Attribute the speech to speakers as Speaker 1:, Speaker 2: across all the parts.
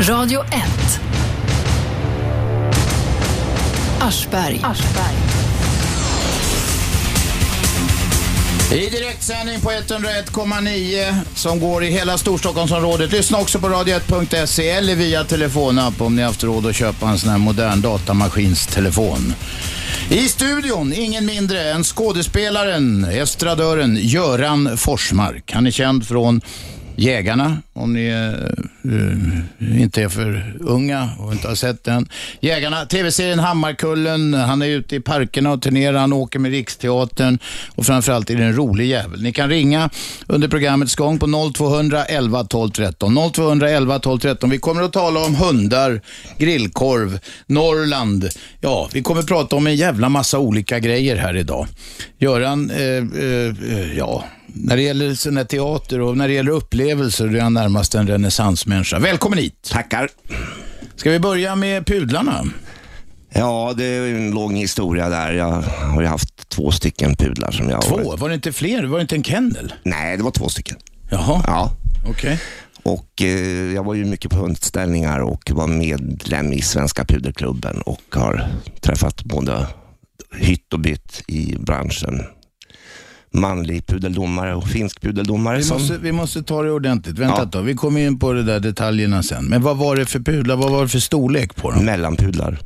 Speaker 1: Radio 1. Aschberg.
Speaker 2: I direktsändning på 101,9 som går i hela Storstockholmsområdet. Lyssna också på radio1.se eller via telefonapp om ni haft råd att köpa en sån här modern datamaskinstelefon. I studion, ingen mindre än skådespelaren, estradören Göran Forsmark. Han är känd från Jägarna, om ni eh, eh, inte är för unga och inte har sett den. Jägarna, tv-serien Hammarkullen, han är ute i parkerna och turnerar, han åker med Riksteatern och framförallt är det en rolig jävel. Ni kan ringa under programmets gång på 0200 11 12 13. 0200 11 12 13. Vi kommer att tala om hundar, grillkorv, Norrland. Ja, vi kommer att prata om en jävla massa olika grejer här idag. Göran, eh, eh, eh, ja, när det gäller sån här teater och när det gäller upplevelser är han närmast en renässansmänniska. Välkommen hit!
Speaker 3: Tackar.
Speaker 2: Ska vi börja med pudlarna?
Speaker 3: Ja, det är en lång historia där. Jag har ju haft två stycken pudlar som jag har varit-
Speaker 2: Två? Var det inte fler? Var det inte en kennel?
Speaker 3: Nej, det var två stycken.
Speaker 2: Jaha,
Speaker 3: Ja.
Speaker 2: okej.
Speaker 3: Och eh, jag var ju mycket på hundställningar och var medlem i Svenska Puderklubben och har träffat både hytt och bytt i branschen. Manlig pudeldomare och finsk pudeldomare.
Speaker 2: Vi
Speaker 3: som-
Speaker 2: måste, vi måste ta det ordentligt. Vänta
Speaker 3: Ja.
Speaker 2: ett då, vi kommer in på de där detaljerna sen. Men vad var det för pudlar? Vad var det för storlek på dem?
Speaker 3: Mellanpudlar.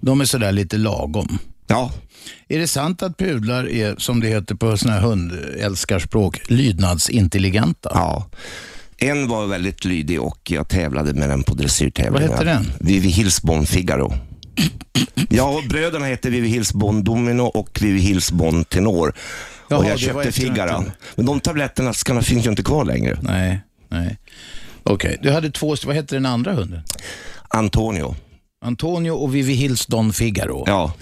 Speaker 2: De är sådär lite lagom.
Speaker 3: Ja,
Speaker 2: Är det sant att pudlar är, som det heter på sådana här hundälskarspråk, lydnadsintelligenta?
Speaker 3: Ja. En var väldigt lydig och jag tävlade med den på dressyrtävlingar.
Speaker 2: Vad hette den?
Speaker 3: Vivi Hilsbon Figaro. Ja, och bröderna hette Vivi Hilsbon Domino och Vivi Hilsbon Tenor.
Speaker 2: Jaha,
Speaker 3: och
Speaker 2: det var
Speaker 3: jag köpte
Speaker 2: efter
Speaker 3: Figaro.
Speaker 2: den.
Speaker 3: Men de tabletterna ska, finns ju inte kvar längre.
Speaker 2: Nej, nej. Okej, du hade två, st- vad hette den andra hunden?
Speaker 3: Antonio.
Speaker 2: Antonio och Vivi Hills Don Figaro.
Speaker 3: Ja.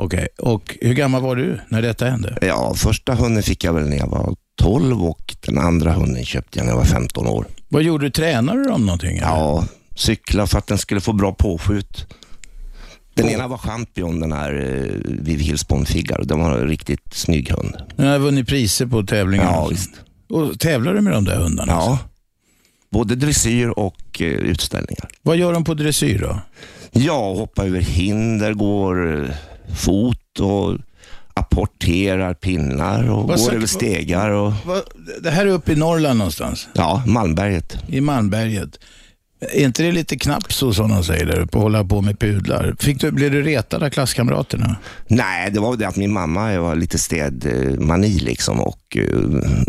Speaker 2: Okej, och hur gammal var du när detta hände?
Speaker 3: ja, första hunden fick jag väl när jag var 12 och den andra hunden köpte jag när jag var 15 år.
Speaker 2: Vad gjorde du? Tränade du om någonting? eller?
Speaker 3: Ja, cykla för att den skulle få bra påskjut. Den ena var champion, den här eh, Vivi Hilsbon Figaro. Den var en riktigt snygg hund.
Speaker 2: Den har vunnit priser på tävlingar.
Speaker 3: Ja,
Speaker 2: och sånt.
Speaker 3: visst.
Speaker 2: Och tävlar du med de där hundarna? alltså?
Speaker 3: Ja. Både dressyr och eh, utställningar.
Speaker 2: Vad gör de på dressyr då?
Speaker 3: Ja, hoppa över hinder, går eh, fot och apporterar pinnar och
Speaker 2: Vad sa-
Speaker 3: går över stegar. Och,
Speaker 2: Va- Det här är uppe i Norrland någonstans,
Speaker 3: ja, Malmberget.
Speaker 2: i Malmberget. Är inte det lite knappt så som de säger där uppe, att hålla på med pudlar? Fick du, blev du retad av klasskamraterna?
Speaker 3: Nej, det var väl det att min mamma jag var lite städmani liksom och eh,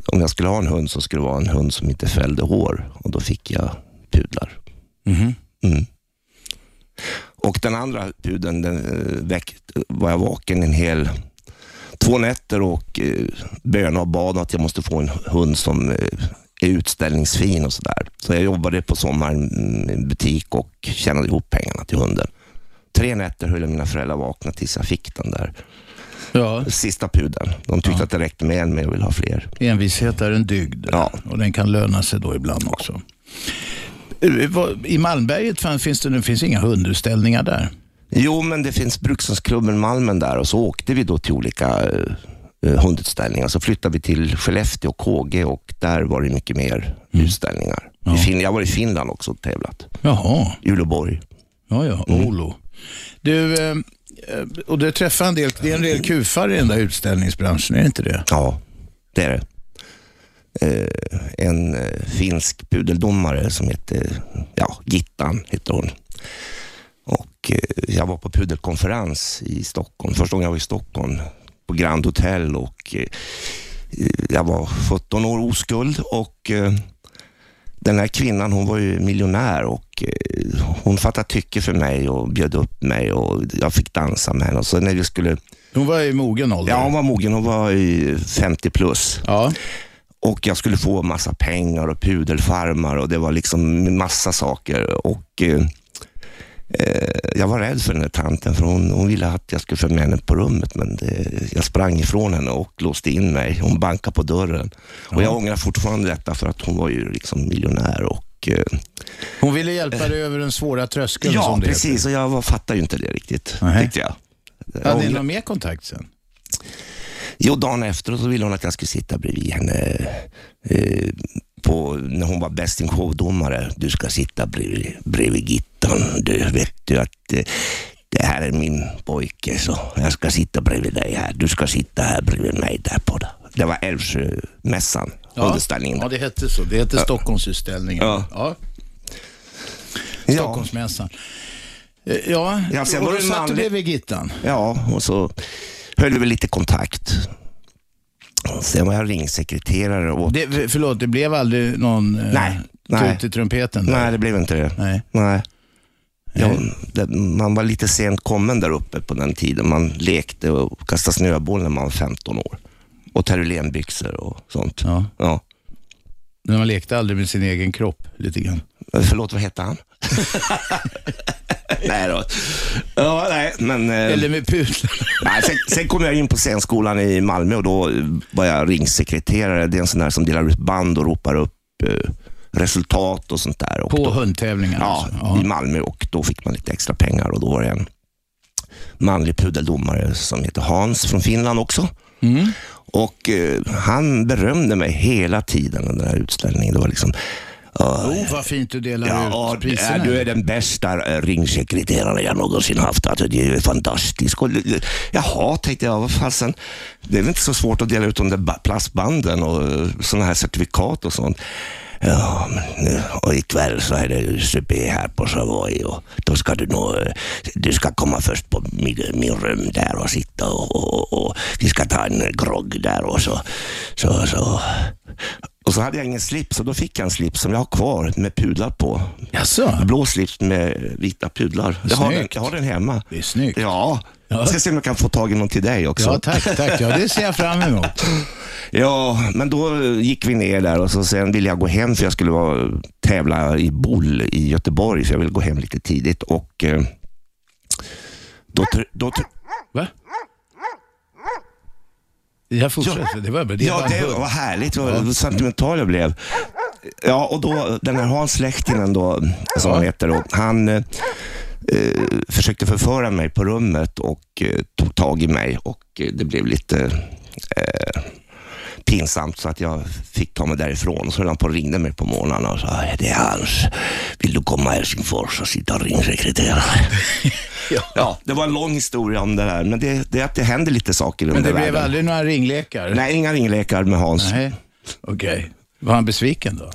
Speaker 3: om jag skulle ha en hund så skulle det vara en hund som inte fällde hår och då fick jag pudlar. Mm. Och den andra pudeln, den eh, väckt, var jag vaken en hel två nätter och eh, bönade och bad att jag måste få en hund som eh, är utställningsfin och sådär. Så jag jobbade på sommaren mm, i en butik och tjänade ihop pengarna till hunden. Tre nätter höll jag mina föräldrar vakna tills jag fick den där
Speaker 2: Ja.
Speaker 3: sista pudeln. De tyckte att det räckte med en, men jag ville ha fler.
Speaker 2: Envishet är en dygd
Speaker 3: Ja.
Speaker 2: och den kan löna sig då ibland också. Eh, vad- I Malmberget fan- finns det, det finns inga hundutställningar där.
Speaker 3: Jo, men det finns Brukshundsklubben Malmen där och så åkte vi då till olika eh, eh, hundutställningar. Så flyttade vi till Skellefteå och KG och där var det mycket mer utställningar. I fin- jag var i Finland också och tävlat.
Speaker 2: Jaha,
Speaker 3: Uleåborg.
Speaker 2: ja ja,
Speaker 3: Mm.
Speaker 2: Olo. Du, eh, eh, och du träffar en del, det är en del kufar i den där utställningsbranschen, är det inte det?
Speaker 3: Ja, det är det. Eh, en eh, finsk pudeldomare som heter, ja, Gittan heter hon. Och eh, jag var på pudelkonferens i Stockholm. Första gången jag var i Stockholm på Grand Hotel och eh, jag var 17 år oskuld och eh, den här kvinnan hon var ju miljonär och eh, hon fattade tycke för mig och bjöd upp mig och jag fick dansa med henne. Och så när vi skulle,
Speaker 2: Hon var i mogen ålder.
Speaker 3: ja hon var mogen, hon var i 50 plus
Speaker 2: ja.
Speaker 3: och jag skulle få massa pengar och pudelfarmar och det var liksom massa saker. Och eh, eh, Jag var rädd för den där tanten för hon, hon ville att jag skulle följa med henne på rummet men det, jag sprang ifrån henne och låste in mig. Hon bankade på dörren. Och Jag ångrar fortfarande detta för att hon var ju liksom miljonär. Och, eh,
Speaker 2: Hon ville hjälpa dig över den svåra tröskeln
Speaker 3: ja,
Speaker 2: som det
Speaker 3: precis. Och jag var, fattade ju inte det riktigt,
Speaker 2: Nej.
Speaker 3: tyckte jag.
Speaker 2: heter.
Speaker 3: Jag
Speaker 2: Hade ni
Speaker 3: ångrar-
Speaker 2: någon mer kontakt sen?
Speaker 3: Jo, dagen efter så ville hon att jag skulle sitta bredvid henne eh, på, när hon var bäst in show-domare. Du ska sitta bredvid, bredvid Gittan. Du vet du att eh, det här är min pojke, så jag ska sitta bredvid dig här. Du ska sitta här bredvid mig där på det. Det var Älvsjömässan, underställningen.
Speaker 2: Ja,
Speaker 3: där.
Speaker 2: det hette så. Det hette Stockholmsutställningen.
Speaker 3: Ja.
Speaker 2: Ja.
Speaker 3: Ja,
Speaker 2: Stockholmsmässan. Eh, Ja,
Speaker 3: Ja, sen
Speaker 2: och
Speaker 3: var
Speaker 2: då
Speaker 3: det en
Speaker 2: satt du
Speaker 3: manlig-
Speaker 2: bredvid Gittan.
Speaker 3: ja, och så höll vi lite kontakt. Sen var jag ringsekreterare åt...
Speaker 2: Det, förlåt, det blev aldrig någon eh,
Speaker 3: Nej, nej.
Speaker 2: tut i trumpeten? där?
Speaker 3: Nej, det blev inte det.
Speaker 2: nej.
Speaker 3: Nej. Ja, det, man var lite sent kommen där uppe på den tiden. Man lekte och kastade snöboll när man var 15 år. Och terrylenbyxor och sånt.
Speaker 2: Ja.
Speaker 3: Ja.
Speaker 2: Men man lekte aldrig med sin egen kropp lite grann.
Speaker 3: Eh, Förlåt, vad hette han? nej då. Ja, nej, men... eh,
Speaker 2: Eller med pudlar.
Speaker 3: Nej, sen, sen kom jag in på scenskolan i Malmö och då eh, var jag ringsekreterare. Det är en sån där som delar ut band och ropar upp eh, resultat och sånt där. Och
Speaker 2: På
Speaker 3: då-
Speaker 2: hundtävlingar
Speaker 3: ja,
Speaker 2: alltså. Ja.
Speaker 3: i Malmö och då fick man lite extra pengar och då var det en manlig pudeldomare som heter Hans från Finland också. Och eh, han berömde mig hela tiden under den här utställningen. Det var liksom, "Ja,
Speaker 2: Oh, vad fint du delar
Speaker 3: Ja,
Speaker 2: ut
Speaker 3: du
Speaker 2: priserna.
Speaker 3: är, du är den bästa eh, ringsekreterare jag någonsin haft. Alltså, det är ju fantastiskt. Och, eh, jaha, tänkte jag, vad fasen. Det är väl inte så svårt att dela ut de där ba- plastbanden och sådana här certifikat och sånt. Ja, men, eh, och ikväll så är det supé här på Savoy och då ska du nog, eh, du ska komma först på min, min rum där och sitta och, och, och, och vi ska ta en grogg där och så, så, så. Och så hade jag ingen slips och då fick jag en slips som jag har kvar med pudlar på.
Speaker 2: Jaså?
Speaker 3: Blå slips med vita pudlar. Jag har, den,
Speaker 2: Snyggt.
Speaker 3: jag har den hemma.
Speaker 2: Det är snyggt.
Speaker 3: Ja.
Speaker 2: Ja.
Speaker 3: Jag ska se om jag kan få tag i någon till dig också.
Speaker 2: Ja, tack, tack. Ja, det ser jag fram emot.
Speaker 3: Ja, men då eh, gick vi ner där och så sen ville jag gå hem för jag skulle vara, tävla i boll i Göteborg, så jag ville gå hem lite tidigt. Och eh, då, tr- då tr-
Speaker 2: Va? Jag fortsätter. Det var bara det.
Speaker 3: Ja,
Speaker 2: var en
Speaker 3: det
Speaker 2: hund.
Speaker 3: var härligt. Vad vad sentimental jag blev. Ja, och då den här Hans Lehtinen då, som han heter, då, han eh, eh, försökte förföra mig på rummet och eh, tog tag i mig och eh, det blev lite eh, pinsamt så att jag fick ta mig därifrån. Så höll han på och ringde mig på morgonen och sa, det är Hans. Vill du komma till Helsingfors och sitta och ringsekreterare? ja. det var en lång historia om det där, men det, det är att det händer lite saker
Speaker 2: Men det
Speaker 3: under
Speaker 2: blev
Speaker 3: världen.
Speaker 2: aldrig några ringlekar?
Speaker 3: Nej, inga ringlekar med Hans.
Speaker 2: Nej. Okej. Var han besviken då?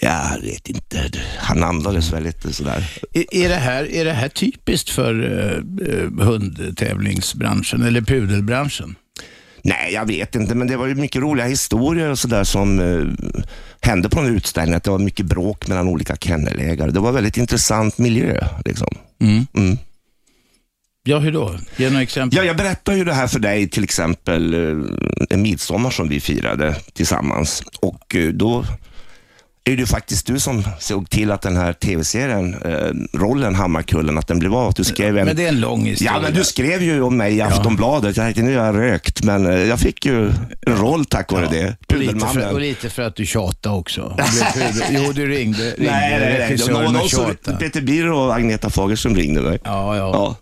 Speaker 3: Jag vet inte. Han andades väl lite sådär.
Speaker 2: Är, är, det, här, är det här typiskt för eh, eh, hundtävlingsbranschen eller pudelbranschen?
Speaker 3: Nej, jag vet inte, men det var ju mycket roliga historier och sådär som eh, hände på den här utställningen. Att det var mycket bråk mellan olika kennelägare. Det var väldigt intressant miljö. Liksom. Mm.
Speaker 2: Ja, hur då? Ge några exempel.
Speaker 3: Ja, jag berättade ju det här för dig, till exempel eh, en midsommar som vi firade tillsammans. Och eh, då är det ju faktiskt du som såg till att den här tv-serien, eh, rollen Hammarkullen, att den blev av. Att Du skrev en
Speaker 2: Men det är en lång historia.
Speaker 3: Ja, men du skrev ju om mig i Aftonbladet. Jag tänkte nu har jag rökt, men eh, jag fick ju en roll tack vare det.
Speaker 2: Och lite, för, och
Speaker 3: Pudelmannen.
Speaker 2: lite för att du tjatade också. Du- pudel- jo, du ringde, ringde
Speaker 3: Nej, nej, nej. Det var
Speaker 2: regissören
Speaker 3: någon
Speaker 2: och
Speaker 3: som,
Speaker 2: tjatade.
Speaker 3: Peter Biro och Agneta Fagerström ringde mig.
Speaker 2: Ja, Mm. ja.
Speaker 3: Ja.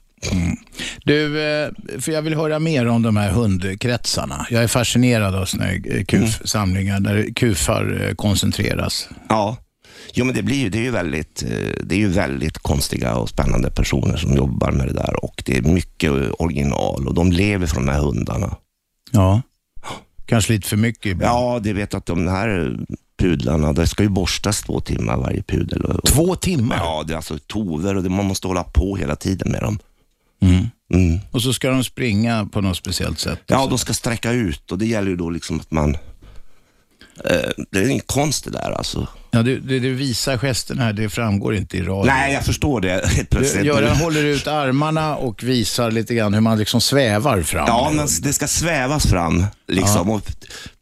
Speaker 2: Du, eh, för jag vill höra mer om de här hundkretsarna. Jag är fascinerad av såna här eh,
Speaker 3: Mm.
Speaker 2: kuf-samlingar där kufar eh, koncentreras.
Speaker 3: ja. Jo, men det blir ju, det är ju väldigt, eh, det är ju väldigt konstiga och spännande personer som jobbar med det där och det är mycket eh, original och de lever från de här hundarna.
Speaker 2: Ja. Kanske lite för mycket ibland.
Speaker 3: Ja, det vet att de här pudlarna, det ska ju borstas två timmar varje pudel. Och,
Speaker 2: Två timmar?
Speaker 3: Ja, det är alltså tover och det, man måste hålla på hela tiden med dem.
Speaker 2: Mm.
Speaker 3: Mm.
Speaker 2: Och så ska de springa på något speciellt sätt.
Speaker 3: Ja, de ska sträcka ut och det gäller ju då liksom att man... Eh, det är ingen konst det där alltså.
Speaker 2: Ja, du, du, du visar gesterna här, det framgår inte i radio.
Speaker 3: Nej, jag förstår det helt
Speaker 2: Du,
Speaker 3: plötsligt.
Speaker 2: Göran håller ut armarna och visar lite grann hur man liksom svävar fram.
Speaker 3: Ja, men det ska svävas fram liksom. Och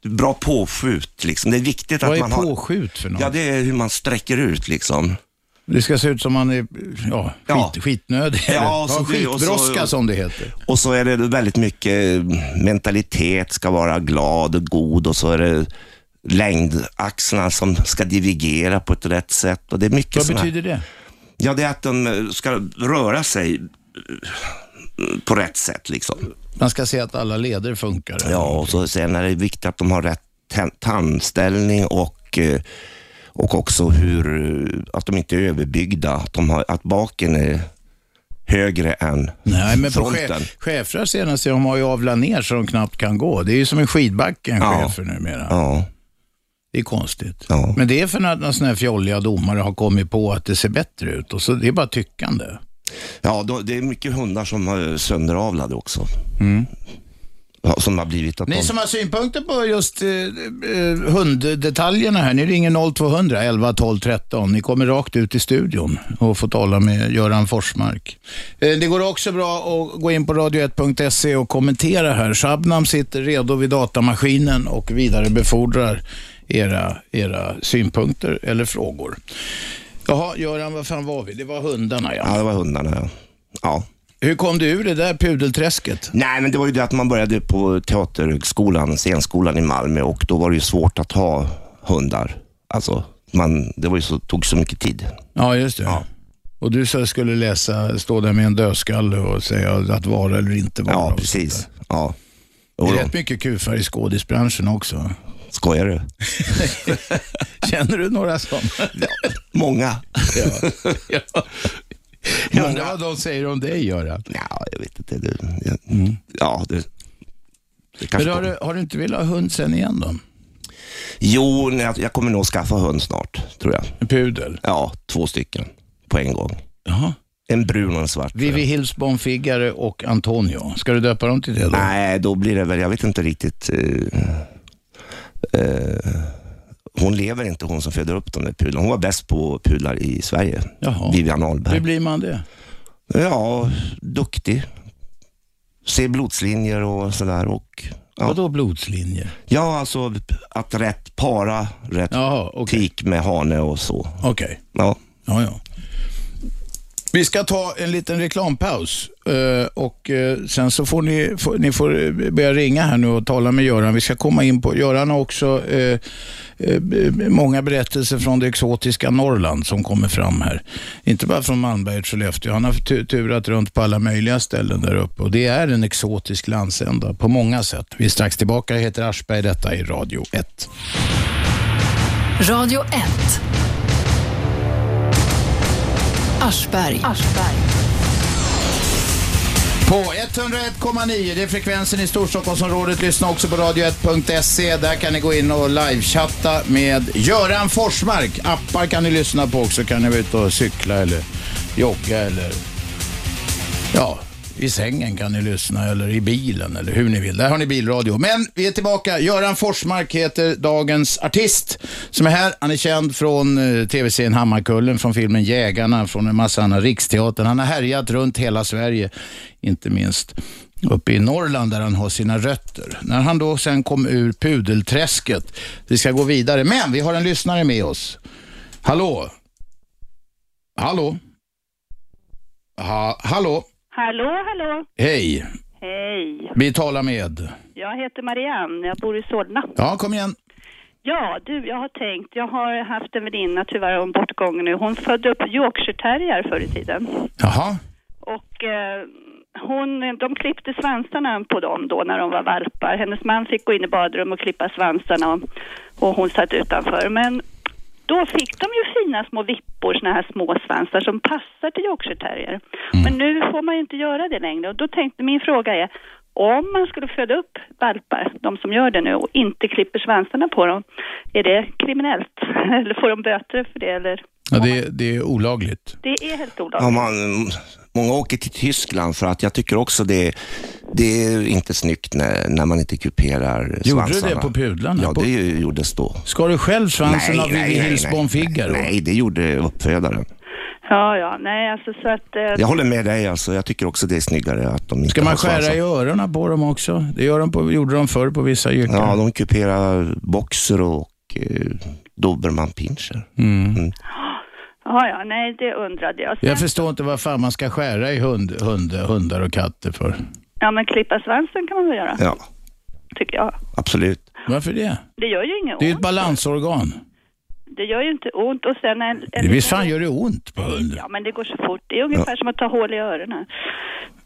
Speaker 3: bra påskjut liksom. Det är viktigt
Speaker 2: Vad
Speaker 3: att
Speaker 2: är
Speaker 3: man har...
Speaker 2: påskjut för något?
Speaker 3: Ja, det är hur man sträcker ut liksom.
Speaker 2: Det ska se ut som man är ja, skit,
Speaker 3: Ja.
Speaker 2: skitnödig.
Speaker 3: Ja,
Speaker 2: eller-
Speaker 3: så det- och så-
Speaker 2: skitbrådska som det heter.
Speaker 3: Och så är det väldigt mycket eh, mentalitet, ska vara glad och god och så är det längdaxlarna som ska divergera på ett rätt sätt. Och det är mycket
Speaker 2: Vad
Speaker 3: såna här-
Speaker 2: betyder det?
Speaker 3: Ja, det är att de eh, ska röra sig eh, på rätt sätt. liksom.
Speaker 2: Man ska se att alla leder funkar.
Speaker 3: Ja, och så sen är det viktigt att de har rätt tan- tandställning och och, eh, och också hur, eh, att de inte är överbyggda, att, de har, att baken är högre än
Speaker 2: Nej, men på
Speaker 3: fronten.
Speaker 2: chef, chefrar senast, de har ju avlat ner så de knappt kan gå. Det är ju som en skidbacke, en
Speaker 3: Ja.
Speaker 2: chefer numera.
Speaker 3: Ja,
Speaker 2: Det är konstigt.
Speaker 3: ja.
Speaker 2: Men det är för att några sådana här fjolliga domare har kommit på att det ser bättre ut. Och så det är bara tyckande.
Speaker 3: ja då, det är mycket hundar som är sönderavlade också.
Speaker 2: Mm.
Speaker 3: Ja, Som har blivit att
Speaker 2: Ni
Speaker 3: de...
Speaker 2: som har synpunkter på just eh, eh, hunddetaljerna här, ni ringer 0200 11 12 13. Ni kommer rakt ut i studion och får tala med Göran Forsmark. Eh, det går också bra att gå in på radio1.se och kommentera här. Shabnam sitter redo vid datamaskinen och vidarebefordrar era, era synpunkter eller frågor. Jaha, Göran, vad fan var vi? Det var hundarna, ja.
Speaker 3: Ja, det var hundarna ja. ja.
Speaker 2: Hur kom du ur det där pudelträsket?
Speaker 3: Nej, men det var ju det att man började på teaterhögskolan, scenskolan i Malmö och då var det ju svårt att ha hundar. Alltså, man, det var ju så, tog så mycket tid.
Speaker 2: Ja, just det. Och du sa- skulle läsa, stå där med en dödskalle och säga att vara eller inte vara.
Speaker 3: Ja,
Speaker 2: och sånt
Speaker 3: precis. Ja.
Speaker 2: där.
Speaker 3: Jo,
Speaker 2: Det är
Speaker 3: då.
Speaker 2: rätt mycket kufar i skådisbranschen också.
Speaker 3: Skojar du?
Speaker 2: Känner du några sådana?
Speaker 3: Många.
Speaker 2: ja. ja. Jag undrar vad de säger om dig, Göran.
Speaker 3: Ja, jag vet inte. Det, det, Ja, det, det
Speaker 2: Mm. Men
Speaker 3: kanske
Speaker 2: har, du, har du inte velat ha hund sen igen då?
Speaker 3: Jo, nej, jag- jag kommer nog skaffa hund snart, tror jag.
Speaker 2: En pudel?
Speaker 3: Ja, två stycken på en gång.
Speaker 2: Jaha.
Speaker 3: En brun och en svart. tror jag.
Speaker 2: Vivi Hilsbom Figgare och Antonio. Ska du döpa dem till det då?
Speaker 3: Nej, då blir det väl, jag vet inte riktigt. eh, eh, hon lever inte, hon som föder upp de där pudlarna. Hon var bäst på pudlar i Sverige,
Speaker 2: Jaha.
Speaker 3: Vivian
Speaker 2: Hur
Speaker 3: Ahlberg.
Speaker 2: blir man det?
Speaker 3: Ja, duktig. Ser blodslinjer och sådär. Och, ja.
Speaker 2: Vadå blodslinjer?
Speaker 3: ja, alltså att rätt para, rätt
Speaker 2: Jaha, okej.
Speaker 3: tik med hane och så.
Speaker 2: Okej.
Speaker 3: Ja.
Speaker 2: Ja, ja. Vi ska ta en liten reklampaus eh, och eh, sen så får ni, får, ni får eh, börja ringa här nu och tala med Göran. Vi ska komma in på, Göran har också eh, eh, många berättelser från det exotiska Norrland som kommer fram här. Inte bara från Malmberget och Sollefteå, han har tu- turat runt på alla möjliga ställen där uppe och det är en exotisk landsända på många sätt. Vi är strax tillbaka, jag heter Aschberg, detta är Radio 1.
Speaker 1: Radio 1. Aschberg.
Speaker 2: På 101,9, det är frekvensen i Storstockholmsområdet. Lyssna också på radio1.se. Där kan ni gå in och livechatta med Göran Forsmark. Appar kan ni lyssna på också. Kan ni vara ute och cykla eller jogga eller ja, i sängen kan ni lyssna eller i bilen eller hur ni vill. Där har ni bilradio. Men vi är tillbaka. Göran Forsmark heter dagens artist som är här. Han är känd från eh, tv-serien Hammarkullen, från filmen Jägarna, från en massa andra Riksteatern. Han har härjat runt hela Sverige, inte minst uppe i Norrland där han har sina rötter. När han då sen kom ur pudelträsket. Vi ska gå vidare, men vi har en lyssnare med oss. Hallå? Hallå? Ha, hallå?
Speaker 4: Hallå, hallå!
Speaker 2: Hej,
Speaker 4: Hej!
Speaker 2: vi talar med.
Speaker 4: Jag heter Marianne, jag bor i Solna.
Speaker 2: Ja, kom igen.
Speaker 4: Ja, du, jag har tänkt, jag har haft en väninna, tyvärr hon bortgången nu, hon födde upp yorkshireterrier förr i tiden.
Speaker 2: Jaha,
Speaker 4: Och eh, hon, de klippte svansarna på dem då när de var valpar. Hennes man fick gå in i badrum och klippa svansarna och, och hon satt utanför. Men då fick de ju fina små vippor, såna här små svansar som passar till yorkshireterrier.
Speaker 3: Mm.
Speaker 4: Men nu får man ju inte göra det längre och då tänkte min fråga är om man skulle föda upp valpar, de som gör det nu, och inte klipper svansarna på dem, är det kriminellt? Eller får de böter för det? Eller?
Speaker 2: ja, det, det är olagligt.
Speaker 4: Det är helt olagligt.
Speaker 3: Ja, man, många åker till Tyskland för att jag tycker också det, det är inte snyggt när, när man inte kuperar
Speaker 2: Gjorde du
Speaker 3: svansarna.
Speaker 2: det på pudlarna?
Speaker 3: Ja,
Speaker 2: På-
Speaker 3: det ju- gjordes då.
Speaker 2: Ska du själv svansen av Vivi Hilsbom
Speaker 3: nej,
Speaker 2: Figaro?
Speaker 3: nej, det gjorde uppfödaren.
Speaker 4: Ja, ja, nej alltså så att... eh,
Speaker 3: Jag håller med dig, alltså. jag tycker också det är snyggare att de inte
Speaker 2: Ska man
Speaker 3: har
Speaker 2: skära
Speaker 3: svansar.
Speaker 2: i öronen på dem också? Det gör de på, gjorde de förr på vissa yrken.
Speaker 3: Ja, de kuperar boxer och eh, dobermannpinscher.
Speaker 2: Mm.
Speaker 3: Mm.
Speaker 4: Ja, ja, nej, det undrade jag. Sen,
Speaker 2: Jag förstår inte vad fan man ska skära i hund, hund, hundar och katter för.
Speaker 4: Ja, men klippa svansen kan man väl göra,
Speaker 3: Ja,
Speaker 4: tycker jag.
Speaker 3: absolut.
Speaker 2: Varför det?
Speaker 4: Det gör ju inget
Speaker 2: Det är ju
Speaker 4: ont.
Speaker 2: ett balansorgan.
Speaker 4: Det gör ju inte ont. Och sen en, en
Speaker 2: Visst fan gör det ont på hunden?
Speaker 4: Ja, men det går så fort. Det är ungefär som att ta hål i öronen.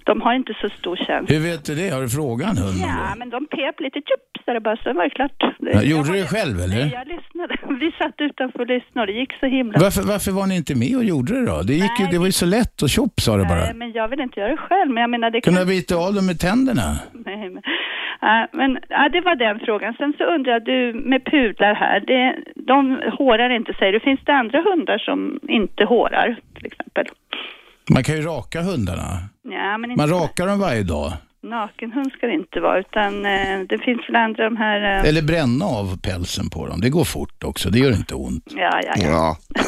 Speaker 4: De har inte så stor tjänst.
Speaker 2: Hur vet du det? Har du frågat en hund? om det?
Speaker 4: Ja, men de pep lite tjup så det bara, sen var det klart.
Speaker 2: Ja, gjorde du det själv eller?
Speaker 4: Nej, jag lyssnade. Vi satt utanför och lyssnade och det gick så himla...
Speaker 2: Varför, varför var ni inte med och gjorde det då? Det, gick ju, det var ju så lätt och tjopp sa du bara.
Speaker 4: Nej, men jag vill inte göra det själv, men jag menar det
Speaker 2: Kunde
Speaker 4: kan...
Speaker 2: ha bitit av dem med tänderna?
Speaker 4: Nej, men, ja, men ja, det var den frågan. Sen så undrar jag, du med pudlar här, det, de hårar inte säger du. Finns det andra hundar som inte hårar till exempel?
Speaker 2: Man kan ju raka hundarna.
Speaker 4: Ja, men inte
Speaker 2: Man rakar dem varje dag.
Speaker 4: nakenhund ska det inte vara, utan eh, det finns väl andra de här... Eh,
Speaker 2: Eller bränna av pälsen på dem. Det går fort också. Det gör inte ont.
Speaker 4: ja, ja, ja,
Speaker 3: Ja,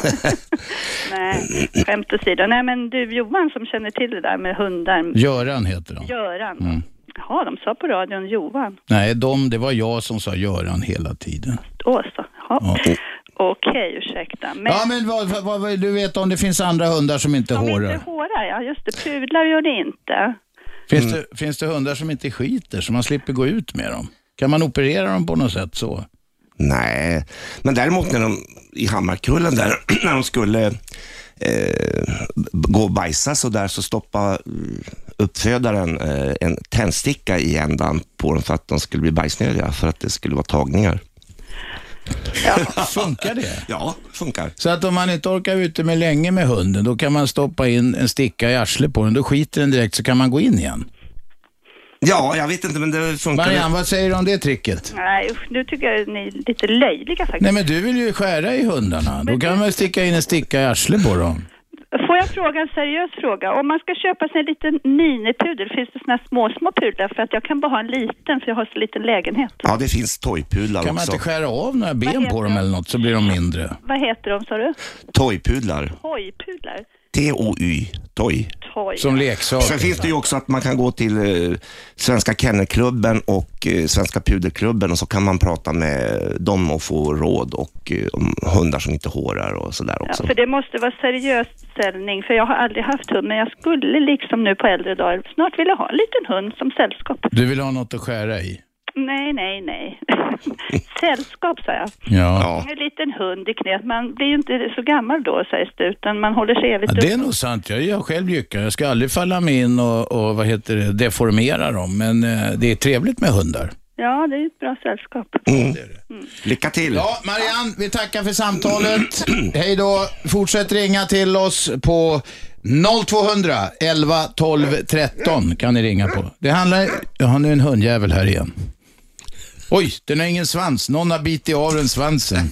Speaker 4: nej, skämt åsido. Nej, men du Johan som känner till det där med hundar,
Speaker 2: Göran heter de.
Speaker 4: Göran. Jaha, de sa på radion Johan.
Speaker 2: Nej, de, det var jag som sa Göran hela tiden.
Speaker 4: Då så, jaha.
Speaker 2: Ja.
Speaker 4: Okej, ursäkta. Men
Speaker 2: Ja, men vad, vad, vad vill du vet om det finns andra hundar som inte
Speaker 4: de
Speaker 2: hårar?
Speaker 4: inte hårar, ja just det. Pudlar gör det inte.
Speaker 2: Finns, det, finns det hundar som inte skiter, så man slipper gå ut med dem? Kan man operera dem på något sätt så?
Speaker 3: nej. Men däremot när de, i Hammarkullen där, när de skulle eh, gå och bajsa så där så stoppade mm, uppfödaren eh, en tändsticka i ändan på dem för att de skulle bli bajsnödiga, för att det skulle vara tagningar.
Speaker 2: Funkar det?
Speaker 3: Ja, funkar.
Speaker 2: Så att om man inte orkar ute med länge med hunden, då kan man stoppa in en sticka i arslet på den. Då skiter den direkt så kan man gå in igen.
Speaker 3: Ja, jag vet inte, men det funkar.
Speaker 2: Marianne, vad säger du om det tricket?
Speaker 4: Nej usch, nu tycker jag ni är lite löjliga faktiskt.
Speaker 2: Nej, men du vill ju skära i hundarna. Då kan man väl sticka in en sticka i arslet på dem.
Speaker 4: Får jag fråga en seriös fråga? Om man ska köpa sig en liten minipudel, finns det såna små, små pudlar? För att jag kan bara ha en liten, för jag har så liten lägenhet.
Speaker 3: Ja, det finns toypudlar
Speaker 2: Kan man
Speaker 3: också.
Speaker 2: inte skära av några ben på dem eller något så blir de mindre?
Speaker 4: Vad heter de, sa du?
Speaker 3: Toypudlar.
Speaker 4: Hojpudlar?
Speaker 3: T-O-Y. Toy.
Speaker 4: Toj.
Speaker 2: Som leksak.
Speaker 3: Sen finns det ju också att man kan gå till eh, Svenska Kennelklubben och eh, Svenska Pudelklubben och så kan man prata med dem och få råd och eh, om hundar som inte hårar och sådär
Speaker 4: Ja,
Speaker 3: också.
Speaker 4: för det måste vara seriös säljning, för jag har aldrig haft hund, men jag skulle liksom nu på äldre dagar snart vilja ha en liten hund som sällskap.
Speaker 2: Du vill ha något att skära i?
Speaker 4: Nej, nej, nej. sällskap, sa jag.
Speaker 2: Ja.
Speaker 3: Ja.
Speaker 4: En liten hund i knät. Man blir ju inte så gammal då, sägs det, utan man håller sig evigt
Speaker 2: Ja, det är
Speaker 4: ung.
Speaker 2: nog sant. Jag är jag själv lyckad. Jag ska aldrig falla mig in och, och vad heter det, deformera dem. Men eh, det är trevligt med hundar.
Speaker 4: Ja, det är ju ett bra sällskap.
Speaker 3: Mm. Lycka till!
Speaker 2: Ja, Marianne, vi tackar för samtalet. Hej då. Fortsätt ringa till oss på 0200 11 12 13 kan ni ringa på. Det handlar... Jag har nu en hundjävel här igen. Oj, den har ingen svans. Någon har bitit av den svansen.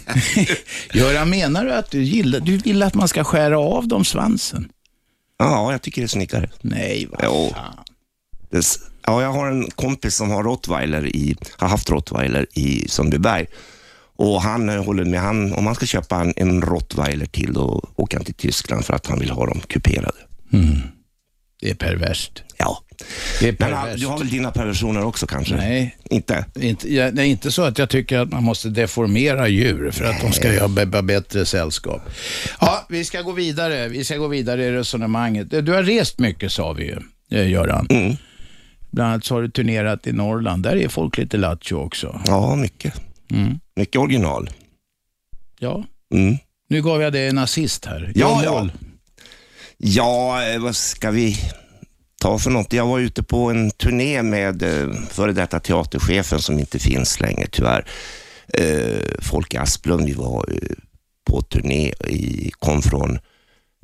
Speaker 2: Göran, menar du att du gillar, du vill att man ska skära av dem svansen?
Speaker 3: Ja, jag tycker det är snyggare.
Speaker 2: Nej, vad
Speaker 3: Jo.
Speaker 2: fan.
Speaker 3: Det s- Ja, jag har en kompis som har rottweiler i, har haft rottweiler i Sundbyberg. Och han eh, håller med, han, om han ska köpa en, en rottweiler till, då åker han till Tyskland för att han vill ha dem kuperade.
Speaker 2: Mm. Det är perverst.
Speaker 3: Ja.
Speaker 2: Det är
Speaker 3: Men han,
Speaker 2: perverst.
Speaker 3: du har väl dina perversioner också kanske?
Speaker 2: Nej,
Speaker 3: Inte?
Speaker 2: Inte, jag, nej, inte så att jag tycker att man måste deformera djur för att de ska göra b- b- bättre sällskap. Ja, vi ska gå vidare. Vi ska gå vidare i resonemanget. Du har rest mycket sa vi ju, eh, Göran.
Speaker 3: Mm.
Speaker 2: Bland annat så har du turnerat i Norrland. Där är folk lite lattjo också.
Speaker 3: Ja, mycket.
Speaker 2: Mm.
Speaker 3: Mycket original.
Speaker 2: Ja,
Speaker 3: Mm.
Speaker 2: nu gav jag dig en assist här.
Speaker 3: Ja,
Speaker 2: John Wall.
Speaker 3: Ja, eh, vad ska vi ta för något? Jag var ute på en turné med eh, före detta teaterchefen som inte finns längre tyvärr. Eh, Folke Asplund, vi var eh, på turné, i, kom från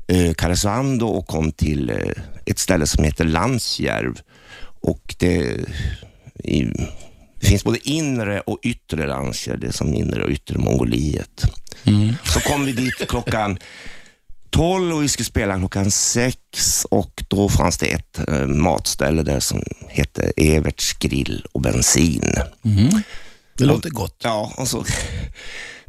Speaker 3: eh, Karesuando och kom till eh, ett ställe som heter Lansjärv. Och det, i, det finns både inre och yttre Lansjärv, det är som inre och yttre Mongoliet. Så kom vi dit klockan 12 och vi skulle spela klockan 6 och då fanns det ett eh, matställe där som hette Everts grill och bensin.
Speaker 2: Mm-hmm. Det låter gott.
Speaker 3: Ja, och så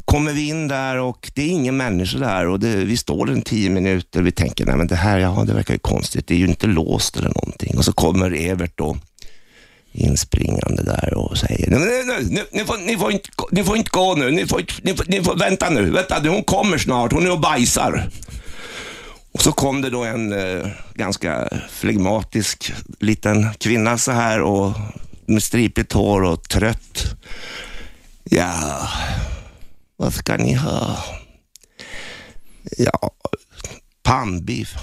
Speaker 3: kommer vi in där och det är ingen människa där och det, vi står där i tio minuter vi tänker, nej men det här, ja det verkar ju konstigt, det är ju inte låst eller någonting. Och så kommer Evert då inspringande där och säger, nej, nej, nej, nu- ni, får, ni, får inte, gå- ni får inte gå nu, ni får, inte- ni får, ni får vänta nu, vänta nu, hon kommer snart, hon är och bajsar. Och så kom det då en eh, ganska flegmatisk liten kvinna så här och med stripigt hår och trött. Ja, vad ska ni ha? Ja, pannbiff.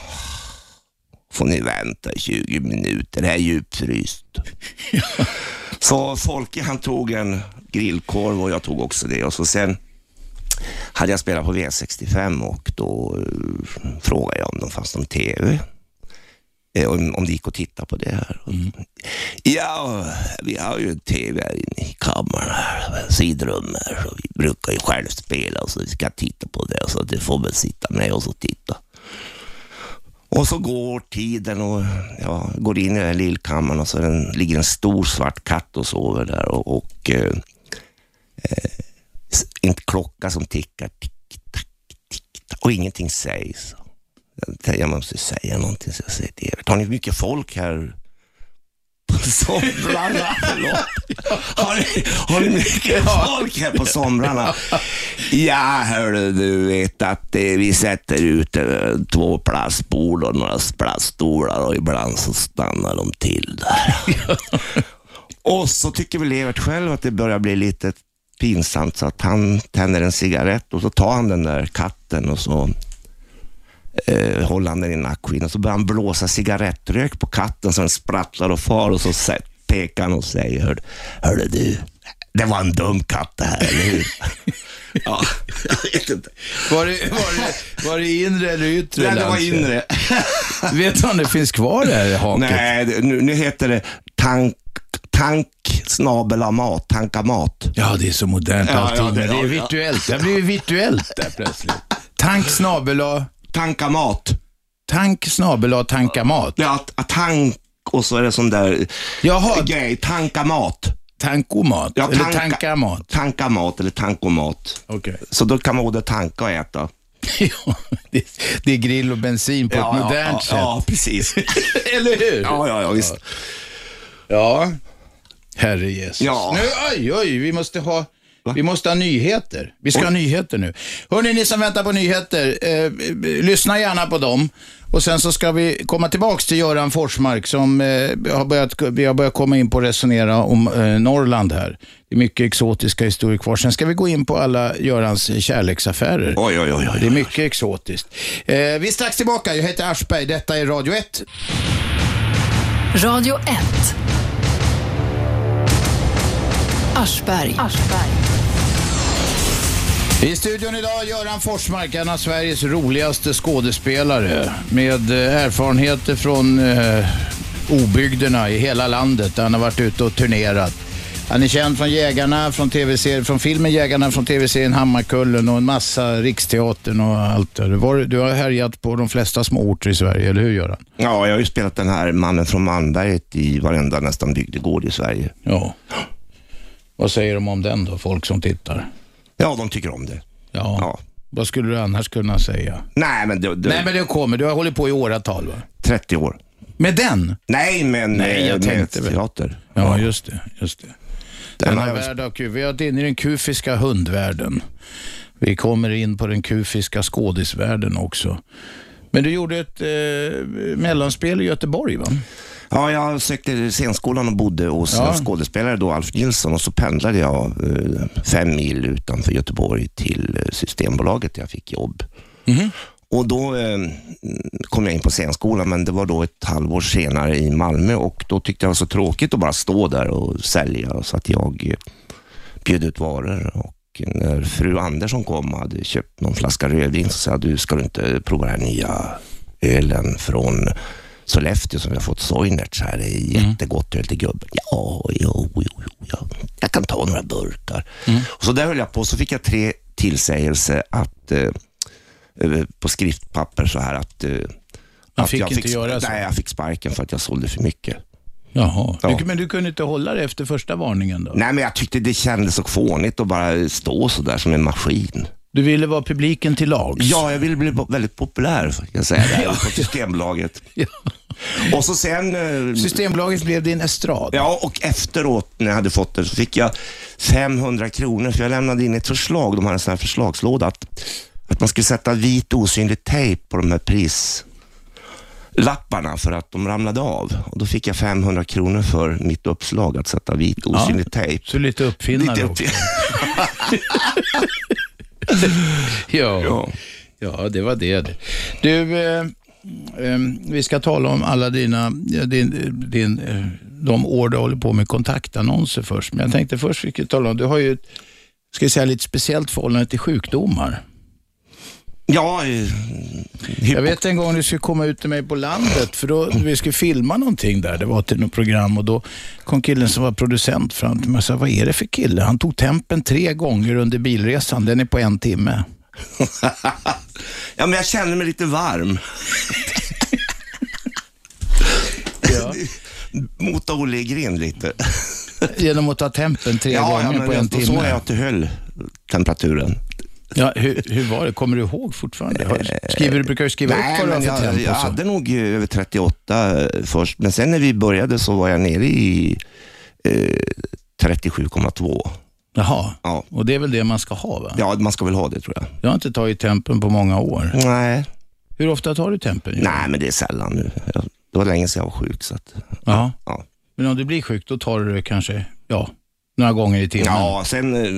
Speaker 3: får ni vänta 20 minuter, det här är djupfryst. så Folke han tog en grillkorv och jag tog också det och så sen hade jag spelat på V65 och då eh, frågade jag om de fanns någon TV. Eh, Om, om det gick att titta på det här. Ja, vi har ju en TV här inne i kammaren, här, sidrummet här, så vi brukar ju själv spela så vi ska titta på det så det får väl sitta med oss och titta. Och så går tiden och jag går in i den här lillkammaren och så är den, ligger en stor svart katt och sover där och, och eh, s- en klocka som tickar, tick, tack, tick, tack, och ingenting sägs. Jag tänkte, Jag måste säga någonting så jag säger till Evert, har ni mycket folk här på somrarna? Förlåt. Har ni, har ni mycket folk här på somrarna? Ja, hörru, du vet att eh, vi sätter ut eh, två plastbord och några plaststolar och ibland så stannar de till där. Och så tycker väl Evert själv att det börjar bli lite pinsamt så att han tänder en cigarett och så tar han den där katten och så eh, håller han den i nackskinnet och så börjar han blåsa cigarettrök på katten så den sprattlar och far och så sä- pekar han och säger, "Hör- hörru du, det var en dum katt det här, eller hur? ja, jag vet inte.
Speaker 2: Var det, var det, var det inre eller yttre
Speaker 3: Nej, det var
Speaker 2: Lasse?
Speaker 3: inre.
Speaker 2: Vet du om det finns kvar det här haket?
Speaker 3: Nej, det- nu, nu heter det tank, tank snabela mat, tanka mat.
Speaker 2: Ja, det är så modernt
Speaker 3: Ja,
Speaker 2: allting.
Speaker 3: ja, det-
Speaker 2: men det
Speaker 3: ja,
Speaker 2: är
Speaker 3: ja.
Speaker 2: virtuellt. Det har blivit virtuellt där plötsligt. Tank snabel A,
Speaker 3: Tanka mat.
Speaker 2: tank snabel A, tanka mat.
Speaker 3: Ja, att, att tank och så är det sån där
Speaker 2: Jaha,
Speaker 3: grej, tanka mat.
Speaker 2: tankomat.
Speaker 3: Ja,
Speaker 2: eller
Speaker 3: tanka-
Speaker 2: tanka mat.
Speaker 3: Tanka mat eller tankomat.
Speaker 2: Okej.
Speaker 3: Så då kan man både tanka och äta.
Speaker 2: Ja, det, det är grill och bensin på ett modernt
Speaker 3: ja,
Speaker 2: sätt.
Speaker 3: ja, precis.
Speaker 2: Eller hur?
Speaker 3: Ja, ja, ja, visst.
Speaker 2: Ja. Herre Jesus.
Speaker 3: Ja.
Speaker 2: Nu, oj, oj, vi måste ha... Vi måste ha nyheter. Vi ska ha nyheter nu. Hörrni, ni som väntar på nyheter, eh, eh, lyssna gärna på dem. Och sen så ska vi komma tillbaks till Göran Forsmark som eh, har, börjat, vi har börjat komma in på att resonera om eh, Norrland här. Det är mycket exotiska historier kvar. Sen ska vi gå in på alla Görans kärleksaffärer.
Speaker 3: Oj, oj, oj.
Speaker 2: Det är
Speaker 3: oj.
Speaker 2: mycket exotiskt. Eh, vi är strax tillbaka. Jag heter Aschberg. Detta är Radio 1.
Speaker 1: Radio 1. Aschberg.
Speaker 2: I studion idag Göran Forsmark, en av Sveriges roligaste skådespelare. Med eh, erfarenheter från eh, obygderna i hela landet där han har varit ute och turnerat. Han är känd från Jägarna, från, TV från filmen Jägarna, från tv-serien Hammarkullen och en massa Riksteatern och allt. där. Var, du har härjat på de flesta små orter i Sverige, eller hur Göran?
Speaker 3: Ja, jag har ju spelat den här mannen från Malmberget i varenda nästan bygdegård i Sverige.
Speaker 2: Ja. Vad säger de om den då, folk som tittar?
Speaker 3: Ja, de tycker om det.
Speaker 2: Ja.
Speaker 3: Ja.
Speaker 2: Vad skulle du annars kunna säga?
Speaker 3: Nej, men, det, det,
Speaker 2: Nej, men det kommer. Du har hållit på i åratal, va?
Speaker 3: 30 år.
Speaker 2: Med den?
Speaker 3: Nej, men
Speaker 2: Nej, jag
Speaker 3: eh,
Speaker 2: tänkte väl.
Speaker 3: med teater.
Speaker 2: Ja, just det. Just det.
Speaker 3: Den har
Speaker 2: Denna
Speaker 3: jag väl-
Speaker 2: värld av kuf. Vi har varit inne i den kufiska hundvärlden. Vi kommer in på den kufiska skådisvärlden också. Men du gjorde ett eh, mellanspel i Göteborg, va?
Speaker 3: Ja, jag sökte scenskolan och bodde hos
Speaker 2: Ja.
Speaker 3: en skådespelare då, Alf Nilsson, och så pendlade jag eh, fem mil utanför Göteborg till eh, Systembolaget där jag fick jobb.
Speaker 2: Mm-hmm.
Speaker 3: Och då eh, kom jag in på scenskolan, men det var då ett halvår senare i Malmö och då tyckte jag det var så tråkigt att bara stå där och sälja, så att jag eh, bjöd ut varor. Och när fru Andersson kom och hade köpt någon flaska rödvin så sa jag, du ska du inte prova den här nya ölen från Sollefteå som vi har fått Soinerts här. Det är
Speaker 2: Mm.
Speaker 3: jättegott öl till gubben. Ja, jo, jo, jo, ja. jag kan ta några burkar.
Speaker 2: Mm.
Speaker 3: Och så där höll jag på. Så fick jag tre tillsägelser att, eh, eh, på skriftpapper så här att, eh, att
Speaker 2: fick inte göra så.
Speaker 3: Nej, jag fick sparken för att jag sålde för mycket.
Speaker 2: Jaha.
Speaker 3: Ja.
Speaker 2: Du, men du kunde inte hålla det efter första varningen då?
Speaker 3: Nej, men jag tyckte det kändes så fånigt att bara stå så där som en maskin.
Speaker 2: Du ville vara publiken till lags?
Speaker 3: Ja, jag ville bli po- väldigt populär, kan jag säga, där, på Systembolaget.
Speaker 2: Ja.
Speaker 3: Och så sen... eh,
Speaker 2: Systembolaget blev din estrad.
Speaker 3: Ja, och efteråt när jag hade fått det så fick jag 500 kronor för jag lämnade in ett förslag. De hade en sån här förslagslåda. Att, att man skulle sätta vit osynlig tejp på de här prislapparna för att de ramlade av. Och då fick jag 500 kronor för mitt uppslag att sätta vit osynlig tejp.
Speaker 2: Så lite uppfinnare
Speaker 3: Lite
Speaker 2: också.
Speaker 3: upp-
Speaker 2: Ja.
Speaker 3: ja.
Speaker 2: ja, det var det. Du, eh, Ehm, Vi ska tala om alla dina, ja, din, din, eh, de år du håller på med kontaktannonser först. Men jag tänkte först vi skulle tala om, du har ju ett, ska jag säga, lite speciellt förhållande till sjukdomar.
Speaker 3: Ja, eh,
Speaker 2: Jag
Speaker 3: hypo-
Speaker 2: vet en gång du skulle komma ut till mig på landet, för då vi skulle filma någonting där. Det var till något program och då kom killen som var producent fram till mig och sa, vad är det för kille? Han tog tempen tre gånger under bilresan. Den är på en timme.
Speaker 3: ja, men jag känner mig lite varm. Mot Olle i grind lite.
Speaker 2: Genom att ta tempen tre gånger på en
Speaker 3: jag, så har
Speaker 2: timme.
Speaker 3: jag att du höll temperaturen.
Speaker 2: Ja, hur, hur var det? Kommer du ihåg fortfarande? Har- Skriver, du brukar ju skriva upp vad du har
Speaker 3: men
Speaker 2: för
Speaker 3: jag,
Speaker 2: temp
Speaker 3: jag
Speaker 2: och så.
Speaker 3: hade nog eh, över 38 först, men sen när vi började så var jag nere i eh, 37,2.
Speaker 2: Jaha,
Speaker 3: Ja.
Speaker 2: och det är väl det man ska ha va?
Speaker 3: Ja, man ska väl ha det tror jag.
Speaker 2: Jag har inte tagit tempen på många år.
Speaker 3: Nej,
Speaker 2: Hur ofta tar du tempen? Johan?
Speaker 3: nej men det är sällan nu. Jag, det var länge sedan jag var sjuk. Så att,
Speaker 2: Jaha.
Speaker 3: ja.
Speaker 2: Men om du blir sjuk, då tar du det kanske, ja, några gånger i timmen?
Speaker 3: ja, sen eh,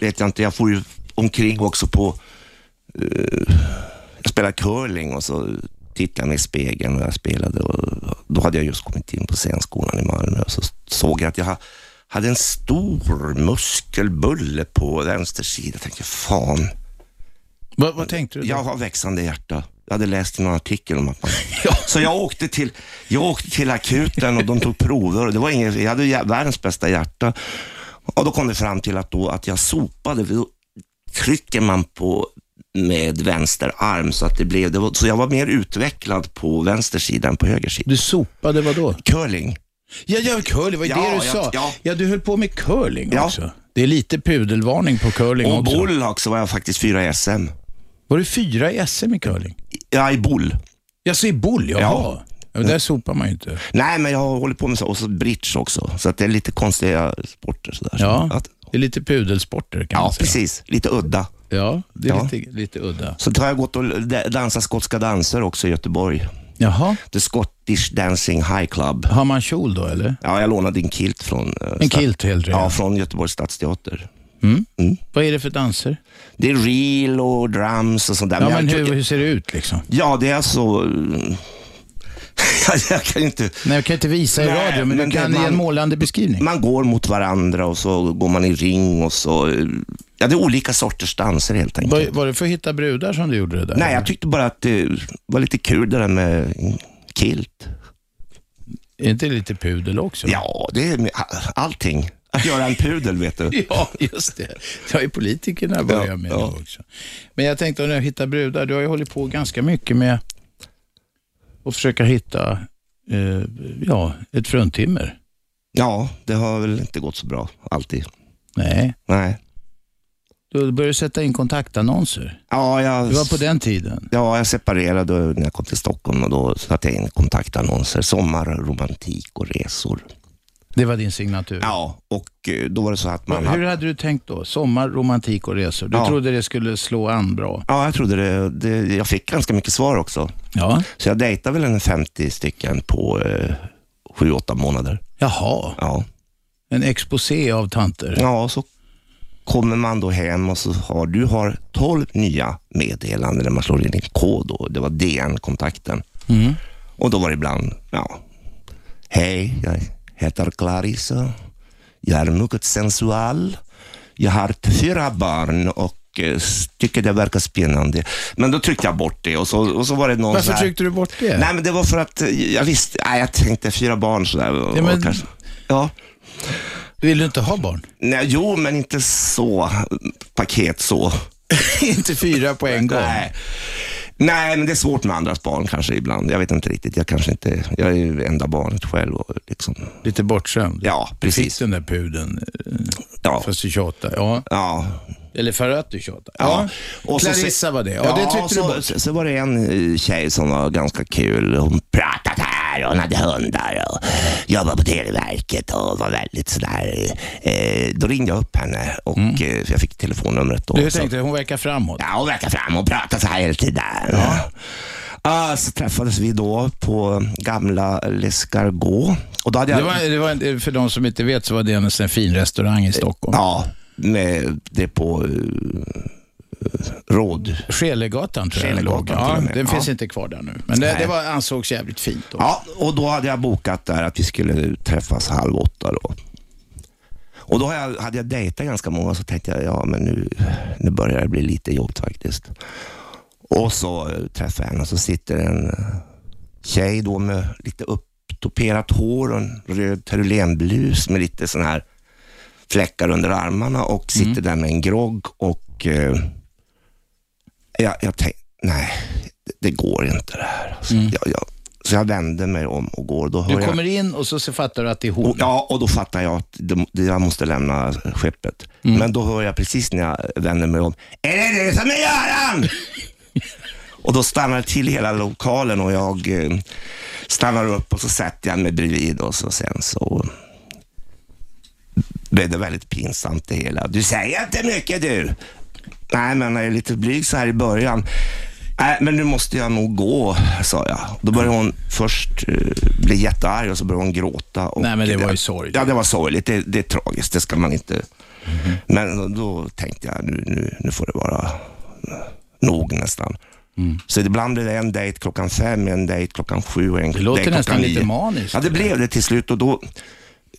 Speaker 3: vet jag inte, jag får ju omkring också på... eh, jag spelar curling och så tittade jag mig i spegeln och jag spelade och då hade jag just kommit in på scenskolan i Malmö och så såg jag att jag ha- hade en stor muskelbulle på vänster sida. Jag tänkte, fan,
Speaker 2: Vad, vad tänkte du? då?
Speaker 3: jag har växande hjärta. Jag hade läst i någon artikel om att man... Så jag åkte, till, jag åkte till akuten och de tog prover. Och det var inget, jag hade jä- världens bästa hjärta. Och då kom det fram till att, då, att jag sopade. För Då trycker man på med vänster arm så att det blev... Det var, så jag var mer utvecklad på vänster sida än på höger sida.
Speaker 2: Du sopade vadå?
Speaker 3: Curling.
Speaker 2: Ja, ja curling, vad är
Speaker 3: Ja,
Speaker 2: det du
Speaker 3: jag-
Speaker 2: sa?
Speaker 3: ja.
Speaker 2: du höll på med curling
Speaker 3: Ja.
Speaker 2: också. Det är lite pudelvarning på curling
Speaker 3: Och
Speaker 2: också.
Speaker 3: boll också var jag faktiskt fyra i SM.
Speaker 2: Var du fyra i SM i curling?
Speaker 3: Ja, i boll.
Speaker 2: Jag säger boll, jaha. Ja.
Speaker 3: Ja.
Speaker 2: men där sopar man ju inte.
Speaker 3: Nej, men jag har hållit på med så, och så bridge också. Så att det är lite konstiga sporter. Sådär.
Speaker 2: Ja,
Speaker 3: Att,
Speaker 2: det är lite pudelsporter kan man
Speaker 3: Ja,
Speaker 2: säga.
Speaker 3: precis. Lite udda.
Speaker 2: Ja, det är
Speaker 3: Ja.
Speaker 2: Lite, lite udda.
Speaker 3: Så har jag gått och d- dansat skotska danser också i Göteborg.
Speaker 2: Jaha,
Speaker 3: The Scottish Dancing High Club.
Speaker 2: har man kjol då eller?
Speaker 3: Ja, jag lånade en kilt från, eh,
Speaker 2: En
Speaker 3: sta-
Speaker 2: kilt helt
Speaker 3: ja,
Speaker 2: redan.
Speaker 3: från Göteborgs stadsteater. Mm.
Speaker 2: Vad är det för danser?
Speaker 3: Det är reel och drums och sånt där.
Speaker 2: Ja,
Speaker 3: jag
Speaker 2: men
Speaker 3: kan-
Speaker 2: hur, hur ser det ut liksom?
Speaker 3: ja, det är alltså... mm, jag kan ju inte...
Speaker 2: Nej, jag kan inte visa i
Speaker 3: Nej,
Speaker 2: radio, men,
Speaker 3: men
Speaker 2: du
Speaker 3: det-
Speaker 2: kan ge en
Speaker 3: man-
Speaker 2: målande beskrivning.
Speaker 3: Man går mot varandra och så går man i ring och så... eh, Ja, det är olika sorters danser helt enkelt.
Speaker 2: Var, var det för att hitta brudar som du gjorde det där?
Speaker 3: Nej, jag tyckte bara att det var lite kul det där med kilt.
Speaker 2: Är inte det lite pudel också?
Speaker 3: Ja, det är med a- allting. Att göra en pudel, vet du.
Speaker 2: Ja, just det. Det har ju politikerna börjat med
Speaker 3: Ja, ja.
Speaker 2: nu också. Men jag tänkte, när jag hittar brudar, du har ju hållit på ganska mycket med att försöka hitta eh, ja, ett fruntimmer.
Speaker 3: Ja, det har väl inte gått så bra alltid.
Speaker 2: Nej,
Speaker 3: Nej.
Speaker 2: du började sätta in kontaktannonser.
Speaker 3: Ja, jag,
Speaker 2: Det var på den tiden.
Speaker 3: ja, jag separerade när jag kom till Stockholm och då satte jag in kontaktannonser. Sommar, romantik och resor.
Speaker 2: Det var din signatur.
Speaker 3: Ja, och eh, då var det så att man...
Speaker 2: Hur
Speaker 3: Hade,
Speaker 2: hade du tänkt då? Sommar, romantik och resor. Du
Speaker 3: Ja.
Speaker 2: trodde det skulle slå an bra.
Speaker 3: ja, jag trodde det, det. Jag fick ganska mycket svar också.
Speaker 2: Ja.
Speaker 3: Så jag dejtade väl en 50 stycken på eh, 7-8 månader.
Speaker 2: Jaha,
Speaker 3: Ja.
Speaker 2: en exposé av tanter.
Speaker 3: Ja, så kommer man då hem och så har du har 12 nya meddelanden där man slår in en kod och det var DN-kontakten. Och då var det ibland, ja, hej, jag heter Clarissa. Jag är mycket sensual. Jag har fyra barn och eh, tycker det verkar spännande. Men då tryckte jag bort det och så, och så var det någon så
Speaker 2: Varför
Speaker 3: här,
Speaker 2: tryckte du bort det?
Speaker 3: Nej, men det var för att eh, jag visste, nej, jag tänkte fyra barn sådär.
Speaker 2: Ja,
Speaker 3: Ja,
Speaker 2: men-
Speaker 3: men... kanske, ja.
Speaker 2: Vill du inte ha barn?
Speaker 3: Nej, jo, men inte så paket så.
Speaker 2: inte fyra på en gång.
Speaker 3: Nej. Nej, men det är svårt med andras barn kanske ibland. Jag vet inte riktigt. Jag kanske inte, jag är ju enda barnet själv. Och liksom,
Speaker 2: Lite bortskämd.
Speaker 3: ja,
Speaker 2: Precis
Speaker 3: precis.
Speaker 2: den där pudeln, eh,
Speaker 3: Ja,
Speaker 2: fast du tjatar. Ja.
Speaker 3: ja,
Speaker 2: Eller för att du tjatar.
Speaker 3: ja.
Speaker 2: Clarissa var det. Ja, det tyckte
Speaker 3: så,
Speaker 2: du bort.
Speaker 3: så, så var det en eh, tjej som var ganska kul. Hon pratade här, hon hade hundar och jobbade på Televerket och var väldigt sådär. Eh, då ringde jag upp henne och eh, för jag fick telefonnumret då.
Speaker 2: Mm. Du
Speaker 3: Så-
Speaker 2: tänkte, hon verkar framåt.
Speaker 3: Ja, hon verkar fram och pratar så här hela tiden. Ja. Ah, så träffades vi då på gamla Lescargot. Och då hade jag...
Speaker 2: Det var, det var, en- för de som inte vet så var det en sån här fin restaurang i Stockholm.
Speaker 3: Ja, med det på eh, Råd.
Speaker 2: Skelegatan tror jag den låg.
Speaker 3: Skelegatan till
Speaker 2: Ja,
Speaker 3: och med.
Speaker 2: den finns
Speaker 3: Ja.
Speaker 2: inte kvar där nu. Men det,
Speaker 3: Nej.
Speaker 2: det var, ansågs jävligt fint då.
Speaker 3: Ja, och då hade jag bokat där att vi skulle träffas halv åtta då. Och då har jag- hade jag dejtat ganska många så tänkte jag, ja men nu, nu börjar det bli lite jobb faktiskt. Och så eh, träffade jag henne och så sitter en eh, tjej då med lite upptoperat hår och en röd terulenblus med lite sån här fläckar under armarna och sitter där med en grogg och eh, jag, jag tänkte, nej, det- det går inte det här. Alltså. Jag, jag, så jag vänder mig om och går. Då hör
Speaker 2: Du
Speaker 3: jag,
Speaker 2: kommer in och så så fattar du att det är
Speaker 3: och,
Speaker 2: hon.
Speaker 3: ja, och då fattar jag att de- jag måste lämna skeppet. Men då hör jag precis när jag vänder mig om, är det du som är Göran? och då stannar till hela lokalen och jag eh, stannar upp och så sätter jag mig bredvid och så sen så blev det väldigt pinsamt det hela. Du säger inte mycket du. Nej, men jag är lite blyg så här i början. Nej, men nu måste jag nog gå, sa jag. Då började hon först eh, bli jättearg och så började hon gråta. Och eh,
Speaker 2: Nej, men det var ju sorgligt. Mhm.
Speaker 3: Ja, det var sorgligt. Det, det är tragiskt. Det ska man inte... Men då tänkte jag, nu, nu, nu får det vara nog nästan.
Speaker 2: Mm.
Speaker 3: Så ibland blir det en dejt klockan fem, en dejt klockan sju och en
Speaker 2: Det låter
Speaker 3: dejt klockan
Speaker 2: nästan lite
Speaker 3: nio.
Speaker 2: maniskt.
Speaker 3: Ja, det blev det till slut och då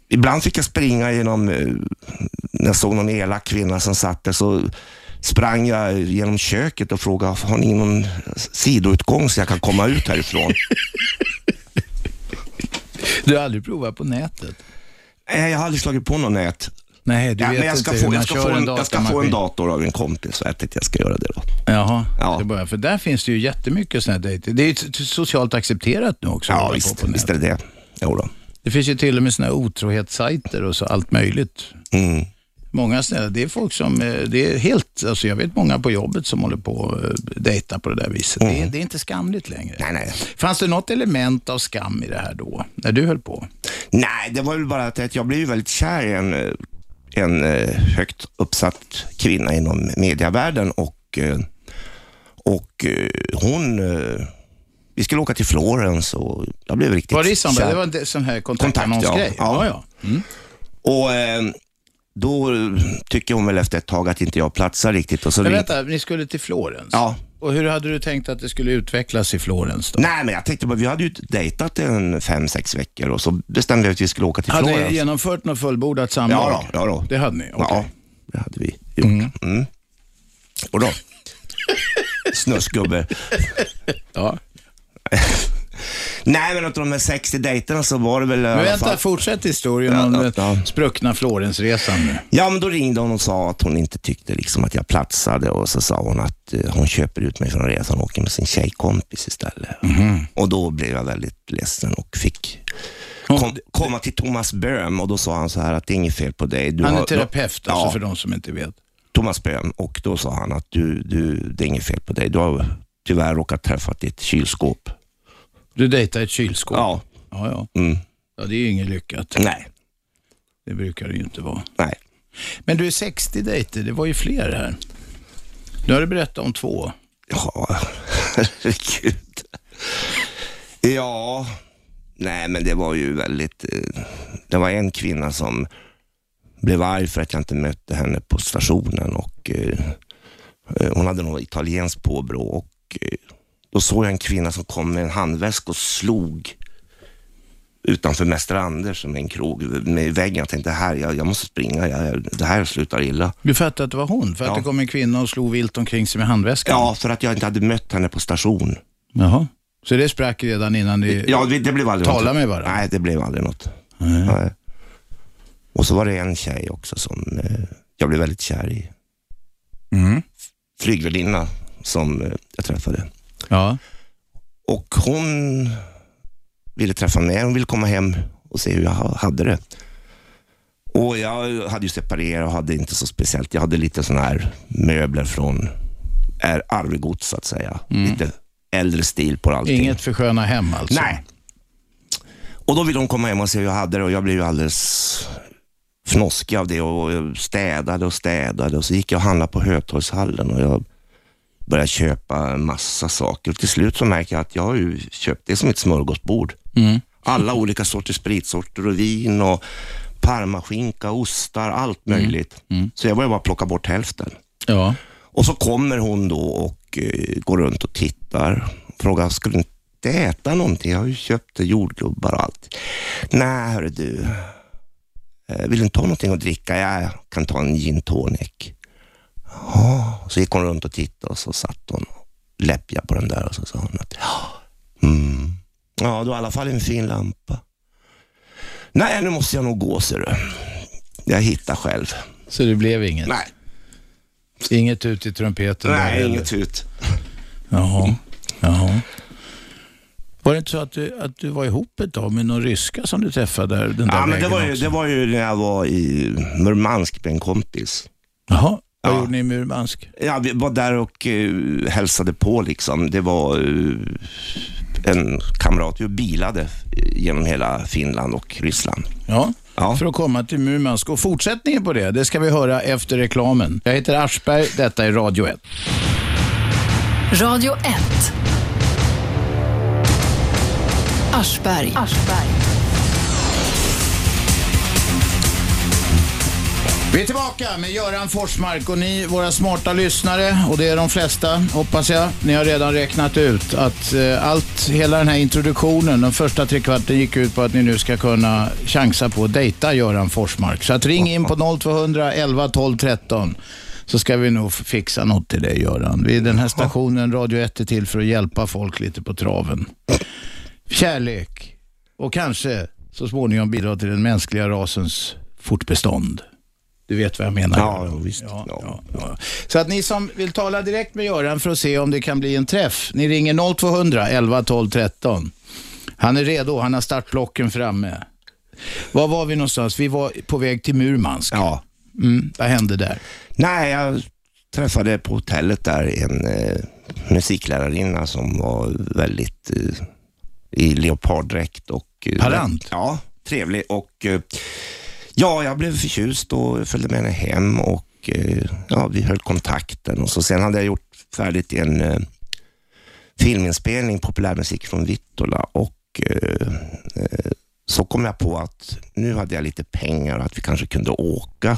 Speaker 3: Ibland fick jag springa genom, eh, när jag såg någon elak kvinna som satt där, så sprang jag genom köket och frågade, har ni någon sidoutgång så jag kan komma ut härifrån?
Speaker 2: Du har aldrig provat på nätet.
Speaker 3: Nej, jag har aldrig slagit på något nät.
Speaker 2: Nej, du
Speaker 3: Ja,
Speaker 2: vet
Speaker 3: men jag ska,
Speaker 2: inte hur
Speaker 3: få,
Speaker 2: man
Speaker 3: jag, ska
Speaker 2: kör
Speaker 3: få en,
Speaker 2: en
Speaker 3: jag ska få en
Speaker 2: datamaskin.
Speaker 3: dator av en kompis, så jag tänkte jag ska göra det då.
Speaker 2: Jaha,
Speaker 3: Ja.
Speaker 2: det börjar. för där finns det ju jättemycket sådana här dejter. Det är ju t- socialt accepterat nu också. att
Speaker 3: Ja,
Speaker 2: hålla på
Speaker 3: visst,
Speaker 2: på nätet.
Speaker 3: visst är det det. Jo då.
Speaker 2: Det finns ju till och med sådana här otrohetssajter och så allt möjligt.
Speaker 3: Mm.
Speaker 2: Många snälla, det är folk som, eh, det är helt, alltså jag vet många på jobbet som håller på och eh, dejtar på det där viset. Det, är, det är inte skamligt längre.
Speaker 3: Mm. Nej, nej.
Speaker 2: Fanns det något element av skam i det här då, när du höll på?
Speaker 3: Nej, det var väl bara att jag blev ju väldigt kär i en, eh, en eh, högt uppsatt kvinna inom mediavärlden och, eh, och eh, hon... eh, Vi skulle åka till Florens och jag blev riktigt
Speaker 2: Var det i samband,
Speaker 3: kär.
Speaker 2: det var en de- sån här
Speaker 3: Kontakt,
Speaker 2: kontaktannonsgrej?
Speaker 3: ja.
Speaker 2: ja. ja. Mm.
Speaker 3: Och eh, då tycker hon väl efter ett tag att inte jag platsar riktigt. Och så
Speaker 2: Men
Speaker 3: ring-
Speaker 2: vänta, ni skulle till Florens?
Speaker 3: Ja.
Speaker 2: Och hur hade du tänkt att det skulle utvecklas i Florens då?
Speaker 3: Nej, men jag tänkte bara, vi hade ju dejtat en fem, sex veckor och så bestämde vi att vi skulle åka till
Speaker 2: Hade
Speaker 3: Florens.
Speaker 2: ni genomfört något fullbordat samlag?
Speaker 3: Ja då, ja då.
Speaker 2: Det hade ni? Okej.
Speaker 3: Ja, det hade vi gjort. Mm. Och då? Snusgubbe.
Speaker 2: Ja.
Speaker 3: Nej, men av de här 60 dejterna så var det väl i alla
Speaker 2: Men vänta,
Speaker 3: fall...
Speaker 2: fortsätt historien
Speaker 3: Ja,
Speaker 2: om
Speaker 3: ja,
Speaker 2: den
Speaker 3: ja.
Speaker 2: spruckna Florensresan nu.
Speaker 3: Ja, men då ringde hon och sa att hon inte tyckte liksom att jag platsade och så sa hon att eh, hon köper ut mig från resan och åker med sin tjejkompis istället.
Speaker 2: Mhm.
Speaker 3: Och då blev jag väldigt ledsen och fick kom, komma till Thomas Böhm och då sa han så här att det är inget fel på dig. Du
Speaker 2: Han är
Speaker 3: har-
Speaker 2: terapeut alltså
Speaker 3: Ja.
Speaker 2: för de som inte vet.
Speaker 3: Thomas Böhm och då sa han att du, du, det är inget fel på dig. Du har tyvärr råkat träffa ditt kylskåp.
Speaker 2: Du dejtar ett kylskåp?
Speaker 3: Ja.
Speaker 2: Ja, ja.
Speaker 3: Mm.
Speaker 2: ja det är ju inget lyckat.
Speaker 3: Nej,
Speaker 2: Det brukar det ju inte vara.
Speaker 3: nej.
Speaker 2: Men du, 60 dejter, det var ju fler här. Nu har du berättat om två.
Speaker 3: Ja, herregud. Ja, nej men det var ju väldigt... eh, Det var en kvinna som blev arg för att jag inte mötte henne på stationen och eh, eh, hon hade något italienskt påbrå och eh, då såg jag en kvinna som kom med en handväska och slog utanför Mäster Anders som är en krog med väggen. Jag tänkte, här, jag, jag måste springa, jag, det här slutar illa.
Speaker 2: Du fattar att det var hon, för att
Speaker 3: Ja.
Speaker 2: det kom en kvinna och slog vilt omkring sig med handväskan?
Speaker 3: Ja, för att jag inte hade mött henne på station.
Speaker 2: Jaha. Så det sprack redan innan ni...
Speaker 3: Ja, det, det blev aldrig
Speaker 2: Tala
Speaker 3: något.
Speaker 2: med varandra.
Speaker 3: Nej, det blev aldrig något. Nej. Och så var det en tjej också som eh, jag blev väldigt kär i.
Speaker 2: Mm.
Speaker 3: Flygvärdinna som eh, jag träffade.
Speaker 2: Ja.
Speaker 3: Och hon ville träffa mig. Hon ville komma hem och se hur jag ha- hade det. Och jag hade ju separerat och hade inte så speciellt. Jag hade lite sådana här möbler från är arvegods så att säga.
Speaker 2: Mm.
Speaker 3: Lite äldre stil på allting.
Speaker 2: Inget för sköna hem alltså?
Speaker 3: Nej. Och då ville hon komma hem och se hur jag hade det och jag blev ju alldeles fnoskig av det och jag städade och städade och så gick jag och handlade på Hötorgshallen och jag började köpa en massa saker och till slut så märker jag att jag har ju köpt, det är som ett smörgåsbord. Alla olika sorters spritsorter och vin och parmaskinka, ostar, allt möjligt. Så jag började bara plocka bort hälften.
Speaker 2: Ja.
Speaker 3: Och så kommer hon då och eh, går runt och tittar. Frågar, skulle du inte äta någonting? Jag har ju köpt jordgubbar och allt. Nej, hörru du. Eh, Vill du inte ha någonting att dricka? Jag kan ta en gin tonic. Ja, så gick hon runt och tittade och så satt hon och läppjade på den där och så sa hon att ja, mm. ja du har i alla fall en fin lampa. Nej, nu måste jag nog gå ser du. Jag hittar själv.
Speaker 2: Så det blev inget?
Speaker 3: Nej,
Speaker 2: Inget ut i trumpeten? där
Speaker 3: nej
Speaker 2: heller?
Speaker 3: inget ut.
Speaker 2: Jaha. Jaha. Var det inte så att du, att du var ihop ett tag med någon ryska som du träffade där, den där
Speaker 3: Ja, men det
Speaker 2: vägen
Speaker 3: var, ju,
Speaker 2: också?
Speaker 3: det var ju när jag var i Murmansk med en kompis.
Speaker 2: Jaha. Vad
Speaker 3: Ja.
Speaker 2: gjorde ni i Murmansk?
Speaker 3: Ja, vi var där och eh, hälsade på liksom. Det var eh, en kamrat, vi bilade eh, genom hela Finland och Ryssland.
Speaker 2: Ja.
Speaker 3: Ja.
Speaker 2: För att komma till Murmansk. Och fortsättningen på det, det ska vi höra efter reklamen. Jag heter Aschberg, detta är Radio 1.
Speaker 1: Radio 1. Aschberg.
Speaker 2: Vi är tillbaka med Göran Forsmark och ni, våra smarta lyssnare, och det är de flesta, hoppas jag. Ni har redan räknat ut att eh, allt, hela den här introduktionen, den första trekvarten gick ut på att ni nu ska kunna chansa på att dejta Göran Forsmark. Så att ring in på 0200 11 12 13 så ska vi nog fixa något till dig Göran. Vi, den här stationen, Radio 1, är till för att hjälpa folk lite på traven. Kärlek och kanske så småningom bidra till den mänskliga rasens fortbestånd. Du vet vad jag menar?
Speaker 3: Ja, ja, visst.
Speaker 2: Ja,
Speaker 3: Ja.
Speaker 2: ja, ja. Så att ni som vill tala direkt med Göran för att se om det kan bli en träff, ni ringer 0200 11 12 13. Han är redo, han har startblocken framme. Var var vi någonstans? Vi var på väg till Murmansk.
Speaker 3: Ja.
Speaker 2: Mm, vad hände där?
Speaker 3: Nej, jag träffade på hotellet där en eh, musiklärarinna som var väldigt eh, i leoparddräkt och... Eh,
Speaker 2: Parant?
Speaker 3: Ja, trevlig och eh, ja, jag blev förtjust och följde med henne hem och eh, ja, vi höll kontakten och så sen hade jag gjort färdigt en eh, filminspelning, populärmusik från Vittola och eh, eh, så kom jag på att nu hade jag lite pengar och att vi kanske kunde åka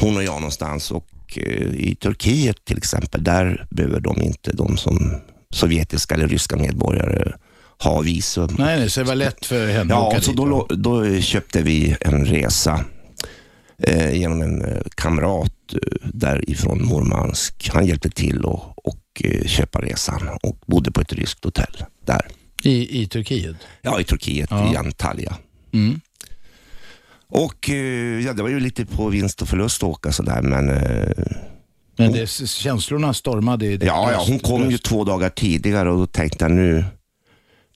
Speaker 3: hon och jag någonstans och eh, i Turkiet till exempel, där behöver de inte, de som sovjetiska eller ryska medborgare, ha visum.
Speaker 2: Nej, nej, så det var lätt för henne att
Speaker 3: Ja,
Speaker 2: åka
Speaker 3: så
Speaker 2: dit,
Speaker 3: då,
Speaker 2: va?
Speaker 3: lo- då köpte vi en resa eh, genom en eh, kamrat eh, därifrån Murmansk. Han hjälpte till och, och eh, köpa resan och bodde på ett ryskt hotell där.
Speaker 2: I, I Turkiet?
Speaker 3: Ja, i Turkiet,
Speaker 2: Ja.
Speaker 3: i Antalya.
Speaker 2: Mm.
Speaker 3: Och eh, ja, det var ju lite på vinst och förlust att åka sådär, men eh,
Speaker 2: Men det, s- känslorna stormade i ditt
Speaker 3: Ja, ja,
Speaker 2: bröst.
Speaker 3: hon kom ju två dagar tidigare och då tänkte jag nu,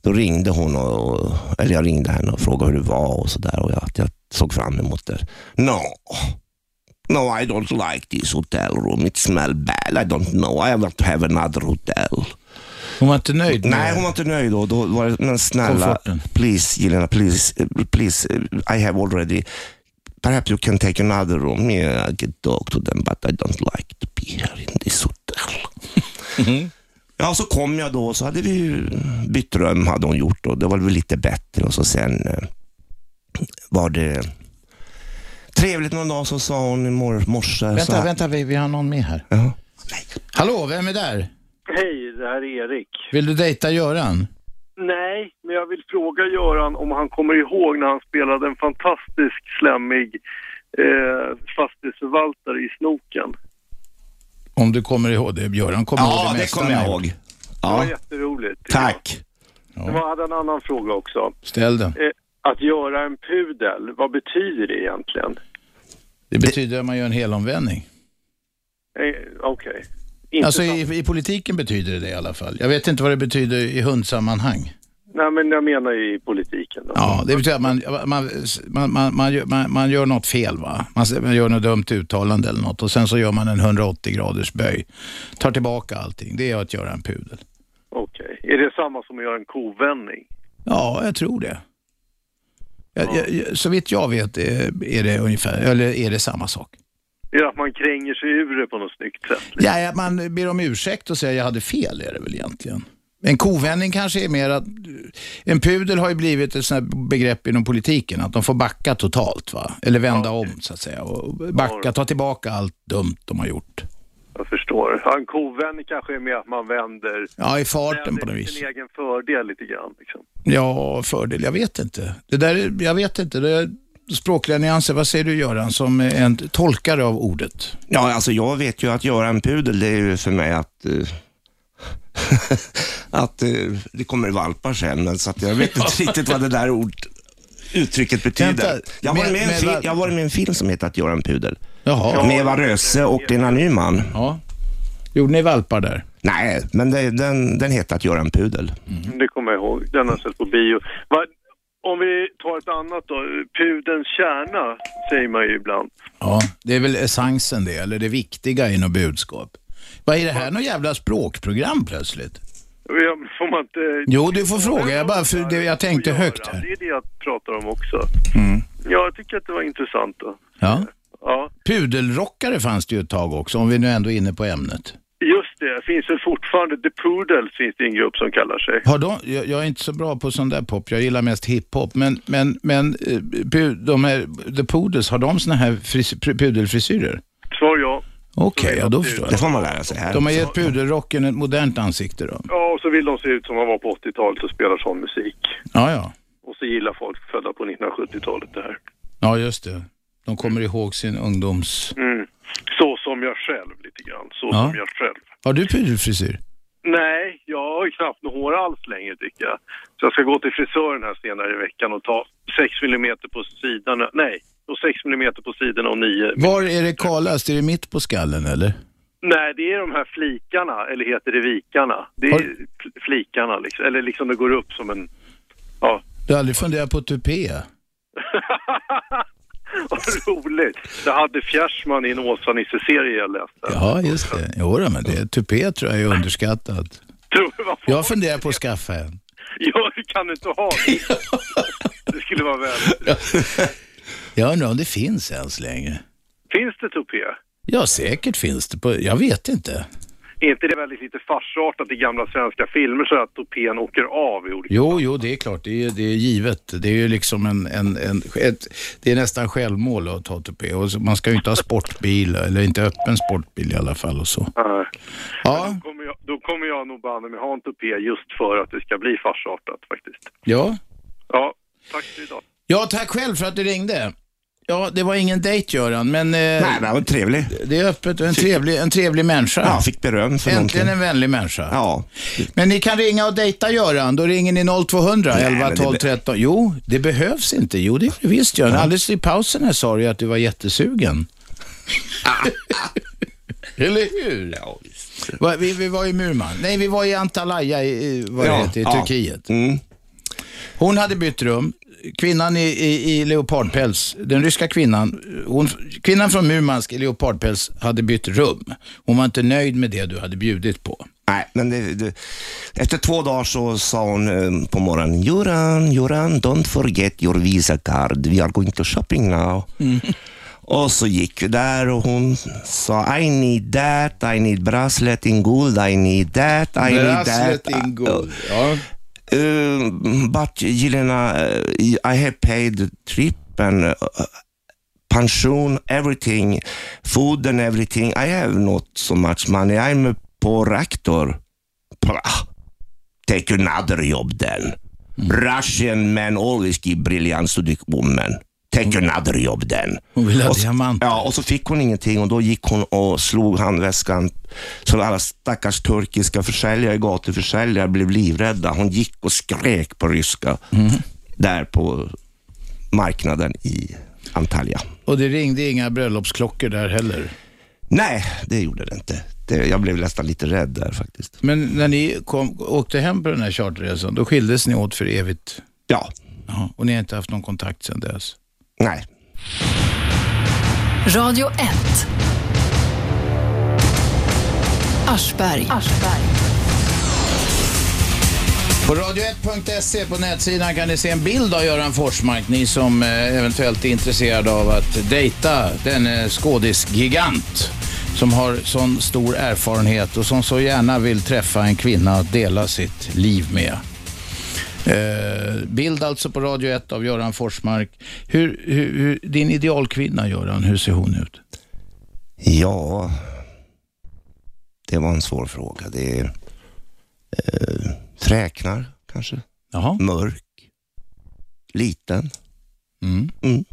Speaker 3: då ringde hon och, och eller jag ringde henne och frågade hur det var och sådär och jag, att jag såg fram emot det. No, no I don't like this hotel room, it smell bad, I don't know, I want to have another hotel.
Speaker 2: Hon var inte nöjd? med-
Speaker 3: Nej, hon var inte nöjd då. då var det, men snälla,
Speaker 2: Komforten.
Speaker 3: please Jelena, please, eh, please, eh, I have already, perhaps you can take another room, yeah, I can talk to them, but I don't like to be here in this hotel.
Speaker 2: Mm-hmm.
Speaker 3: Ja, så kom jag då och så hade vi ju bytt rum, hade hon gjort då. Det var väl lite bättre och så sen eh, var det trevligt någon dag så sa hon i mor- morse. så
Speaker 2: Vänta,
Speaker 3: här-
Speaker 2: vänta, vi, vi har någon med här.
Speaker 3: Ja. Nej.
Speaker 2: Hallå, vem är där?
Speaker 5: Hej, det här är Erik.
Speaker 2: Vill du dejta Göran?
Speaker 5: Nej, men jag vill fråga Göran om han kommer ihåg när han spelade en fantastisk slemmig eh, fastighetsförvaltare i Snoken.
Speaker 2: Om du kommer ihåg det. Göran kommer ihåg
Speaker 3: Ja,
Speaker 2: det
Speaker 3: det
Speaker 2: mesta.
Speaker 3: kommer jag
Speaker 2: nu.
Speaker 3: ihåg.
Speaker 5: Det var
Speaker 3: Ja,
Speaker 5: jätteroligt.
Speaker 3: tack.
Speaker 5: Jag hade en annan fråga också.
Speaker 2: Ställ den.
Speaker 5: Eh, att göra en pudel, vad betyder det egentligen?
Speaker 2: Det betyder att man gör en helomvändning.
Speaker 5: Eh, Okej. Inte
Speaker 2: Alltså
Speaker 5: sant.
Speaker 2: i, i politiken betyder det det i alla fall. Jag vet inte vad det betyder i hundsammanhang.
Speaker 5: Nej, men jag menar i politiken. Då.
Speaker 2: Ja, det betyder att man, man, man, man, man, gör, man, man gör något fel va? Man, man gör något dumt uttalande eller något och sen så gör man en 180 graders böj. Tar tillbaka allting. Det är att göra en pudel.
Speaker 5: Okej. Är det samma som att göra en kovändning?
Speaker 2: Ja, jag tror det. Jag, jag, jag, så vitt jag vet är, är det ungefär, eller är det samma sak.
Speaker 5: Är det att man kränger sig ur det på något snyggt sätt?
Speaker 2: Ja, ja, man ber om ursäkt och säger jag hade fel är det väl egentligen. En kovändning kanske är mer att, en pudel har ju blivit ett sånt här begrepp inom politiken, att de får backa totalt va, eller vända om så att säga. Och backa, ta tillbaka allt dumt de har gjort.
Speaker 5: Jag förstår. förstår. Ja, en kovändning kanske är mer att man vänder
Speaker 2: Ja, i farten på något
Speaker 5: till
Speaker 2: vis.
Speaker 5: sin egen fördel lite grann. Liksom.
Speaker 2: Ja, fördel. Jag vet inte. Det där, är- jag vet inte. Det är språkliga nyanser. Vad säger du Göran, som är en tolkare av ordet?
Speaker 3: Ja, alltså jag vet ju att göra en pudel, det är ju för mig att eh, att eh, det kommer valpar sen, men så att jag vet inte riktigt vad det där ord, uttrycket betyder.
Speaker 2: Vänta,
Speaker 3: Jag har, varit med i en
Speaker 2: med-
Speaker 3: fi-
Speaker 2: med-
Speaker 3: jag har varit med i en film som heter Att göra en pudel.
Speaker 2: Jaha.
Speaker 3: Med Eva Röse och Lena Nyman.
Speaker 2: Ja. Gjorde ni valpar där?
Speaker 3: Nej, men det, den, den heter Att göra en pudel.
Speaker 2: Mhm.
Speaker 5: Det kommer jag ihåg. Den har jag sett på bio. Va, om vi tar ett annat då. Pudens kärna säger man ju ibland.
Speaker 2: Ja. Det är väl essensen det, eller det viktiga i något budskap. Vad är det här, något jävla språkprogram plötsligt?
Speaker 5: Ja, men Får man inte...
Speaker 2: Jo, du får fråga. Jag, bara, för det, jag tänkte högt här. Mm.
Speaker 5: Det är det jag pratar om också. Ja, jag tycker att det var intressant då.
Speaker 2: Ja.
Speaker 5: Ja,
Speaker 2: Pudelrockare fanns det ju ett tag också, om vi nu ändå är inne på ämnet.
Speaker 5: just det. Finns väl fortfarande, The Poodles finns det en grupp som kallar sig.
Speaker 2: Har de, jag, jag är inte så bra på sån där pop, jag gillar mest hiphop. Men, men, men eh, pu- de här, The Poodles, har de såna här fris, pu- pudelfrisyrer?
Speaker 5: Svar ja.
Speaker 2: Okej, ja, då förstår
Speaker 3: Det
Speaker 2: jag.
Speaker 3: får man lära sig här.
Speaker 2: De har gett pudelrocken ett modernt ansikte då.
Speaker 5: Ja, och så vill de se ut som man var på 80-talet och spelar sån musik.
Speaker 2: Ja, ja.
Speaker 5: Och så gillar folk födda på 1970-talet det här.
Speaker 2: Ja, just det. De kommer ihåg sin ungdoms...
Speaker 5: Mm. Så som jag själv lite grann. Så
Speaker 2: Ja.
Speaker 5: som jag själv.
Speaker 2: Har du pudelfrisyr?
Speaker 5: Nej, jag har ju knappt några hår alls längre tycker jag. Så jag ska gå till frisören här senare i veckan och ta 6 millimeter på sidorna. Nej, och 6 millimeter på sidorna och 9.
Speaker 2: Var är det kalast? Är det mitt på skallen eller?
Speaker 5: Nej, det är de här flikarna, eller heter det vikarna? Det är
Speaker 2: Har-
Speaker 5: fl- flikarna liksom, eller liksom det går upp som en... Ja.
Speaker 2: Du har aldrig funderat på tupé?
Speaker 5: Vad roligt! Det hade Fjärsman i en Åsa-Nisse-serie jag läste.
Speaker 2: Ja, just det. Jo, då, men det, tupé tror jag är underskattat.
Speaker 5: Tror du, vad fan?
Speaker 2: Jag funderar på att skaffa en.
Speaker 5: Ja, du kan inte ha det. Det skulle vara väldigt...
Speaker 2: Jag undrar om det finns ens längre.
Speaker 5: Finns det tupé?
Speaker 2: Ja, säkert finns det. På, jag vet inte.
Speaker 5: Är inte det väldigt lite farsartat i gamla svenska filmer så att topén åker av i olika...
Speaker 2: Jo, jo, det är klart. Det är, det är givet. Det är ju liksom en, en, en ett, det är nästan självmål att ta tupé. Och så- man ska ju inte ha sportbil, eller inte öppen sportbil i alla fall och så.
Speaker 5: Nej.
Speaker 2: Ja,
Speaker 5: Då kommer jag, då kommer jag nog banne mig ha en topé just för att det ska bli farsartat faktiskt.
Speaker 2: ja.
Speaker 5: Ja, tack för idag.
Speaker 2: Ja, tack själv för att du ringde. Ja, det var ingen dejt Göran, men eh,
Speaker 3: Nej, det var trevligt.
Speaker 2: det är öppet och en trevlig, en trevlig människa.
Speaker 3: Ja, fick beröm för
Speaker 2: Äntligen
Speaker 3: någonting.
Speaker 2: en vänlig människa.
Speaker 3: Ja,
Speaker 2: Men ni kan ringa och dejta Göran. Då ringer ni 0200
Speaker 3: Nej,
Speaker 2: 11
Speaker 3: men
Speaker 2: 12
Speaker 3: det-
Speaker 2: 13. Jo, det behövs inte. Jo, det gör det visst Göran. Alldeles i pausen här sa du ju att du var jättesugen. Eller hur? Ja, Va, vi, vi var i Murman. Nej, vi var i Antalya i, i, vad
Speaker 3: Ja,
Speaker 2: det heter, i
Speaker 3: ja.
Speaker 2: Turkiet.
Speaker 3: mm.
Speaker 2: Hon hade bytt rum. Kvinnan i, i, i leopardpäls, den ryska kvinnan, hon, kvinnan från Murmansk i leopardpäls hade bytt rum. Hon var inte nöjd med det du hade bjudit på.
Speaker 3: Nej, men det, det, efter två dagar så sa hon eh, på morgonen, Göran, Göran, don't forget your visa card. We are going to shopping now.
Speaker 2: Mm-hmm.
Speaker 3: Och så gick vi där och hon sa, I need that, I need bracelet in guld, I need that, I need that.
Speaker 2: Brasslet in gold. Ja.
Speaker 3: Uh, but Jelena, uh, I have paid the trip and uh, pension, everything, food and everything. I have not so much money. I'm a poor actor. Pah. Take another job then.
Speaker 2: Mm.
Speaker 3: Russian men always give brilliance to the woman. Take another job then.
Speaker 2: Hon vill ha
Speaker 3: Och så-
Speaker 2: diamant.
Speaker 3: Ja, och så fick hon ingenting och då gick hon och slog handväskan så alla stackars turkiska försäljare, gatuförsäljare blev livrädda. Hon gick och skrek på ryska
Speaker 2: Mm.
Speaker 3: där på marknaden i Antalya.
Speaker 2: Och det ringde inga bröllopsklockor där heller.
Speaker 3: Nej, det gjorde det inte. Det, jag blev nästan lite rädd där faktiskt.
Speaker 2: Men när ni kom, åkte hem på den här charterresan, då skildes ni åt för evigt.
Speaker 3: Ja,
Speaker 2: Jaha. Och ni har inte haft någon kontakt sedan dess.
Speaker 3: nej.
Speaker 1: Radio 1. Aschberg. Aschberg.
Speaker 2: På radio1.se på nätsidan kan ni se en bild av Göran Forsmark, ni som eh, eventuellt är intresserade av att dejta denne skådisgigant som har sån stor erfarenhet och som så gärna vill träffa en kvinna att dela sitt liv med. Eh, bild alltså på Radio 1 av Göran Forsmark. Hur, hur, hur, din idealkvinna Göran, hur ser hon ut?
Speaker 3: Ja, Det var en svår fråga. Det är eh, fräknar kanske.
Speaker 2: Jaha.
Speaker 3: Mörk. Liten.
Speaker 2: Mm.
Speaker 3: Mm.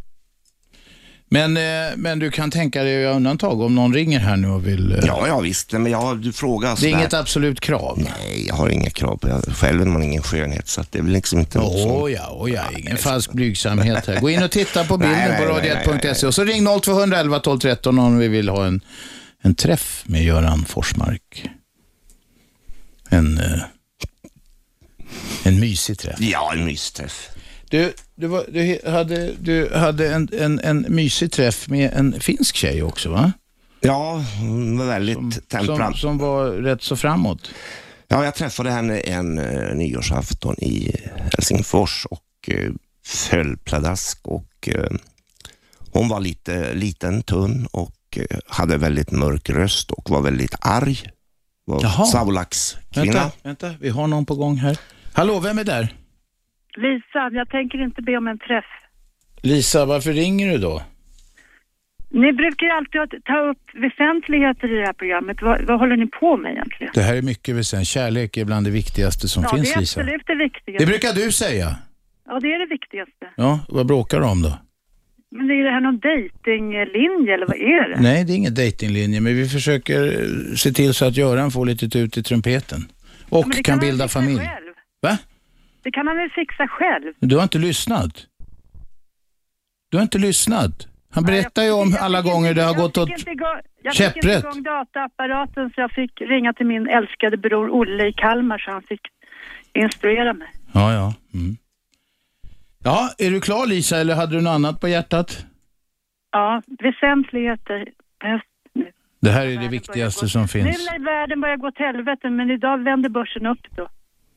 Speaker 2: Men, eh, men du kan tänka dig att göra undantag om någon ringer här nu och vill... eh,
Speaker 3: Ja, ja visst. Nej, men jag, du frågar
Speaker 2: Det är
Speaker 3: sådär.
Speaker 2: inget absolut krav.
Speaker 3: Nej, jag har inga krav på jag, Själv är man ingen skönhet, så att det är väl liksom inte något
Speaker 2: Åh
Speaker 3: sånt.
Speaker 2: ja, åh ja, ingen falsk blygsamhet här. Gå in och titta på
Speaker 3: Nej,
Speaker 2: bilden
Speaker 3: nej,
Speaker 2: på
Speaker 3: nej, nej, nej,
Speaker 2: radio1.se E. och så ring 0211 12 13 om vi vill ha en, en träff med Göran Forsmark. En, eh, en mysig träff.
Speaker 3: Ja, en mysträff.
Speaker 2: Du, du, var, du he- hade, du hade en, en, en mysig träff med en finsk tjej också va?
Speaker 3: Ja, hon var väldigt
Speaker 2: Som,
Speaker 3: temperament.
Speaker 2: som var rätt så framåt.
Speaker 3: Ja, jag träffade henne en eh, nyårsafton i Helsingfors och eh, föll pladask och eh, hon var lite liten, tunn och eh, hade väldigt mörk röst och var väldigt arg.
Speaker 2: Jaha.
Speaker 3: Var Savolax kvinna.
Speaker 2: Vänta, vänta, vi har någon på gång här. Hallå, vem är där?
Speaker 6: Lisa, jag tänker inte be om en träff.
Speaker 2: Lisa, varför ringer du då?
Speaker 6: Ni brukar ju alltid att- ta upp väsentligheter i det här programmet. Vad, vad håller ni på med egentligen?
Speaker 2: Det här är mycket väsentligt. Kärlek är bland det viktigaste som
Speaker 6: Ja,
Speaker 2: finns,
Speaker 6: det är
Speaker 2: Lisa.
Speaker 6: absolut det
Speaker 2: Det
Speaker 6: viktigaste.
Speaker 2: brukar du säga.
Speaker 6: Ja, det är det viktigaste.
Speaker 2: Ja, vad bråkar du om då?
Speaker 6: Men är det här någon dejtinglinje eller vad är det?
Speaker 2: Nej, det är ingen dejtinglinje, men vi försöker eh, se till så att Göran får lite ut i trumpeten. Och
Speaker 6: Men det
Speaker 2: kan,
Speaker 6: han väl
Speaker 2: bilda
Speaker 6: fixa
Speaker 2: familj.
Speaker 6: Själv.
Speaker 2: Va?
Speaker 6: Det kan han väl fixa själv?
Speaker 2: Du har inte lyssnat? Du har inte lyssnat? Han berättar ju om alla gånger det har gått åt...
Speaker 6: Jag fick inte igång- jag fick inte
Speaker 2: käpprätt.
Speaker 6: igång dataapparaten så jag fick ringa till min älskade bror Olle i Kalmar så han fick instruera mig.
Speaker 2: Ja, ja. Mm. Ja, är du klar Lisa, eller hade du något annat på hjärtat?
Speaker 6: Ja, väsentligheter behövs nu.
Speaker 2: Det här är det
Speaker 6: Världen
Speaker 2: viktigaste
Speaker 6: börjar
Speaker 2: som
Speaker 6: Nu
Speaker 2: finns.
Speaker 6: när världen börjar gå till helvete, men idag vänder börsen upp då. I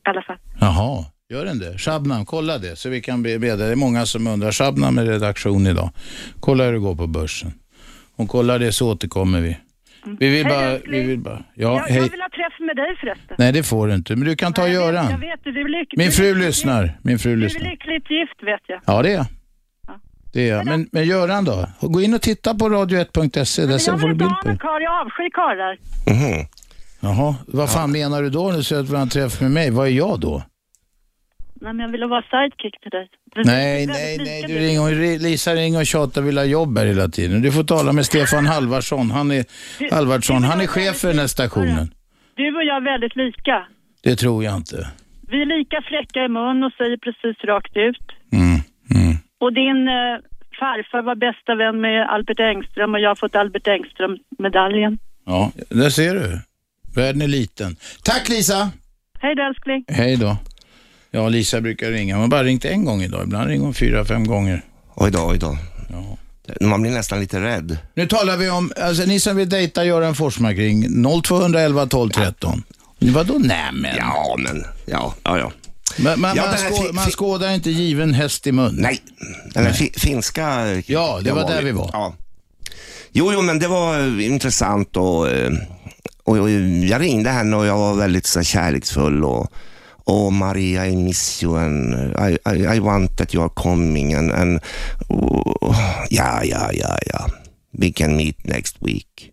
Speaker 6: alla fall.
Speaker 2: Jaha, gör den det? Shabnam, kolla det så vi kan be, be det. Det är många som undrar. Shabnam är redaktion idag. Kolla hur det går på börsen. Om kollar det så återkommer vi. Vi vill
Speaker 6: Mm. Hej,
Speaker 2: bara...
Speaker 6: älskling.
Speaker 2: Vi vill bara ja,
Speaker 6: jag, jag
Speaker 2: hej.
Speaker 6: vill ha träff med dig förresten.
Speaker 2: Nej, det får du inte. Men du kan ta
Speaker 6: Nej, jag vet- Jag
Speaker 2: Göran.
Speaker 6: vet, du är lyck- du är
Speaker 2: Min fru
Speaker 6: lyckligt-
Speaker 2: lyssnar. Min fru
Speaker 6: Du är
Speaker 2: lyssnar.
Speaker 6: lyckligt gift vet jag.
Speaker 2: Ja, det är jag.
Speaker 6: Ja.
Speaker 2: Det är jag. Men, men Göran då? Gå in och titta på radio1.se. Där
Speaker 6: Men
Speaker 2: sen
Speaker 6: jag
Speaker 2: får
Speaker 6: vill
Speaker 2: du
Speaker 6: inte
Speaker 2: bild
Speaker 6: ha
Speaker 2: på
Speaker 6: någon
Speaker 2: det.
Speaker 6: karl, jag avskyr karlar.
Speaker 3: Mhm.
Speaker 2: Jaha, vad fan menar du då när du säger att du vill ha en träff med mig? Vad är jag då?
Speaker 6: Nej, men jag ville vara sidekick till dig. Men
Speaker 2: Nej,
Speaker 6: det är
Speaker 2: nej,
Speaker 6: väldigt
Speaker 2: nej.
Speaker 6: lika
Speaker 2: Du ringer, och- Lisa ringer och tjatar och vill ha jobb här hela tiden. Du får tala med Stefan Halvarsson. Han är, Halvarsson. Han är chef för den här stationen.
Speaker 6: Du och jag är väldigt lika.
Speaker 2: Det tror jag inte.
Speaker 6: Vi är lika fräcka i mun och säger precis rakt ut.
Speaker 2: Mm. Mm.
Speaker 6: Och din eh, farfar var bästa vän med Albert Engström och jag har fått Albert Engström-medaljen.
Speaker 2: Ja, där ser du. Världen är liten. Tack Lisa!
Speaker 6: Hej då älskling.
Speaker 2: Hej då. Ja, Lisa brukar ringa. Hon har bara ringt en gång idag. Ibland ringer hon fyra, fem gånger.
Speaker 3: Oj då, oj då.
Speaker 2: Ja.
Speaker 3: Man blir nästan lite rädd.
Speaker 2: Nu talar vi om, alltså ni som vill dejta Göran Forsmark, ring 0211 12 13. Vadå nämen?
Speaker 3: Ja, men ja, ja, ja.
Speaker 2: Man, man,
Speaker 3: Ja,
Speaker 2: man,
Speaker 3: det här
Speaker 2: skå,
Speaker 3: fi-
Speaker 2: man
Speaker 3: fi-
Speaker 2: skådar inte given häst i mun.
Speaker 3: Nej, den där fi- finska...
Speaker 2: Ja, det
Speaker 3: jag
Speaker 2: var där vi var.
Speaker 3: Ja. Jo, jo, men det var eh, intressant och, eh, och, och jag ringde henne och jag var väldigt så här, kärleksfull och Oh Maria, I miss you and I, I, I want that you are coming and, and oh, ja, ja, ja, ja. We can meet next week.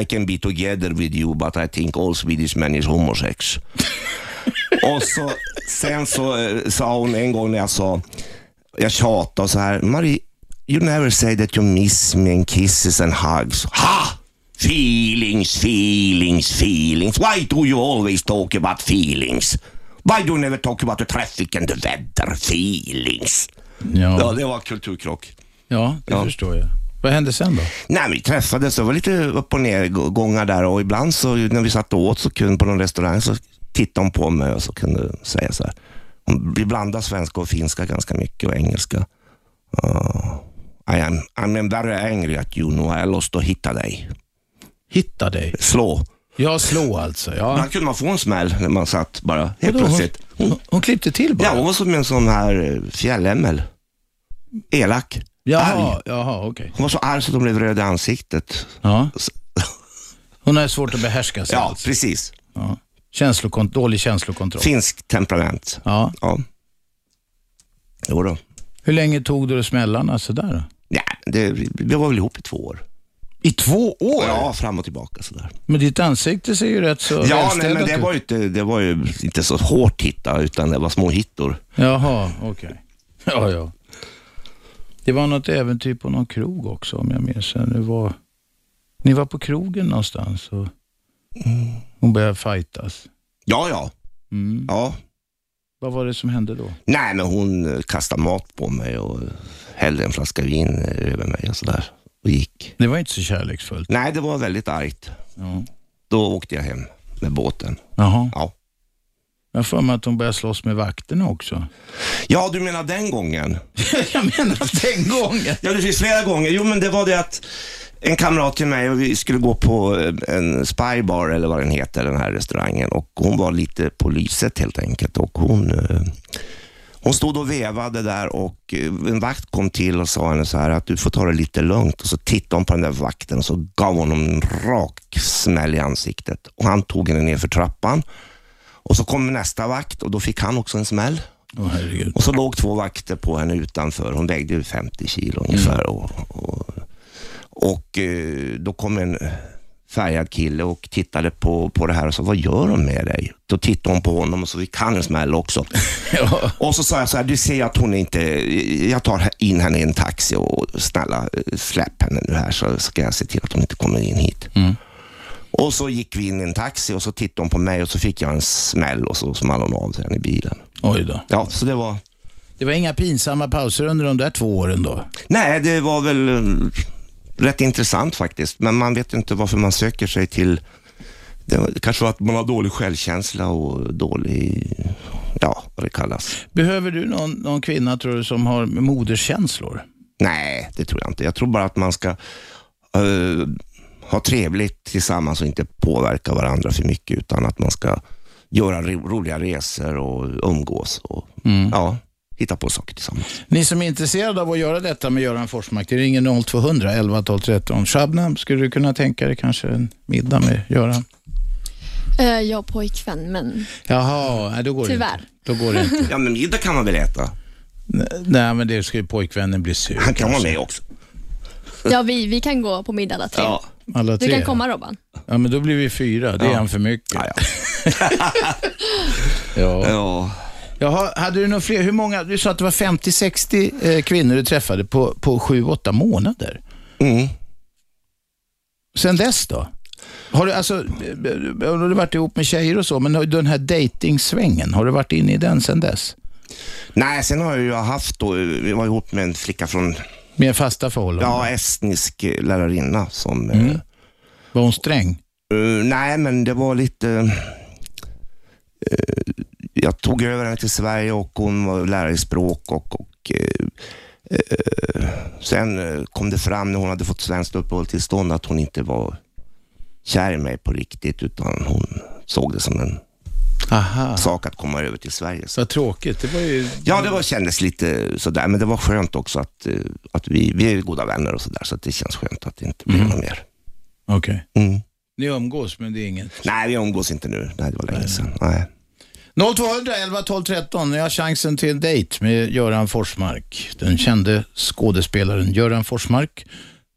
Speaker 3: I can be together with you but I think all Swedish men is homosex. och så, sen så eh, sa hon en gång när jag sa jag tjatade och så här. Marie, you never say that you miss me and kisses and hugs. Ha! Feelings, feelings, feelings. Why do you always talk about feelings? Why do you never talk about the traffic and the weather? Feelings. Ja,
Speaker 2: Ja,
Speaker 3: det var kulturkrock.
Speaker 2: ja det
Speaker 3: Ja.
Speaker 2: förstår jag. Vad hände sen då?
Speaker 3: Nej, vi träffades. Det var lite upp och ner gångar där och ibland så när vi satt och åt så kunde på någon restaurang så tittade hon på mig och så kunde hon säga så här. Hon- Vi blandar svenska och finska ganska mycket och engelska. Uh, I am, I'm very angry at you now. I lost och hitta dig.
Speaker 2: Hitta dig.
Speaker 3: Slå.
Speaker 2: Jag slå alltså. Ja.
Speaker 3: Man kunde man få en smäll när man satt bara helt
Speaker 2: Vadå,
Speaker 3: plötsligt.
Speaker 2: Hon, hon, hon klippte till bara?
Speaker 3: Ja, hon var som en sån här eh, fjällämmel. Elak.
Speaker 2: jaha,
Speaker 3: arg.
Speaker 2: jaha okej.
Speaker 3: Hon var så arg så de blev röda i ansiktet.
Speaker 2: Ja.
Speaker 3: Så-
Speaker 2: Hon har svårt att behärska sig.
Speaker 3: Ja,
Speaker 2: alltså.
Speaker 3: precis.
Speaker 2: ja. Känslokon- dålig känslokontroll.
Speaker 3: Finsk temperament.
Speaker 2: Ja.
Speaker 3: Ja. Jo då.
Speaker 2: Hur länge tog det att smälla henne sådär? då?
Speaker 3: Nej, det, vi var väl ihop i två år.
Speaker 2: I två år?
Speaker 3: Ja, fram och tillbaka sådär.
Speaker 2: Men ditt ansikte ser ju rätt så
Speaker 3: Ja, nej,
Speaker 2: välstädat
Speaker 3: men det
Speaker 2: ut.
Speaker 3: var, ju inte, det var ju inte så hårt hitta, utan det var små hittor.
Speaker 2: Jaha, okej. Ja, ja. Det var något äventyr på någon krog också om jag minns det. det var... Ni var på krogen någonstans och hon började fightas.
Speaker 3: Ja, ja.
Speaker 2: Mm.
Speaker 3: ja.
Speaker 2: Vad var det som hände då?
Speaker 3: Nej, men hon eh, kastade mat på mig och hällde en flaska vin eh, över mig och sådär. Och gick.
Speaker 2: Det var inte så kärleksfullt.
Speaker 3: Nej, det var väldigt argt.
Speaker 2: Ja.
Speaker 3: Då åkte jag hem med båten.
Speaker 2: Jaha.
Speaker 3: Ja.
Speaker 2: Jag har för mig att hon började slåss med vakterna också.
Speaker 3: ja, du menar den gången?
Speaker 2: jag menar den gången.
Speaker 3: Ja, det finns flera gånger. Jo, men det var det att en kamrat till mig och vi skulle gå på eh, en spybar eller vad den heter, den här restaurangen. Och hon var lite på lyset helt enkelt. Och hon, eh, hon stod och vevade där och eh, en vakt kom till och sa henne så här att du får ta det lite lugnt. Och så tittade hon på den där vakten och så gav hon honom en rak smäll i ansiktet. Och han tog henne ner för trappan. Och så kom nästa vakt och då fick han också en smäll.
Speaker 2: Åh herregud.
Speaker 3: Och så låg två vakter på henne utanför. Hon vägde ju 50 kilo
Speaker 2: Mm.
Speaker 3: ungefär. Och, och, och eh, då kom en färgad kille och tittade på, på det här och sa, vad gör de med dig? Då tittade hon på honom och så fick han en smäll också.
Speaker 2: Ja.
Speaker 3: Och så sa jag så här, du ser ju att hon är inte, jag tar in henne i en taxi och snälla eh, släpp henne nu här så ska jag se till att hon inte kommer in hit. Och så gick vi in i en taxi och så tittade hon på mig och så fick jag en smäll och så small hon av sig henne i bilen.
Speaker 2: Oj då.
Speaker 3: Ja, så det var
Speaker 2: Det var inga pinsamma pauser under de där två åren då?
Speaker 3: Nej, det var väl eh, rätt intressant faktiskt. Men man vet ju inte varför man söker sig till... Det var- kanske var att man har dålig självkänsla och dålig... Ja, vad det kallas.
Speaker 2: Behöver du någon, någon kvinna tror du som har moderskänslor?
Speaker 3: Nej, det tror jag inte. Jag tror bara att man ska eh, ha trevligt tillsammans och inte påverka varandra för mycket, utan att man ska göra ro- roliga resor och umgås och ja, hitta på saker tillsammans.
Speaker 2: Ni som är intresserade av att göra detta med Göran Forsmark, det ringer 0200 11 12 13. Shabnam, skulle du kunna tänka dig kanske en middag med Göran?
Speaker 7: Eh, Jag har pojkvän, men
Speaker 2: Jaha, nej, då går det
Speaker 7: Tyvärr.
Speaker 2: inte. Då går det inte.
Speaker 3: Ja, men middag kan man väl äta?
Speaker 2: N- Nej, men det ska ju pojkvännen bli sur.
Speaker 3: Han kan vara
Speaker 2: kanske.
Speaker 3: med också.
Speaker 7: ja, vi, vi kan gå på middag alla tre.
Speaker 3: Ja.
Speaker 2: Alla
Speaker 7: Du
Speaker 2: tre.
Speaker 7: kan komma Robban.
Speaker 2: Ja, men då blir vi fyra. Det är
Speaker 3: Ja.
Speaker 2: en för mycket.
Speaker 3: Ja, ja.
Speaker 2: Ja.
Speaker 3: ja.
Speaker 2: Jaha, hade du några fler? Hur många? Du sa att det var 50-60 eh, kvinnor du träffade på, på 7-8 månader.
Speaker 3: Mm.
Speaker 2: Sen dess då? Har du, alltså, eh, eh, har du varit ihop med tjejer och så, men har- den här dejtingsvängen, har du varit inne i den sen dess?
Speaker 3: Nej, sen har jag ju haft då, jag var ihop med en flicka från,
Speaker 2: Med fasta förhållanden?
Speaker 3: ja, estnisk eh, lärarinna som, eh,
Speaker 2: Var hon sträng?
Speaker 3: eh, nej men det var lite, eh, jag tog över henne till Sverige och hon var lärare i språk och, och eh, eh, sen eh, kom det fram när hon hade fått svenskt uppehållstillstånd att hon inte var kär i mig på riktigt utan hon såg det som en
Speaker 2: Aha.
Speaker 3: sak att komma över till Sverige. Så
Speaker 2: Vad tråkigt. Det var ju...
Speaker 3: Ja, det var, kändes lite sådär, men det var skönt också att, eh, att vi, vi är goda vänner och sådär, så att det känns skönt att det inte blir något mer.
Speaker 2: Okej.
Speaker 3: Mm.
Speaker 2: Ni umgås, men det är inget.
Speaker 3: Nej, vi umgås inte nu. Nej, det var länge sedan. Nej.
Speaker 2: 0200 11 12 13. Ni har chansen till en dejt med Göran Forsmark. Den kände skådespelaren Göran Forsmark.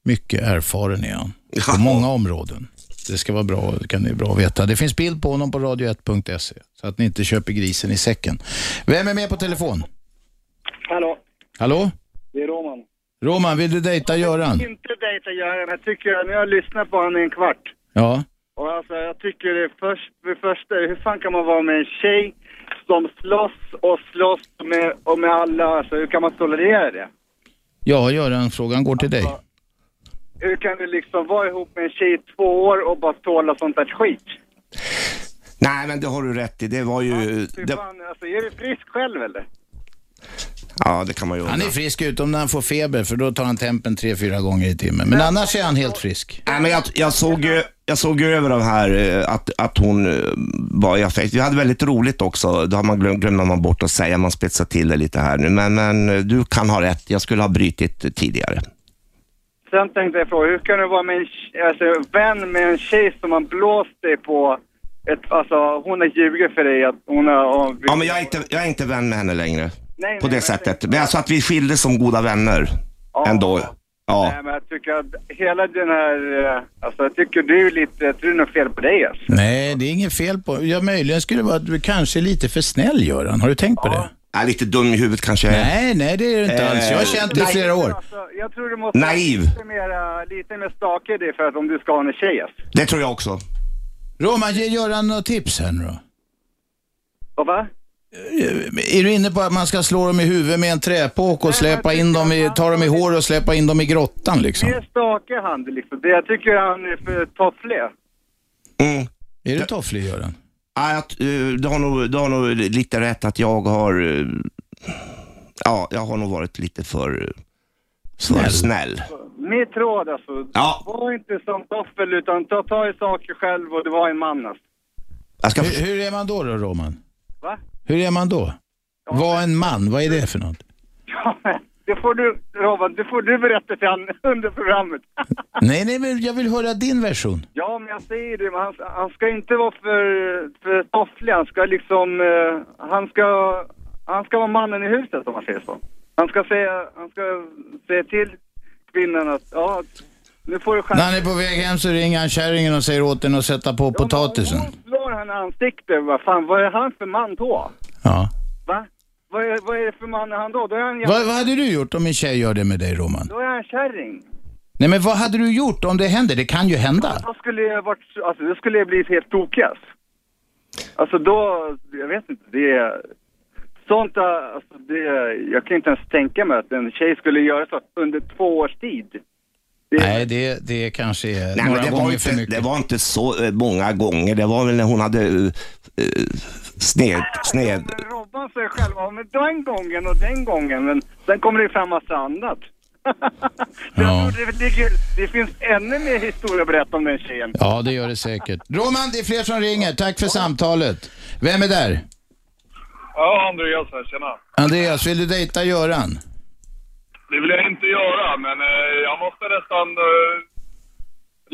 Speaker 2: Mycket erfaren är han. På
Speaker 3: Ja.
Speaker 2: många områden. Det ska vara bra, det kan ni bra veta. Det finns bild på honom på radio1.se. Så att ni inte köper grisen i säcken. Vem är med på telefon?
Speaker 5: Hallå,
Speaker 2: Hallå?
Speaker 5: det är Roman.
Speaker 2: Roman, vill du dejta Göran?
Speaker 5: Inte dejta Göran, jag tycker, nu har jag lyssnat på honom i en kvart.
Speaker 2: Ja.
Speaker 5: Och alltså jag tycker det först, för det första, hur fan kan man vara med en tjej som slåss och slåss med, och med alla, alltså hur kan man tolerera det?
Speaker 2: Ja, Göran, frågan går till dig.
Speaker 5: Hur kan du liksom vara ihop med en tjej i två år och bara tåla sånt där skit?
Speaker 3: Nej, men det har du rätt i. Det var ju...
Speaker 5: Fy
Speaker 3: Det,
Speaker 5: fan, alltså är du frisk själv eller?
Speaker 3: ja, det kan man ju
Speaker 2: Han är
Speaker 3: undra.
Speaker 2: frisk utom när han får feber, för då tar han tempen tre, fyra gånger i timmen. Men annars är han helt frisk.
Speaker 3: Nej, men jag, jag, såg, ju- jag såg ju över det här eh, att, att hon eh, var i affekt. Vi hade väldigt roligt också. Då har man glöm, glömmer man bort att säga. Man spetsar till det lite här nu. Men, men eh, du kan ha rätt. Jag skulle ha brutit tidigare.
Speaker 5: Sen tänkte jag fråga, hur kan du vara med en, tj- alltså, vän med en tjej som man blåst dig på? Ett, alltså hon har ljugit för dig att hon har...
Speaker 3: Ja, men jag är inte, jag är inte vän med henne längre.
Speaker 5: Nej,
Speaker 3: på
Speaker 5: nej,
Speaker 3: det
Speaker 5: men-
Speaker 3: sättet. Men alltså att vi skildes som goda vänner.
Speaker 5: Ja.
Speaker 3: Ändå. Ja.
Speaker 8: Nej, men jag tycker att hela den här... eh, Alltså jag tycker du är lite... Jag tror det är något fel på dig alltså.
Speaker 2: Nej, det är inget fel på... Ja, möjligen skulle det vara att du kanske är lite för snäll, Göran. Har du tänkt på det?
Speaker 3: Ja, lite dum i huvudet kanske jag är.
Speaker 2: Nej, nej, det är du inte
Speaker 3: Eh,
Speaker 2: alls. Jag har känt dig i
Speaker 3: nej.
Speaker 2: flera år.
Speaker 8: Alltså, jag tror du måste
Speaker 3: Naiv.
Speaker 8: vara lite mer, eh, lite mer stakig i dig för att om du ska ha en tjej alltså.
Speaker 3: Det tror jag också.
Speaker 2: Roman, ge Göran några tips här nu då.
Speaker 8: Vad va?
Speaker 2: Eh, Är du inne på att man ska slå dem i huvudet med en träpåk och släpa in dem i, ta dem i hår och släpa in dem i grottan liksom?
Speaker 8: Mer stakig han liksom. Det- Jag tycker han är för tofflig.
Speaker 3: Mm.
Speaker 2: Är du tofflig Göran?
Speaker 3: Ja, jag, eh, du, har nog, du har nog lite rätt att jag har... eh, Ja, jag har nog varit lite för snäll. För snäll.
Speaker 8: Mitt råd alltså.
Speaker 3: Ja.
Speaker 8: Var inte som toffel utan ta tag i saker själv och det var en man alltså.
Speaker 3: Jag ska...
Speaker 2: Hur, hur är man då då Roman?
Speaker 8: Va?
Speaker 2: Hur är man då? Var en man, vad är det för något?
Speaker 8: Ja, men det får du, Robban, det får du berätta till han under programmet.
Speaker 2: Nej, nej, men jag vill höra din version.
Speaker 8: Ja, men jag säger det, men han, han ska inte vara för, för tofflig. Han ska liksom, eh, han ska, han ska vara mannen i huset om man säger så. Han ska säga, han ska säga till kvinnan att, ja, nu får du
Speaker 2: När
Speaker 8: skärpa
Speaker 2: han är på väg hem så ringer han kärringen och säger åt den att sätta på potatisen.
Speaker 8: Hon slår han i ansiktet, vad fan, vad är han för man då?
Speaker 2: Ja.
Speaker 8: Va? Vad är, vad är det för man är han då? Då är han,
Speaker 2: Vad, vad hade du gjort om en tjej gör det med dig Roman?
Speaker 8: då är han kärring.
Speaker 2: Nej, men vad hade du gjort om det händer? Det kan ju hända.
Speaker 8: Då skulle jag varit, alltså då skulle jag blivit helt tokig alltså. Alltså då, jag vet inte, det är... Sånt där, alltså det, jag kan inte ens tänka mig att en tjej skulle göra så under två års tid. Det-
Speaker 2: Nej, det, det kanske är
Speaker 3: Nej,
Speaker 2: några
Speaker 3: men det
Speaker 2: gånger
Speaker 3: var,
Speaker 2: för
Speaker 3: inte,
Speaker 2: mycket.
Speaker 3: det var inte så eh, många gånger. Det var väl när hon hade eh, eh, sned... sned.
Speaker 8: Men Robban säger själv, ja men den gången och den gången, men sen kommer det ju fram massa annat.
Speaker 2: Ja.
Speaker 8: Jag tror det, ligger, det finns ännu mer historia att berätta om den tjejen.
Speaker 2: Ja, det gör det säkert. Roman, det är fler som ringer. Tack för samtalet. Vem är där?
Speaker 9: Ja, Andreas här, tjena.
Speaker 2: Andreas, vill du dejta Göran?
Speaker 9: Det vill jag inte göra, men eh, jag måste nästan eh,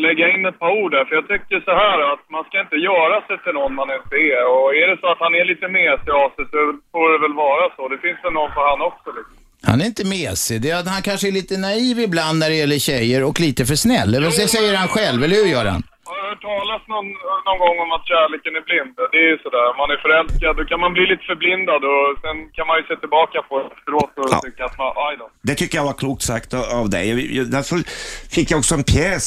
Speaker 9: lägga in ett par ord där. För jag tycker så här att man ska inte göra sig till någon man inte är. Och är det så att han är lite mesig av sig så får det väl vara så. Det finns väl någon för han också liksom.
Speaker 2: Han är inte mesig. Det är att han kanske är lite naiv ibland när det gäller tjejer och lite för snäll. Eller det säger han själv, eller hur Göran?
Speaker 9: Har du hört talas någon, någon gång om att kärleken är blind? Det är ju sådär, man är förälskad, då kan man bli lite förblindad och sen kan man ju se tillbaka på det efteråt och
Speaker 3: Ja.
Speaker 9: tycka att man, aj då.
Speaker 3: Det tycker jag var klokt sagt av- av dig. Jag- jag- Därför fick jag också en pjäs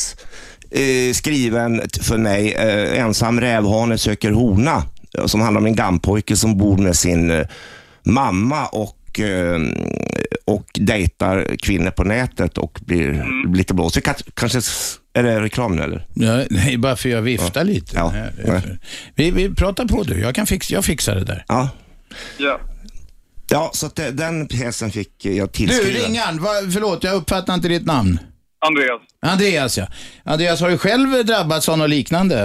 Speaker 3: eh, skriven t- för mig, eh, Ensam rävhane söker hona, eh, som handlar om en gammpojke som bor med sin eh, mamma och, eh, och dejtar kvinnor på nätet och blir lite blåsig. Kans- Kanske, s- är det reklam nu eller?
Speaker 2: Ja, nej, bara för jag viftar lite.
Speaker 3: Ja.
Speaker 2: Nej, det är för- Vi, vi pratar på du. Jag, kan fixa, jag fixar det där.
Speaker 3: Ja.
Speaker 9: Ja.
Speaker 3: Ja, så att det, den pjäsen fick eh, jag
Speaker 2: Du,
Speaker 3: tillskriven.
Speaker 2: ringaren. Va, förlåt, jag uppfattar inte ditt namn.
Speaker 9: Andreas.
Speaker 2: Andreas, ja. Andreas, har du själv drabbats av något liknande?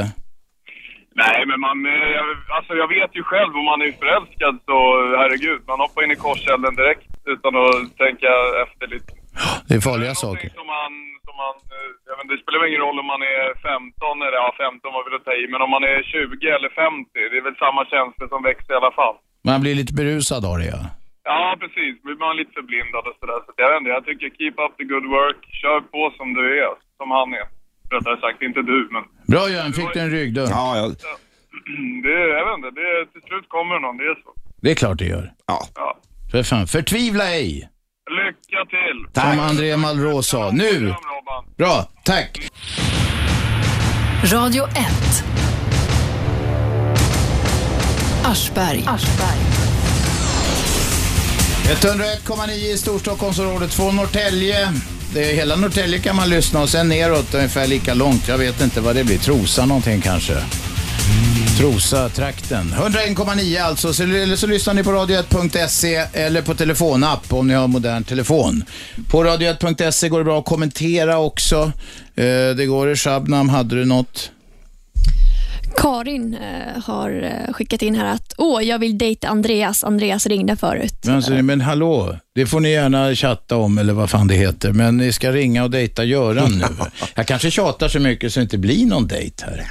Speaker 9: Nej, men man... eh, Alltså jag vet ju själv, om man är förälskad så herregud, man hoppar in i korskällen direkt utan att tänka efter lite.
Speaker 2: Det är farliga saker.
Speaker 9: Någonting som man, som man, eh, jag vet, inte, det spelar väl ingen roll om man är 15 eller, ja 15 var väl att ta i, men om man är 20 eller 50, det är väl samma känslor som växer i alla fall.
Speaker 2: Man blir lite berusad av det, ja.
Speaker 9: Ja, precis. Blir man lite förblindad och sådär. Så jag vet inte, jag tycker keep up the good work. Kör på som du är, som han är. Rättare sagt, inte du, men
Speaker 2: Bra Göran, fick du en ryggdunk?
Speaker 3: Ja, ja,
Speaker 9: det, är- jag vet inte, det, är- till slut kommer någon, det är så.
Speaker 2: Det är klart det gör.
Speaker 3: ja.
Speaker 9: Ja.
Speaker 2: För fan, förtvivla ej!
Speaker 9: Lycka till!
Speaker 2: Som André Malraux sa. Nu!
Speaker 9: Kram, Robban.
Speaker 2: Bra, tack!
Speaker 1: Radio 1. Aschberg.
Speaker 2: 101,9 i Storstockholmsområdet, från Norrtälje. Det är hela Norrtälje kan man lyssna och sen neråt ungefär lika långt. Jag vet inte vad det blir. Trosa någonting kanske. Trosa trakten. 101,9 alltså. Så, eller så lyssnar ni på radio1.se eller på telefonapp om ni har modern telefon. På radio1.se går det bra att kommentera också. Eh, det går i Shabnam. Hade du något?
Speaker 7: Karin eh, har eh, skickat in här att åh, jag vill dejta Andreas. Andreas ringde förut.
Speaker 2: Men, alltså, men hallå, det får ni gärna chatta om eller vad fan det heter. Men ni ska ringa och dejta Göran nu. Jag kanske tjatar så mycket så det inte blir någon dejt här.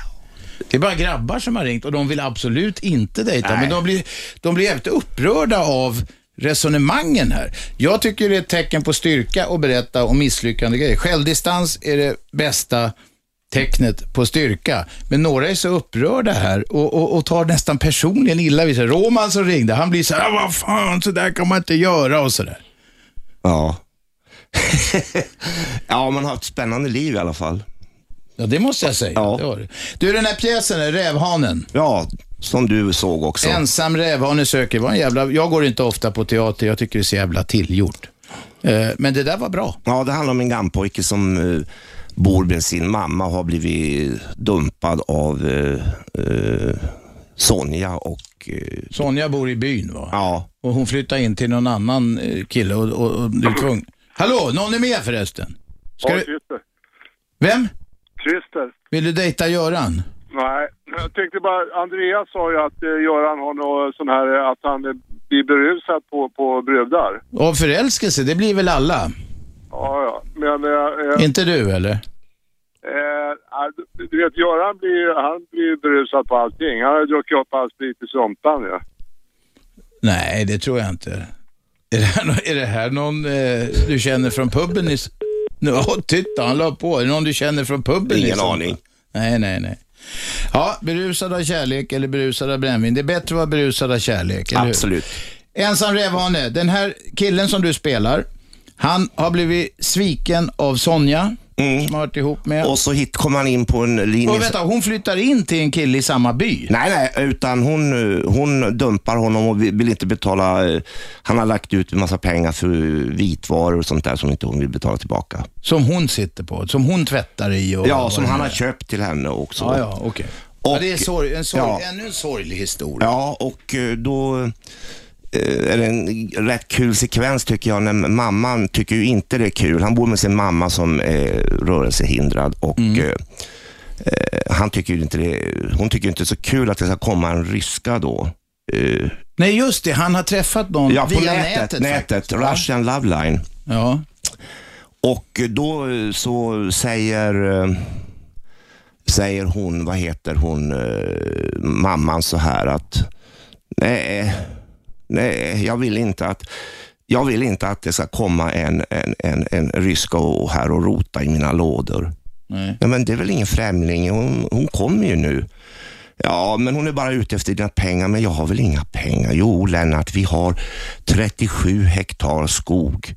Speaker 2: Det är bara grabbar som har ringt och de vill absolut inte dejta. Men de blir, de blir jävligt upprörda av resonemangen här. Jag tycker det är ett tecken på styrka att berätta om misslyckande grejer. Självdistans är det bästa tecknet på styrka. Men några är så upprörda här och, och, och tar nästan personligen illa vid sig. Roman som ringde, han blir så här, "Ah, vad fan, så där kan man inte göra och så där.
Speaker 3: Ja. ja, man har ett spännande liv i alla fall.
Speaker 2: Ja, det måste jag säga.
Speaker 3: Ja.
Speaker 2: Det har du. du, den här pjäsen, Rävhanen.
Speaker 3: Ja, som du såg också.
Speaker 2: Ensam rävhane söker. Var en jävla... Jag går inte ofta på teater, jag tycker det är så jävla tillgjort. Eh, Men det där var bra.
Speaker 3: Ja, det handlar om en grannpojke som eh, bor med sin mamma och har blivit dumpad av eh, eh, Sonja och eh,
Speaker 2: Sonja bor i byn va?
Speaker 3: ja,
Speaker 2: Och hon flyttar in till någon annan eh, kille och, och, och du är tvungen. Hallå, någon är med förresten? Ska du...
Speaker 10: Christer.
Speaker 2: Vem?
Speaker 10: Christer.
Speaker 2: Vill du dejta Göran?
Speaker 10: Nej, jag tänkte bara, Andreas sa ju att eh, Göran har någon sån här, eh, att han eh, blir berusad på, på brudar.
Speaker 2: Av förälskelse, det blir väl alla?
Speaker 10: Ja, ja. Men, eh, eh,
Speaker 2: Inte du eller?
Speaker 10: eh, ah, du- du vet Göran blir ju- han blir ju berusad på allting. Han har ju druckit upp all sprit i sumpan ju.
Speaker 2: Nej, det tror jag inte. Är det här, nå- är det här någon eh, du känner från puben i... S- Nu, ja, titta, han la på. Är det någon du känner från puben? i
Speaker 3: ingen
Speaker 2: så fall?
Speaker 3: aning.
Speaker 2: Nej, nej, nej. Ja, berusad av kärlek eller berusad av brännvin. Det är bättre att vara berusad av kärlek, eller hur?
Speaker 3: Absolut.
Speaker 2: Ensam rävhane. Den här killen som du spelar, han har blivit sviken av Sonja, som har varit ihop med. Och,
Speaker 3: Mm. Och så hit kom han in på en linje.
Speaker 2: vänta, hon flyttar in till en kille i samma by.
Speaker 3: Nej, nej, utan hon, eh, hon dumpar honom och vill vill inte betala. eh, Han har lagt ut en massa pengar för vitvaror och sånt där som inte hon vill betala tillbaka.
Speaker 2: Som hon sitter på, som hon tvättar i. Och,
Speaker 3: Ja,
Speaker 2: och
Speaker 3: som
Speaker 2: vad
Speaker 3: han
Speaker 2: det
Speaker 3: har
Speaker 2: är.
Speaker 3: köpt till henne också.
Speaker 2: Ja, ja, okej.
Speaker 3: Och-
Speaker 2: Ja, det är sorg, en sorg,
Speaker 3: ja.
Speaker 2: ännu en sorglig historia.
Speaker 3: Ja, och eh, då eh, är det en rätt kul sekvens tycker jag, när mamman tycker ju inte det är kul. Han bor med sin mamma som är rörelsehindrad och eh, eh, han tycker ju inte det, hon tycker ju inte det är så kul att det ska komma en ryska då. Eh,
Speaker 2: Nej, just det, han har träffat någon
Speaker 3: ja, på
Speaker 2: via
Speaker 3: nätet, nätet,
Speaker 2: faktiskt, va?
Speaker 3: Russian Love Line.
Speaker 2: Ja.
Speaker 3: Och då eh, så säger, eh, säger hon, vad heter hon, eh, mamman så här att nej, nej, jag vill inte att jag vill inte att det ska komma en, en, en, en ryska och här och rota i mina lådor.
Speaker 2: Nej.
Speaker 3: Nej, men det är väl ingen främling, hon, hon kommer ju nu. Ja, men hon är bara ute efter dina pengar, men jag har väl inga pengar? Jo, Lennart, vi har 37 hektar skog.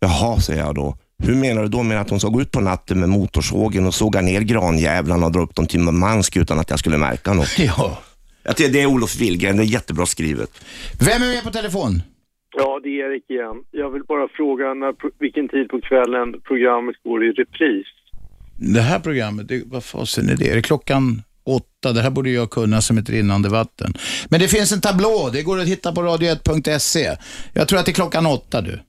Speaker 3: Jaha, säger jag då. Hur menar du då? Menar du att hon ska gå ut på natten med motorsågen och såga ner granjävlarna och dra upp dem till Murmansk utan att jag skulle märka något?
Speaker 2: ja.
Speaker 3: Jag tycker det är Olof Wilgren, det är jättebra skrivet.
Speaker 2: Vem är med på telefon?
Speaker 11: Ja, det är Erik igen. Jag vill bara fråga när, vilken tid på kvällen programmet går i repris.
Speaker 2: Det här programmet, det, vad fasen är det? Är det klockan åtta? Det här borde jag kunna som ett rinnande vatten. Men det finns en tablå, det går att hitta på radio1.se. Jag tror att det är klockan åtta du.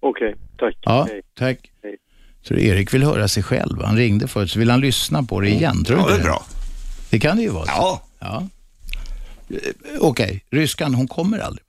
Speaker 11: Okej, tack.
Speaker 2: Ja,
Speaker 11: Hej.
Speaker 2: tack.
Speaker 11: Hej.
Speaker 2: Så Erik vill höra sig själv. Han ringde förut, så vill han lyssna på det igen. Tror du
Speaker 3: Ja, det
Speaker 2: inte
Speaker 3: är bra.
Speaker 2: Det kan det ju vara.
Speaker 3: Ja.
Speaker 2: Ja. Eh, Okej, ryskan, hon kommer aldrig.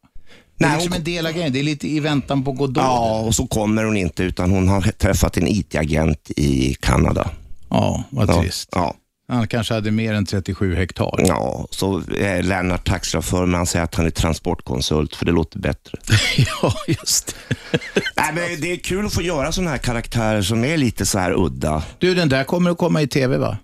Speaker 2: Det är
Speaker 3: Nej,
Speaker 2: liksom
Speaker 3: hon-
Speaker 2: en del av grejen. Det är lite i väntan på Godot.
Speaker 3: Ja, och så kommer hon inte utan hon har träffat en IT-agent i Kanada.
Speaker 2: ja vad
Speaker 3: Ja,
Speaker 2: trist.
Speaker 3: ja.
Speaker 2: Han kanske hade mer än 37 hektar.
Speaker 3: Ja, så eh, är Lennart taxichaufför, men han säger att han är transportkonsult, för det låter bättre.
Speaker 2: ja, just det.
Speaker 3: Nej, men det är kul att få göra sådana här karaktärer som är lite så här udda.
Speaker 2: Du, den där kommer att komma i tv va?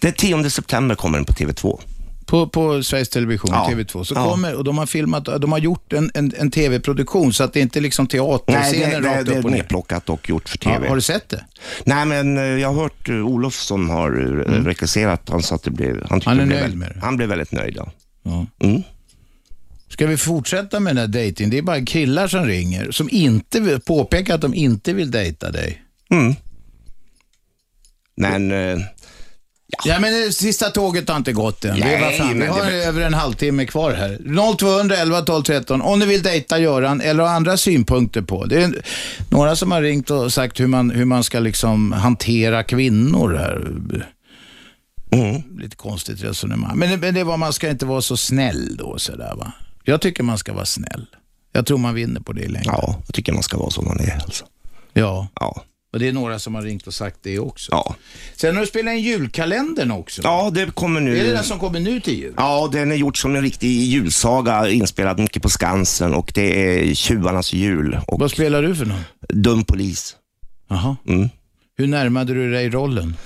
Speaker 3: Den 10 september kommer den på TV2.
Speaker 2: På, på Sveriges Television,
Speaker 3: Ja.
Speaker 2: TV2. Så
Speaker 3: Ja.
Speaker 2: kommer, och de har filmat, de har gjort en, en, en tv-produktion så att det inte är liksom
Speaker 3: Nej,
Speaker 2: teaterscener
Speaker 3: det, det,
Speaker 2: rakt
Speaker 3: det
Speaker 2: upp
Speaker 3: är
Speaker 2: och ner.
Speaker 3: nedplockat och gjort för
Speaker 2: Ja,
Speaker 3: TV.
Speaker 2: har du sett det?
Speaker 3: Nej, men eh, jag har hört eh, Olof som har eh, regisserat, han sa att det blev... Han, tyckte
Speaker 2: Mm. Han är
Speaker 3: det blev
Speaker 2: nöjd
Speaker 3: väldigt-
Speaker 2: med det.
Speaker 3: Han blev väldigt nöjd, ja.
Speaker 2: Ja.
Speaker 3: Mm.
Speaker 2: Ska vi fortsätta med den här dejtingen? Det är bara killar som ringer, som inte vill, påpekar att de inte vill dejta dig.
Speaker 3: Mm. Men... eh,
Speaker 2: Ja, men det sista tåget har inte gått än. det är bara
Speaker 3: Nej,
Speaker 2: fan. Vi
Speaker 3: men
Speaker 2: har
Speaker 3: det-
Speaker 2: över en halvtimme kvar här. 0200 11 12 13 om ni vill dejta Göran eller har andra synpunkter på. Det är en- några som har ringt och sagt hur man, hur man ska liksom hantera kvinnor här.
Speaker 3: Mm.
Speaker 2: Lite konstigt resonemang. Men, men det var, man ska inte vara så snäll då sådär va. Jag tycker man ska vara snäll. Jag tror man vinner på det i längden.
Speaker 3: Ja, jag tycker man ska vara som man är. Alltså.
Speaker 2: ja.
Speaker 3: Ja.
Speaker 2: Och det är några som har ringt och sagt det också.
Speaker 3: Ja.
Speaker 2: Sen har du spelat in julkalendern också.
Speaker 3: Ja, det kommer nu.
Speaker 2: Är det den som kommer nu till jul?
Speaker 3: Ja, den är gjort som en riktig julsaga, inspelad mycket på Skansen och det är tjuvarnas jul och
Speaker 2: Vad spelar du för någon?
Speaker 3: dum polis.
Speaker 2: Jaha.
Speaker 3: Mm.
Speaker 2: Hur närmade du dig rollen?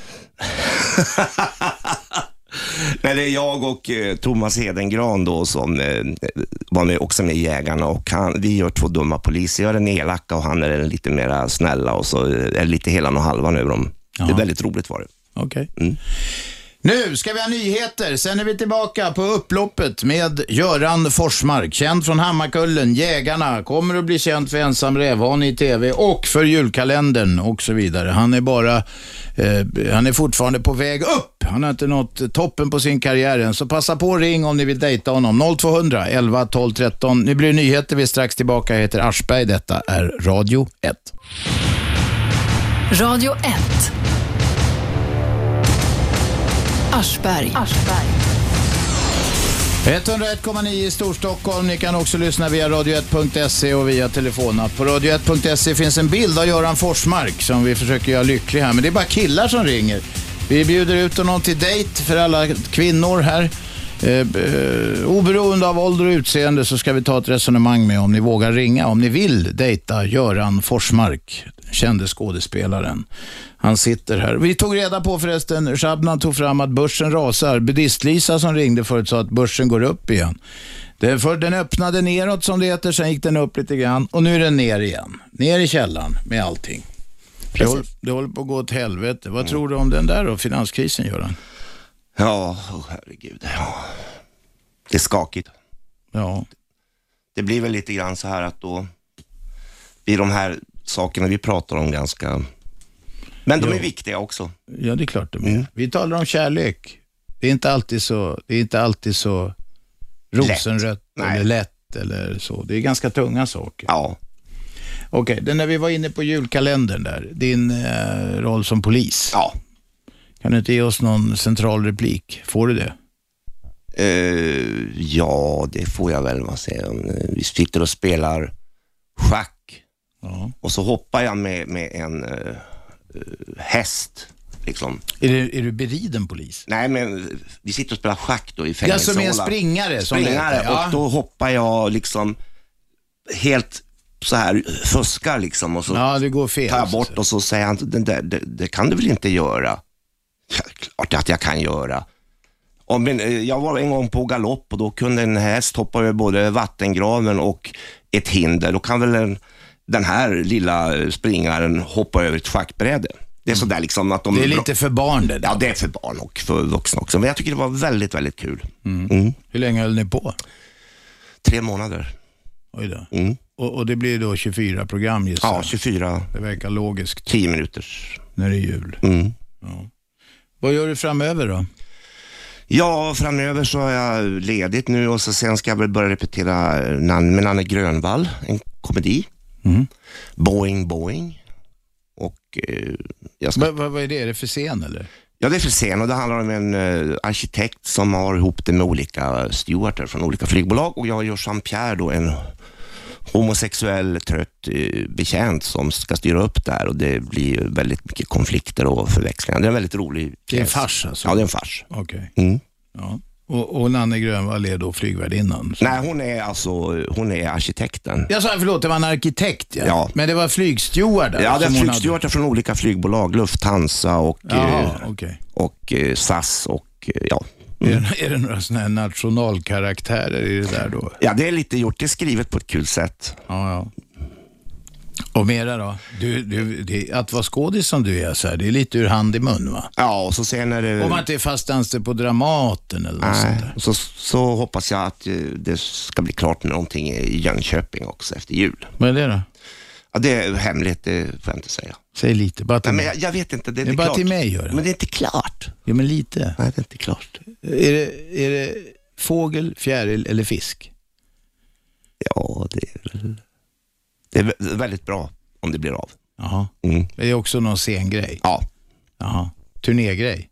Speaker 3: Men det är jag och eh, Thomas Hedengran då som eh, var med, också med i Jägarna och han, vi gör två dumma poliser. Jag är den elaka och han är den lite mer snälla och så eh, är det lite helan och halvan över dem. Det är väldigt roligt var det. Mm.
Speaker 2: Okej. Nu ska vi ha nyheter. Sen är vi tillbaka på upploppet med Göran Forsmark, känd från Hammarkullen, Jägarna, kommer att bli känd för Ensam Rävhan i TV och för julkalendern och så vidare. Han är bara, eh, han är fortfarande på väg upp. Han har inte nått toppen på sin karriär än, så passa på och ring om ni vill dejta honom. 0200 11 12 13. Nu blir det nyheter. Vi är strax tillbaka. Jag heter Aschberg. Detta är Radio 1.
Speaker 1: Radio 1. Aschberg.
Speaker 2: 101,9 i Storstockholm. Ni kan också lyssna via radio1.se och via telefonapp. På radio1.se finns en bild av Göran Forsmark som vi försöker göra lycklig här. Men det är bara killar som ringer. Vi bjuder ut honom till dejt för alla kvinnor här. Eh, eh, oberoende av ålder och utseende så ska vi ta ett resonemang med om ni vågar ringa. Om ni vill dejta Göran Forsmark, kände skådespelaren. Han sitter här. Vi tog reda på förresten, Shabnan tog fram att börsen rasar. Buddhist-Lisa som ringde förut sa att börsen går upp igen. Den, för, den öppnade neråt som det heter, sen gick den upp lite grann och nu är den ner igen. Ner i källan med allting. Det håller, det håller på att gå åt helvete. Vad tror du om den där då, finanskrisen Göran?
Speaker 3: Ja, oh, herregud. Ja. Det är skakigt.
Speaker 2: Ja.
Speaker 3: Det blir väl lite grann så här att då blir de här sakerna vi pratar om ganska... Men de är viktiga också.
Speaker 2: Ja, det är klart de är.
Speaker 3: Mm.
Speaker 2: Vi talar om kärlek. Det är inte alltid så, det är inte alltid så rosenrött
Speaker 3: Nej.
Speaker 2: eller lätt eller så. Det är ganska tunga saker.
Speaker 3: Ja.
Speaker 2: Okej, det- när vi var inne på julkalendern där, din eh, roll som polis.
Speaker 3: ja.
Speaker 2: Kan du inte ge oss någon central replik? Får du det?
Speaker 3: Eh, ja, det får jag väl vad säger jag. Eh, Vi sitter och spelar schack
Speaker 2: Ja.
Speaker 3: och så hoppar jag med, med en eh, eh, häst. Liksom.
Speaker 2: Är du, är du beriden polis?
Speaker 3: Nej, men eh, vi sitter och spelar schack då i
Speaker 2: Ja,
Speaker 3: fängelsehålan.
Speaker 2: som är en springare. Som det
Speaker 3: springare
Speaker 2: heter. Ja.
Speaker 3: och då hoppar jag liksom helt så här, fuskar liksom och så
Speaker 2: ja, det går fel.
Speaker 3: tar jag bort och så säger han, den där, det, det kan du väl inte göra? Ja, klart att jag kan göra. Ja, men, eh, jag var en gång på galopp och då kunde en häst hoppa över både vattengraven och ett hinder. Då kan väl en, den här lilla eh, springaren hoppa över ett schackbräde. Det är sådär liksom att de...
Speaker 2: Mm. Det är lite för barn det där.
Speaker 3: Ja, det är för barn och för vuxna också. Men jag tycker det var väldigt, väldigt kul. Mm.
Speaker 2: Hur länge höll ni på?
Speaker 3: Tre månader.
Speaker 2: Oj då.
Speaker 3: Mm.
Speaker 2: Och, och det blir då 24 program gissar
Speaker 3: Ja,
Speaker 2: jag.
Speaker 3: 24,
Speaker 2: Det verkar logiskt
Speaker 3: 10 minuters.
Speaker 2: när det är jul.
Speaker 3: Mm.
Speaker 2: Vad gör du framöver då?
Speaker 3: Ja, framöver så har jag ledigt nu och så sen ska jag väl börja repetera eh, Nan- med Nanne Grönvall, en komedi.
Speaker 2: Mm.
Speaker 3: Boing Boing. Och eh, jag ska...
Speaker 2: Va, va, vad är det? Är det för scen eller?
Speaker 3: Ja, det är för sen och det handlar om en eh, arkitekt som har ihop det med olika stewarder från olika flygbolag och jag gör Jean-Pierre då, en homosexuell trött eh, betjänt som ska styra upp det här och det blir ju väldigt mycket konflikter och förväxlingar. Det är en väldigt rolig
Speaker 2: Det är en
Speaker 3: pjäs.
Speaker 2: fars alltså?
Speaker 3: Ja, det är en fars.
Speaker 2: Okej.
Speaker 3: Mm.
Speaker 2: Ja. Och, och Nanne Grönvall är då flygvärdinnan? Så-
Speaker 3: Nej, hon är alltså, hon är arkitekten.
Speaker 2: Jag sa förlåt, det var en arkitekt ja.
Speaker 3: Ja.
Speaker 2: Men det var flygstewardar?
Speaker 3: Ja, det är
Speaker 2: som hon hade.
Speaker 3: flygstewarder från olika flygbolag, Lufthansa och,
Speaker 2: Jaha,
Speaker 3: eh,
Speaker 2: okej.
Speaker 3: och eh, SAS och eh, ja.
Speaker 2: Är, det- är det några sådana här nationalkaraktärer i det där då?
Speaker 3: Ja, det är lite gjort. Det är skrivet på ett kul sätt.
Speaker 2: Ja, ja. Och mera då? Du, du, det, att vara skådis som du är, så här, det är lite ur hand i mun va?
Speaker 3: Ja, och så sen är det...
Speaker 2: Om man inte är fast anställd på Dramaten eller något sånt
Speaker 3: Nej,
Speaker 2: där.
Speaker 3: så, så hoppas jag att eh, det ska bli klart med någonting i Jönköping också efter jul.
Speaker 2: Vad är det då?
Speaker 3: Ja, det är hemligt, det får jag inte säga.
Speaker 2: Säg lite, bara till
Speaker 3: Nej, men
Speaker 2: mig.
Speaker 3: jag, jag vet inte, det är
Speaker 2: Det är
Speaker 3: inte
Speaker 2: bara
Speaker 3: klart.
Speaker 2: till mig gör det.
Speaker 3: Men det är inte klart.
Speaker 2: Jo, men lite.
Speaker 3: Nej, det är inte klart.
Speaker 2: Är det, är det fågel, fjäril eller fisk?
Speaker 3: Ja, det är väl... Det är vä- väldigt bra om det blir av.
Speaker 2: Jaha.
Speaker 3: Mm.
Speaker 2: Det är också någon scengrej.
Speaker 3: Ja.
Speaker 2: Jaha. Turnégrej?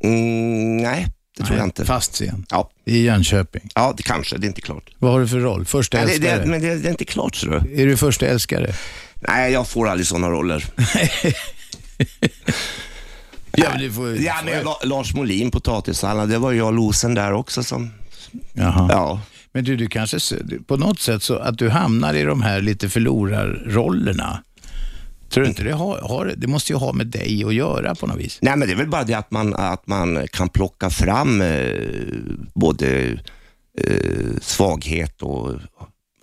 Speaker 3: Mm, nej, det tror jag inte.
Speaker 2: Fast scen.
Speaker 3: Ja.
Speaker 2: I Jönköping.
Speaker 3: ja, det kanske. Det är inte klart.
Speaker 2: Vad har du för roll? Första
Speaker 3: Nej, det,
Speaker 2: älskare?
Speaker 3: det, men det, det är inte klart, ser du.
Speaker 2: Är du första älskare?
Speaker 3: Nej, jag får aldrig sådana roller.
Speaker 2: Ja, men det får-
Speaker 3: Ja, men jag, la- Lars Molin, potatissallad, det var jag losen där också som...
Speaker 2: Jaha.
Speaker 3: Ja.
Speaker 2: Men du, du kanske s- du- på något sätt så att du hamnar i de här lite förlorarrollerna. Tror du inte det har, har det måste ju ha med dig att göra på något vis?
Speaker 3: Nej, men det är väl bara det att man, att man kan plocka fram eh, både eh, svaghet och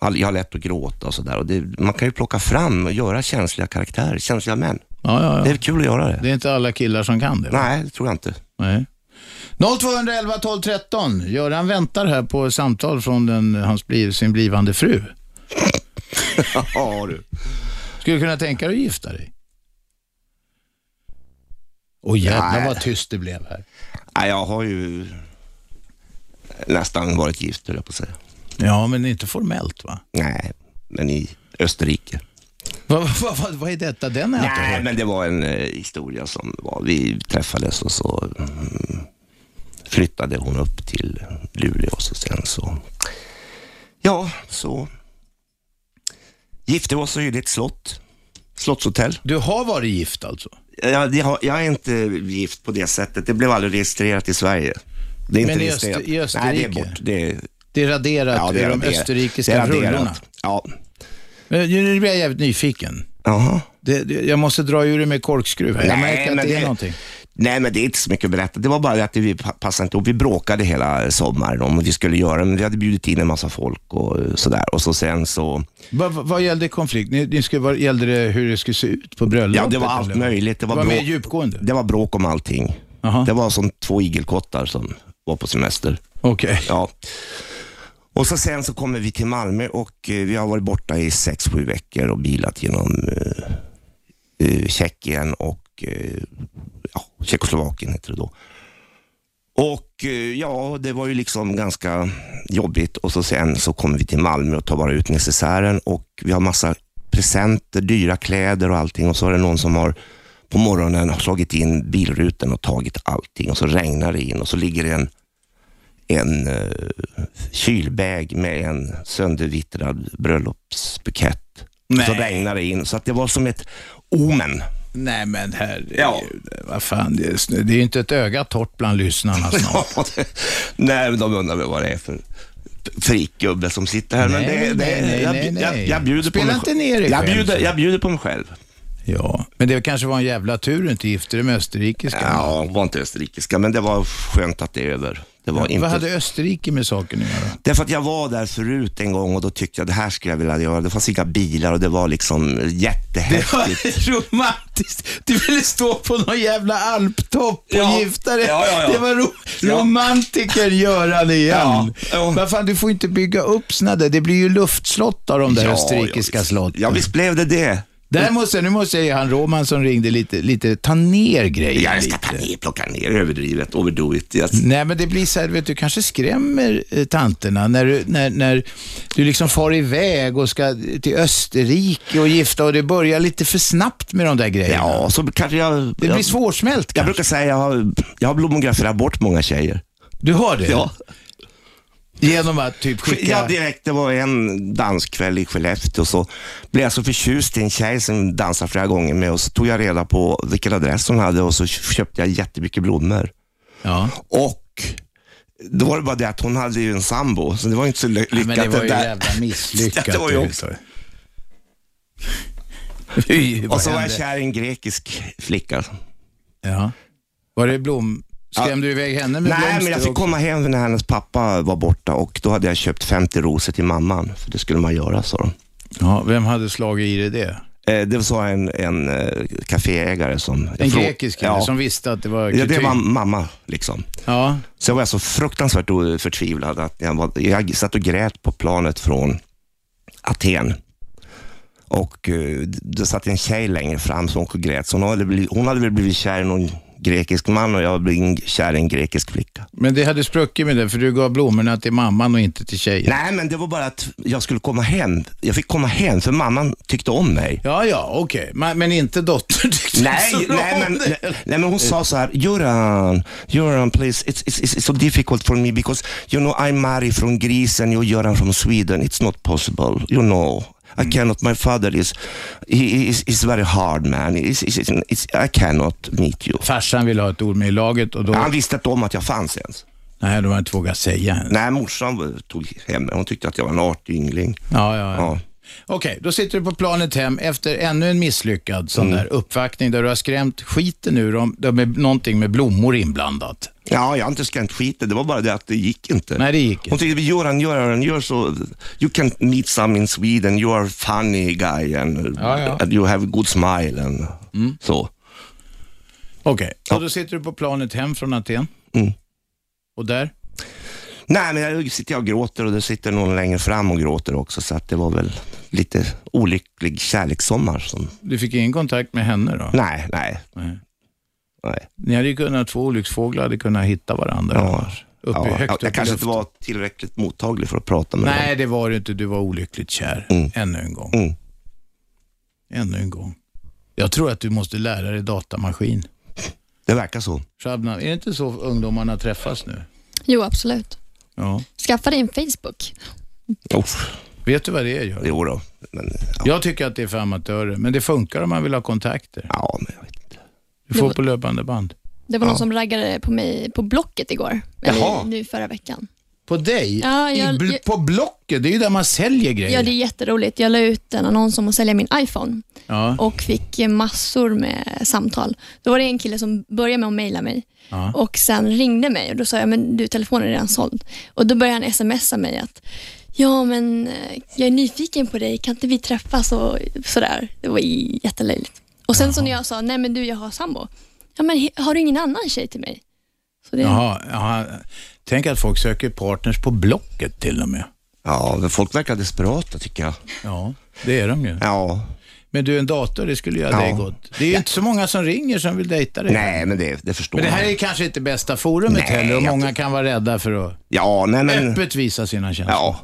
Speaker 3: all- jag har lätt att gråta och sådär. Och det- Man kan ju plocka fram och göra känsliga karaktärer, känsliga män.
Speaker 2: Ja, ja,
Speaker 3: Det
Speaker 2: ja.
Speaker 3: är kul att göra det.
Speaker 2: Det är inte alla killar som kan det. va?
Speaker 3: Nej, det tror jag inte.
Speaker 2: Nej. 0211 12 13. Göran väntar här på samtal från den, hans, bliv- sin blivande fru.
Speaker 3: Ja, du.
Speaker 2: Skulle du kunna tänka dig att gifta dig? Åh jävlar
Speaker 3: Nej.
Speaker 2: vad tyst det blev här.
Speaker 3: Nej, jag har ju nästan varit gift, höll jag på att säga.
Speaker 2: Ja, men inte formellt va?
Speaker 3: Nej, men i Österrike.
Speaker 2: Vad va, va, vad är detta? Den är inte
Speaker 3: Nej, men det var en eh, historia som var, vi träffades och så mm, flyttade hon upp till Luleå och så sen så, ja, så gifte vi oss och hyrde ett slott, slottshotell.
Speaker 2: Du har varit gift alltså?
Speaker 3: Jag, jag, har- jag är inte gift på det sättet, det blev aldrig registrerat i Sverige. Det är
Speaker 2: Men
Speaker 3: inte
Speaker 2: i
Speaker 3: registrerat.
Speaker 2: Öster- i
Speaker 3: Nej, det
Speaker 2: Österrike?
Speaker 3: är bort. Det är,
Speaker 2: Det är raderat
Speaker 3: ja, det är
Speaker 2: ur de
Speaker 3: raderat. Det
Speaker 2: österrikiska
Speaker 3: är raderat.
Speaker 2: rullorna.
Speaker 3: Ja.
Speaker 2: Men Nu nu blir jag jävligt nyfiken.
Speaker 3: Jaha.
Speaker 2: Det, det, jag måste dra ur det med korkskruv här. Jag
Speaker 3: Nej,
Speaker 2: märker att
Speaker 3: men
Speaker 2: det är
Speaker 3: det-
Speaker 2: någonting.
Speaker 3: Nej, men det är inte så mycket att berätta. Det var bara det att vi pa- passade inte ihop. Vi bråkade hela sommaren om vad vi skulle göra, men vi hade bjudit in en massa folk och eh, sådär. Och så sen så,
Speaker 2: Vad, vad- vad gällde konflikt? Ni, ni skulle, vad gällde det hur det skulle se ut på bröllopet?
Speaker 3: ja det var allt
Speaker 2: eller?
Speaker 3: möjligt. Det
Speaker 2: Det
Speaker 3: var,
Speaker 2: var mer
Speaker 3: bråk,
Speaker 2: djupgående?
Speaker 3: det var bråk om allting.
Speaker 2: Jaha.
Speaker 3: Det var som två igelkottar som var på semester.
Speaker 2: Okej.
Speaker 3: Ja. Och så sen så kommer vi till Malmö och eh, vi har varit borta i sex sju veckor och bilat genom eh, eh, Tjeckien och eh, ja, Tjeckoslovakien heter det då. Och eh, ja, det var ju liksom ganska jobbigt och så sen så kommer vi till Malmö och tar bara ut necessären och vi har massa presenter, dyra kläder och allting och så är det någon som har på morgonen har slagit in bilrutan och tagit allting och så regnar det in och så ligger det en en eh, kylbag med en söndervittrad bröllopsbukett.
Speaker 2: Nej.
Speaker 3: Så regnar det in, så att det var som ett omen.
Speaker 2: Nej men herregud,
Speaker 3: Ja.
Speaker 2: vad fan, det är, snö- det är ju inte ett öga torrt bland lyssnarna snart.
Speaker 3: nej, men de undrar väl vad det är för frikgubbe som sitter här. men
Speaker 2: Nej,
Speaker 3: det, det,
Speaker 2: nej, nej,
Speaker 3: jag,
Speaker 2: nej, nej.
Speaker 3: Jag, jag bjuder
Speaker 2: Spela
Speaker 3: på mig
Speaker 2: inte
Speaker 3: själv.
Speaker 2: ner dig
Speaker 3: jag
Speaker 2: själv.
Speaker 3: bjuder, jag bjuder på mig själv.
Speaker 2: ja, men det kanske var en jävla tur du inte gifte dig med österrikiska.
Speaker 3: Ja, det var inte österrikiska, men det var skönt att det är över. Det var inte...
Speaker 2: Vad hade Österrike med saken att göra?
Speaker 3: Därför att jag var där förut en gång och då tyckte jag det här skulle jag vilja göra. Det fanns inga bilar och det var liksom jättehäftigt.
Speaker 2: romantiskt. Du ville stå på någon jävla alptopp och
Speaker 3: Ja.
Speaker 2: gifta dig.
Speaker 3: Ja, ja, ja.
Speaker 2: Det var ro-
Speaker 3: Ja.
Speaker 2: romantiker Göran igen.
Speaker 3: Ja, ja.
Speaker 2: Vad fan, du får inte bygga upp sådana där. Det blir ju luftslott av de där österrikiska
Speaker 3: ja, visst.
Speaker 2: slotten.
Speaker 3: Ja, visst blev det det.
Speaker 2: Där måste, nu måste jag ge han Roman som ringde lite, lite ta ner grejen
Speaker 3: Jag
Speaker 2: lite.
Speaker 3: ska ta ner, plocka ner, överdrivet, overdo it. Jag,
Speaker 2: Nej, men det blir så här, vet du kanske skrämmer eh, tanterna när du, när, när du liksom far iväg och ska till Österrike och gifta och det börjar lite för snabbt med de där grejerna.
Speaker 3: ja, så kanske jag...
Speaker 2: Det blir
Speaker 3: jag,
Speaker 2: svårsmält
Speaker 3: jag
Speaker 2: kanske.
Speaker 3: brukar säga, jag har, jag har blomograferat bort många tjejer.
Speaker 2: Du har det? Genom att typ skicka...
Speaker 3: Ja, direkt. Det var en danskväll i Skellefteå så blev jag så förtjust i en tjej som dansade flera gånger med och så tog jag reda på vilken adress hon hade och så köpte jag jättemycket blommor.
Speaker 2: Ja.
Speaker 3: Och då var det bara det att hon hade ju en sambo, så det var inte så ly-
Speaker 2: Nej,
Speaker 3: lyckat.
Speaker 2: men det var ju
Speaker 3: där.
Speaker 2: jävla misslyckat.
Speaker 3: det var ju också.
Speaker 2: Fy, vad
Speaker 3: Och så var jag
Speaker 2: hände?
Speaker 3: kär i en grekisk flicka.
Speaker 2: Ja. Var det blom... Skrämde du iväg henne med
Speaker 3: Nej,
Speaker 2: blomster?
Speaker 3: men alltså, jag fick
Speaker 2: också?
Speaker 3: komma hem när hennes pappa var borta och då hade jag köpt 50 rosor till mamman, för det skulle man göra, sa de.
Speaker 2: Ja, vem hade slagit i dig det?
Speaker 3: Eh, Det sa en, en eh, kaféägare som...
Speaker 2: En
Speaker 3: jag frå-
Speaker 2: grekisk kille
Speaker 3: ja.
Speaker 2: som visste att det var
Speaker 3: Ja, det
Speaker 2: kutym.
Speaker 3: var mamma liksom.
Speaker 2: Ja,
Speaker 3: Så var jag så fruktansvärt o- förtvivlad att jag, var, jag satt och grät på planet från Aten. Och eh, det satt en tjej längre fram som också grät. Så hon hade, blivit, hon hade väl blivit kär i någon grekisk man och jag hade blivit kär i en grekisk flicka.
Speaker 2: men det hade spruckit med det för du gav blommorna till mamman och inte till tjejen.
Speaker 3: Nej, men det var bara att jag skulle komma hem. Jag fick komma hem för mamman tyckte om mig.
Speaker 2: Ja, ja, okej. Men, men inte dottern tyckte
Speaker 3: Nej,
Speaker 2: så bra
Speaker 3: nej,
Speaker 2: om
Speaker 3: men,
Speaker 2: det.
Speaker 3: nej, nej, men hon sa så här, Göran, Göran please, it's, it's, it's so difficult for me because you know I'm Mari från Greece and you're Göran från Sweden. It's not possible, you know.
Speaker 2: Mm.
Speaker 3: I cannot, my father is, he is, is very hard man. Is, is, is, is, I cannot meet you.
Speaker 2: Farsan ville ha ett ord med i laget och då...
Speaker 3: Han visste inte om att jag fanns ens.
Speaker 2: Nej, då har jag inte vågat säga än.
Speaker 3: Nej, morsan tog hem mig. Hon tyckte att jag var en artig yngling.
Speaker 2: Ja, ja, ja.
Speaker 3: Ja.
Speaker 2: Okej, då sitter du på planet hem efter ännu en misslyckad sån
Speaker 3: Mm.
Speaker 2: där uppvaktning där du har skrämt skiten ur dem. De är någonting med blommor inblandat.
Speaker 3: Ja, jag har inte skrämt skiten. Det var bara det att det gick inte.
Speaker 2: Nej, det gick
Speaker 3: Hon
Speaker 2: inte.
Speaker 3: tyckte, Göran, Göran, gör så. You can meet some in Sweden. You are funny guy and
Speaker 2: Ja, ja. Mm.
Speaker 3: and you have a good smile and så.
Speaker 2: Okej, och då sitter du på planet hem från Aten.
Speaker 3: Mm.
Speaker 2: Och där?
Speaker 3: Nej, men jag sitter jag och gråter och det sitter någon längre fram och gråter också. Så att det var väl lite olycklig kärlekssommar. Som...
Speaker 2: Du fick ingen kontakt med henne då?
Speaker 3: Nej, nej,
Speaker 2: Nej.
Speaker 3: nej.
Speaker 2: Ni hade ju kunnat, två olycksfåglar hade kunnat hitta varandra annars. Uppe,
Speaker 3: Ja,
Speaker 2: högt
Speaker 3: jag,
Speaker 2: upp i
Speaker 3: jag kanske inte
Speaker 2: luften.
Speaker 3: var tillräckligt mottaglig för att prata med
Speaker 2: Nej, det var du inte. Du var olyckligt kär. Ännu en gång.
Speaker 3: Mm.
Speaker 2: Ännu en gång. Jag tror att du måste lära dig datamaskin.
Speaker 3: dem. Det verkar så.
Speaker 2: Shabnam, är det inte så ungdomarna träffas nu?
Speaker 7: Jo, absolut.
Speaker 2: Ja.
Speaker 7: Skaffa dig en Facebook.
Speaker 3: Uff,
Speaker 2: Vet du vad det gör?
Speaker 3: jo då. Men, ja,
Speaker 2: Jag tycker att det är för amatörer, men det funkar om man vill ha kontakter.
Speaker 3: ja, men jag vet inte.
Speaker 2: Du får på löpande band.
Speaker 7: Det var någon som raggade på mig på Blocket igår.
Speaker 3: Jaha.
Speaker 7: Eller nu förra veckan.
Speaker 2: På dig?
Speaker 7: Ja, jag-
Speaker 2: I, bl- på Blocket? Det är ju där man säljer grejer.
Speaker 7: Ja, det är jätteroligt. Jag la ut en annons om att sälja min iPhone
Speaker 2: Ja.
Speaker 7: och fick massor med samtal. Då var det en kille som började med att mejla mig
Speaker 2: Ja.
Speaker 7: och sen ringde mig och då sa jag, men du telefonen är redan såld. Och då började han smsa mig att, ja men eh, jag är nyfiken på dig, kan inte vi träffas och sådär. Det var jättelöjligt. Och sen så när jag sa, nej men du jag har sambo, ja men he- har du ingen annan tjej till mig? Så det,
Speaker 2: Jaha, jaha. Tänk att folk söker partners på Blocket till och med.
Speaker 3: Ja, men folk verkar desperata tycker jag.
Speaker 2: Ja, det är de ju.
Speaker 3: Ja,
Speaker 2: Men du, en dator, det skulle göra
Speaker 3: Ja.
Speaker 2: dig gott. Det är ju inte så många som ringer som vill dejta dig.
Speaker 3: nej, men det, det förstår
Speaker 2: Men det här
Speaker 3: jag.
Speaker 2: är kanske inte bästa forumet
Speaker 3: Nej,
Speaker 2: heller och
Speaker 3: jag
Speaker 2: många
Speaker 3: ty-
Speaker 2: kan vara rädda för att
Speaker 3: Ja, nej men.
Speaker 2: öppet visa sina känslor.
Speaker 3: Ja,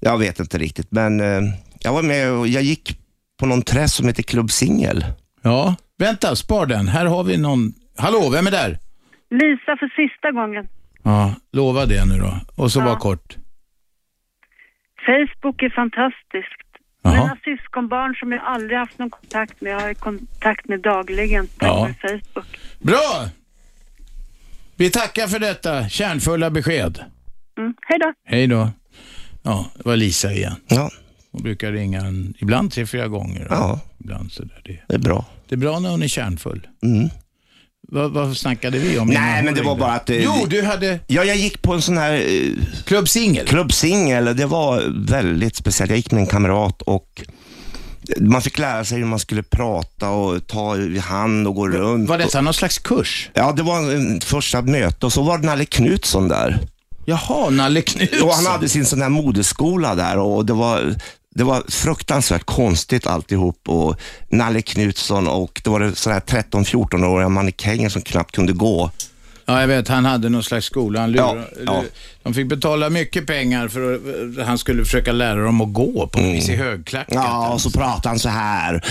Speaker 3: jag vet inte riktigt. Men eh, jag var med och jag gick på någon träff som heter Club Singel.
Speaker 2: Ja, vänta, spar den. Här har vi någon. Hallå, vem är där?
Speaker 4: Lisa för sista gången.
Speaker 2: Ja, lova det nu då. Och så bara kort.
Speaker 4: Facebook är fantastiskt.
Speaker 2: Jaha.
Speaker 4: Mina syskonbarn som jag aldrig haft någon kontakt med, jag har kontakt med dagligen tack
Speaker 2: Ja.
Speaker 4: vare Facebook.
Speaker 2: Bra! Vi tackar för detta kärnfulla besked.
Speaker 4: Mm. Hej då!
Speaker 2: Hej då. Ja, det var Lisa igen.
Speaker 3: Ja,
Speaker 2: Hon brukar ringa en, ibland tre, fyra gånger. och
Speaker 3: Ja.
Speaker 2: Ibland sådär. Det,
Speaker 3: det är bra.
Speaker 2: det är bra när hon är kärnfull.
Speaker 3: Mm.
Speaker 2: Vad, vad snackade vi om?
Speaker 3: Nej,
Speaker 2: innan hon
Speaker 3: men det var
Speaker 2: ringde?
Speaker 3: bara att, eh,
Speaker 2: Jo, du hade
Speaker 3: Ja, jag gick på en sån här eh,
Speaker 2: Club Singel.
Speaker 3: Club Singel. Det var väldigt speciellt. Jag gick med en kamrat och man fick lära sig hur man skulle prata och ta i hand och gå runt.
Speaker 2: Var
Speaker 3: och-
Speaker 2: detta någon slags kurs?
Speaker 3: Ja, det var en- en första möte och så var det Nalle Knutsson där.
Speaker 2: Jaha, Nalle Knutsson.
Speaker 3: Och han hade sin sån här modeskola där och det var, det var fruktansvärt konstigt alltihop. Och Nalle Knutsson och det var det sån här 13-14-åriga mannekänger som knappt kunde gå.
Speaker 2: Ja, jag vet. Han hade någon slags skola. Han lurade,
Speaker 3: Ja, ja.
Speaker 2: De fick betala mycket pengar för att han skulle försöka lära dem att gå på
Speaker 3: Mm.
Speaker 2: något vis i högklackat.
Speaker 3: Ja, och så pratade han så här.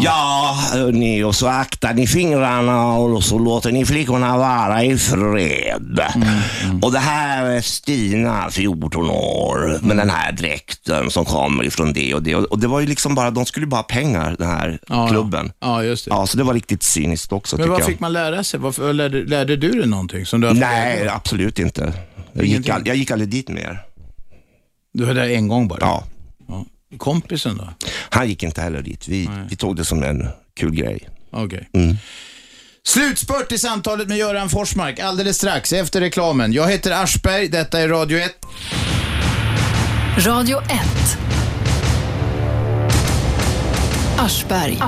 Speaker 3: Ja, hörni, och så aktar ni fingrarna och så låter ni flickorna vara i fred.
Speaker 2: Mm,
Speaker 3: Och det här är Stina, 14 år, med den här dräkten som kommer ifrån det och det. Och och det var ju liksom bara, de skulle ju bara ha pengar, den här
Speaker 2: Ja, ja.
Speaker 3: klubben.
Speaker 2: Ja, just det.
Speaker 3: Ja, så det var riktigt cyniskt också
Speaker 2: Men vad
Speaker 3: tycker
Speaker 2: fick
Speaker 3: jag.
Speaker 2: man lära sig? Varför, lärde, lärde du dig någonting? Som du har fått lära
Speaker 3: Nej,
Speaker 2: dig?
Speaker 3: absolut inte. Jag gick,
Speaker 2: Ingenting.
Speaker 3: all, jag gick aldrig dit mer.
Speaker 2: Du var där en gång bara?
Speaker 3: Ja,
Speaker 2: Ja. Kompisen då?
Speaker 3: han gick inte heller dit. Vi, vi tog det som en kul grej. Mm.
Speaker 2: Okej. Slutspurt i samtalet med Göran Forsmark alldeles strax efter reklamen. Jag heter Aschberg, detta är Radio 1.
Speaker 1: Radio 1. Aschberg.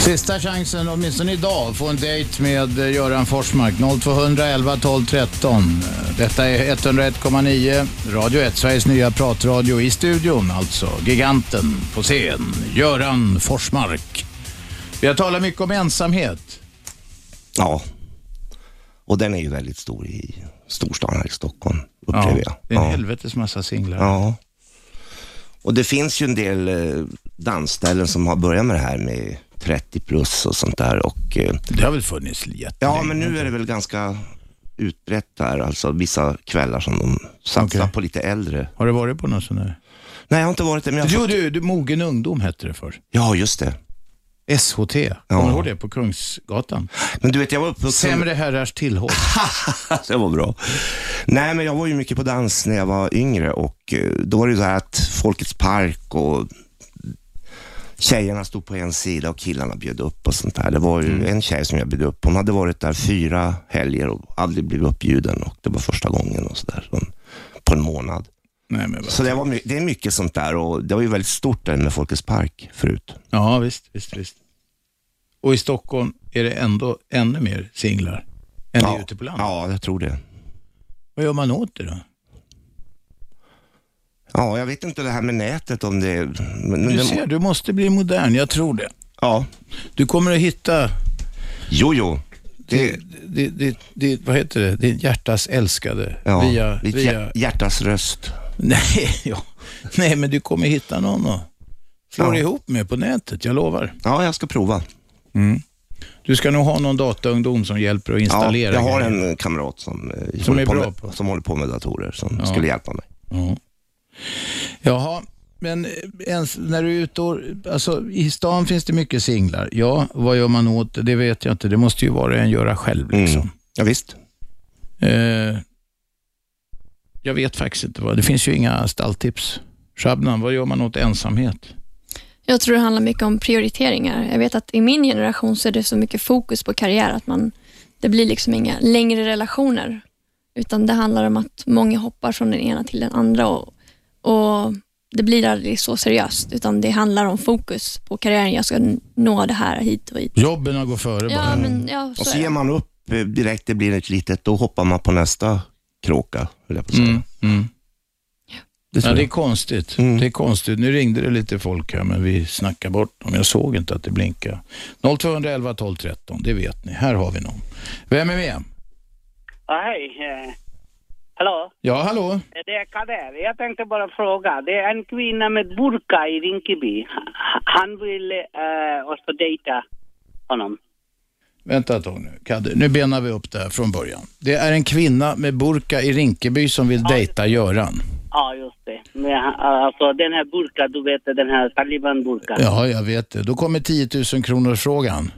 Speaker 2: Sista chansen, åtminstone idag, att få en dejt med eh, Göran Forsmark. 0211 12 13. Eh, Detta är 101,9 Radio 1, Sveriges nya pratradio. I studion alltså, giganten på scen, Göran Forsmark. Vi har talat mycket om ensamhet.
Speaker 3: Ja. Och den är ju väldigt stor i storstan här i Stockholm, upplever
Speaker 2: det är en
Speaker 3: jag. Ja.
Speaker 2: helvetes massa singlar.
Speaker 3: ja. Och det finns ju en del eh, dansställen som har börjat med det här med 30 plus och sånt där. Och, eh,
Speaker 2: Det har väl funnits jättelänge?
Speaker 3: ja, men nu är det väl ganska utbrett där, alltså vissa kvällar som de satsar
Speaker 2: Okej.
Speaker 3: på lite äldre.
Speaker 2: Har du varit på någon sån där?
Speaker 3: Nej, jag har inte varit det, men jag har
Speaker 2: Jo,
Speaker 3: fått...
Speaker 2: du, du, Mogen ungdom hette det förr.
Speaker 3: Ja, just det.
Speaker 2: SHT. Kommer
Speaker 3: Ja.
Speaker 2: du ihåg det? På Kungsgatan.
Speaker 3: Men du vet, jag var uppvuxen...
Speaker 2: Sämre herrars tillhåll.
Speaker 3: det var bra. Nej, men jag var ju mycket på dans när jag var yngre och eh, då var det ju så här att Folkets park och tjejerna stod på en sida och killarna bjöd upp och sånt där. Det var
Speaker 2: Mm.
Speaker 3: ju en tjej som jag bjöd upp. Hon hade varit där fyra helger och aldrig blivit uppbjuden och det var första gången och sådär. På en månad.
Speaker 2: Nej, men vad-
Speaker 3: Så det, var, my- det är mycket sånt där och det var ju väldigt stort där med Folkets park förut.
Speaker 2: Ja, visst, visst, visst. Och i Stockholm är det ändå ännu mer singlar än det är ute på landet.
Speaker 3: Ja, jag tror det.
Speaker 2: Vad gör man åt det då?
Speaker 3: Ja, jag vet inte det här med nätet om det... Men, men
Speaker 2: Du
Speaker 3: det-
Speaker 2: ser, du måste bli modern, jag tror det.
Speaker 3: Ja.
Speaker 2: Du kommer att hitta
Speaker 3: Jo, jo.
Speaker 2: det, det, det, det, vad heter det? Ditt hjärtas älskade
Speaker 3: Ja,
Speaker 2: via...
Speaker 3: ditt
Speaker 2: via...
Speaker 3: hjär- hjärtas röst.
Speaker 2: Nej, ja. Nej, men du kommer hitta någon och slår
Speaker 3: Ja.
Speaker 2: ihop med på nätet, jag lovar. Mm.
Speaker 3: Ja, jag ska prova.
Speaker 2: Du ska nog ha någon dataungdom som hjälper att
Speaker 3: Ja,
Speaker 2: installera
Speaker 3: jag har
Speaker 2: grejer.
Speaker 3: en eh, kamrat som, eh,
Speaker 2: Som är
Speaker 3: på
Speaker 2: bra
Speaker 3: med,
Speaker 2: på.
Speaker 3: som håller på med datorer som skulle hjälpa mig.
Speaker 2: Ja. Jaha, men eh, ens när du är ute och, alltså i stan finns det mycket singlar. Ja, vad gör man åt det? Det vet jag inte. Det måste ju vara en göra själv liksom.
Speaker 3: Mm. Ja, visst.
Speaker 2: Eh, jag vet faktiskt inte vad. Det finns ju inga stalltips. Shabnam, vad gör man åt ensamhet?
Speaker 7: Jag tror det handlar mycket om prioriteringar. Jag vet att i min generation så är det så mycket fokus på karriär att man, det blir liksom inga längre relationer. Utan det handlar om att många hoppar från den ena till den andra och, och det blir aldrig så seriöst. Utan det handlar om fokus på karriären. Jag ska n- nå det här hit och hit.
Speaker 2: Jobben har gått före bara.
Speaker 7: Ja, men ja,
Speaker 3: Och
Speaker 7: så
Speaker 3: så
Speaker 7: är
Speaker 3: ger
Speaker 7: det.
Speaker 3: man upp eh, direkt, det blir ett litet, då hoppar man på nästa kråka, höll jag på att säga.
Speaker 2: Mm, mm.
Speaker 3: Det tror
Speaker 2: Ja, det är
Speaker 3: jag.
Speaker 2: konstigt.
Speaker 3: Mm.
Speaker 2: Det är konstigt. Nu ringde det lite folk här, men vi snackar bort dem. Jag såg inte att det blinkade. 0211 12 13, det vet ni. Här har vi någon. Vem är med?
Speaker 12: Ja, hej. Eh, Hallå, Eh,
Speaker 2: Ja, hallå?
Speaker 12: det är Kader. Jag tänkte bara fråga. Det är en kvinna med burka i Rinkeby. Ha- Han vill eh, oss få dejta honom.
Speaker 2: Vänta ett tag nu. Kadde, nu benar vi upp det här från början. Det är en kvinna med burka i Rinkeby som vill dejta Göran.
Speaker 12: Ja, just det. Men, han- alltså den här burka, du vet den här Taliban-burka.
Speaker 2: Ja, jag vet det. Då kommer 10 000 kronors frågan.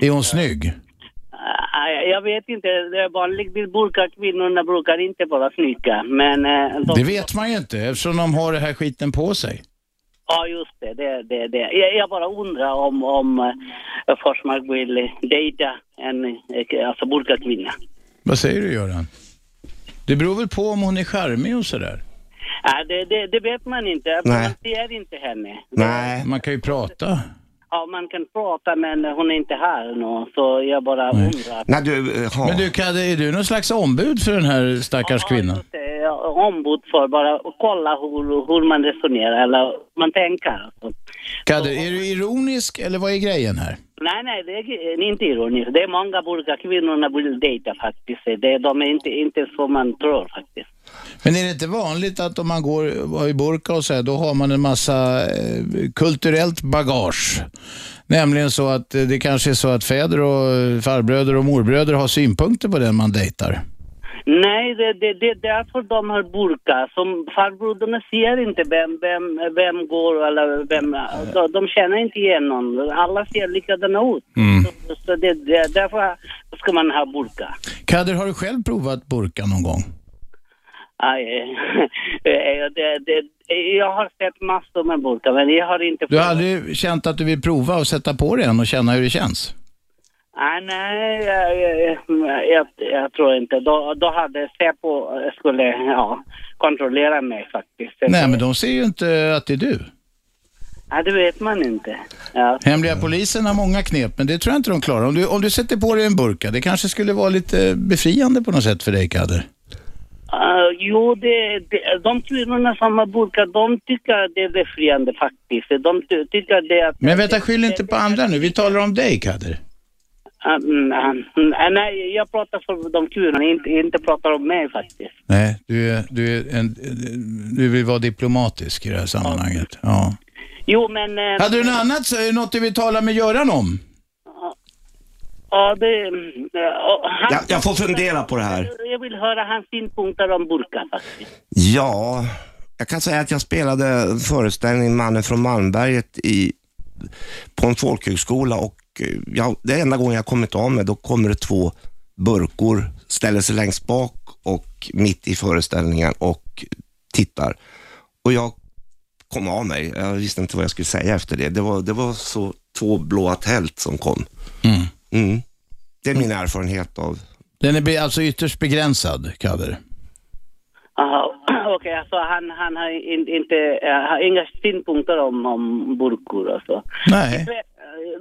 Speaker 2: Är hon snygg?
Speaker 12: Eh, Jag vet inte, det är vanligtvis burka, kvinnorna brukar inte vara snygga, men... eh, de-
Speaker 2: Det vet man ju inte eftersom de har det här skiten på sig.
Speaker 12: Ja, just det. det, det, det. Jag, jag bara undrar om, om eh, Forsmark vill eh, dejta en eh, alltså burkakvinna.
Speaker 2: Vad säger du Göran? Det beror väl på om hon är charmig och sådär.
Speaker 12: Ja, det, det, det vet man inte.
Speaker 3: Nej.
Speaker 12: Man ser inte henne.
Speaker 3: Nej,
Speaker 2: Man kan ju prata.
Speaker 12: Ja, man kan prata, men hon är inte här nu, så jag bara undrar.
Speaker 3: Nej du, eh, ha.
Speaker 2: Men du Kadde, är du någon slags ombud för den här stackars kvinnan?
Speaker 12: just det. Jag är eh, Ombud för bara att kolla hur, hur man resonerar eller hur man tänker. alltså.
Speaker 2: Kadde, är du ironisk eller vad är grejen här?
Speaker 12: Nej, nej, det är inte ironiskt. Det är många burkakvinnorna vill dejta faktiskt. Det, de är inte, inte som man tror faktiskt.
Speaker 2: Men är det inte vanligt att om man går i burka och så här, då har man en massa eh, kulturellt bagage? Nämligen så att eh, det kanske är så att fäder och eh, farbröder och morbröder har synpunkter på den man dejtar.
Speaker 12: Nej, det, det, det är därför de har burka. Som farbroderna ser inte vem, vem, vem går eller vem... De, de känner inte igen någon. Alla ser likadana ut.
Speaker 2: Mm.
Speaker 12: Så, så det, det, därför ska man ha burka.
Speaker 2: Kader, har du själv provat burka någon gång?
Speaker 12: Aj, eh, det, det, jag har sett massor med burka, men jag har inte...
Speaker 2: Du har aldrig känt att du vill prova och sätta på dig en och känna hur det känns?
Speaker 12: Ah, nej, jag, jag, jag, jag tror inte. Då, då hade Säpo skulle ja, kontrollera mig faktiskt.
Speaker 2: Nej, men de ser ju inte att det är du.
Speaker 12: Ja, det vet man inte. Ja.
Speaker 2: Hemliga polisen har många knep, men det tror jag inte de klarar. Om du, om du sätter på dig en burka, det kanske skulle vara lite befriande på något sätt för dig, Kader.
Speaker 12: Ah, jo, det, det, de kvinnorna som har burka, de tycker att det är befriande faktiskt. De ty, tycker det att...
Speaker 2: Men vänta, skyll inte på andra nu. Vi talar om dig, Kader.
Speaker 12: Ah, mm, ah, mm, ah, nej, jag pratar för de kvinnorna, inte, inte pratar om mig faktiskt.
Speaker 2: Nej, du, är, du, är en, du vill vara diplomatisk i det här sammanhanget. Ja.
Speaker 12: Jo, men... eh,
Speaker 2: Hade du något annat, så- något du vill tala med Göran om?
Speaker 12: Ja, det... ja, han-
Speaker 3: Jag, jag får fundera på det här.
Speaker 12: Jag vill höra hans synpunkter om burka faktiskt.
Speaker 3: Ja, jag kan säga att jag spelade föreställningen Mannen från Malmberget i, på en folkhögskola och eh, jag, det är enda gången jag kommit av med, då kommer det två burkor, ställer sig längst bak och mitt i föreställningen och tittar. Och jag kom av mig, jag visste inte vad jag skulle säga efter det. Det var, det var så två blåa tält som kom. Mm. Det är min erfarenhet av
Speaker 2: Den är be- alltså ytterst begränsad, cover.
Speaker 12: Aha, Okej, alltså han, han har in, inte, eh, har inga synpunkter om, om burkor och så.
Speaker 2: Nej.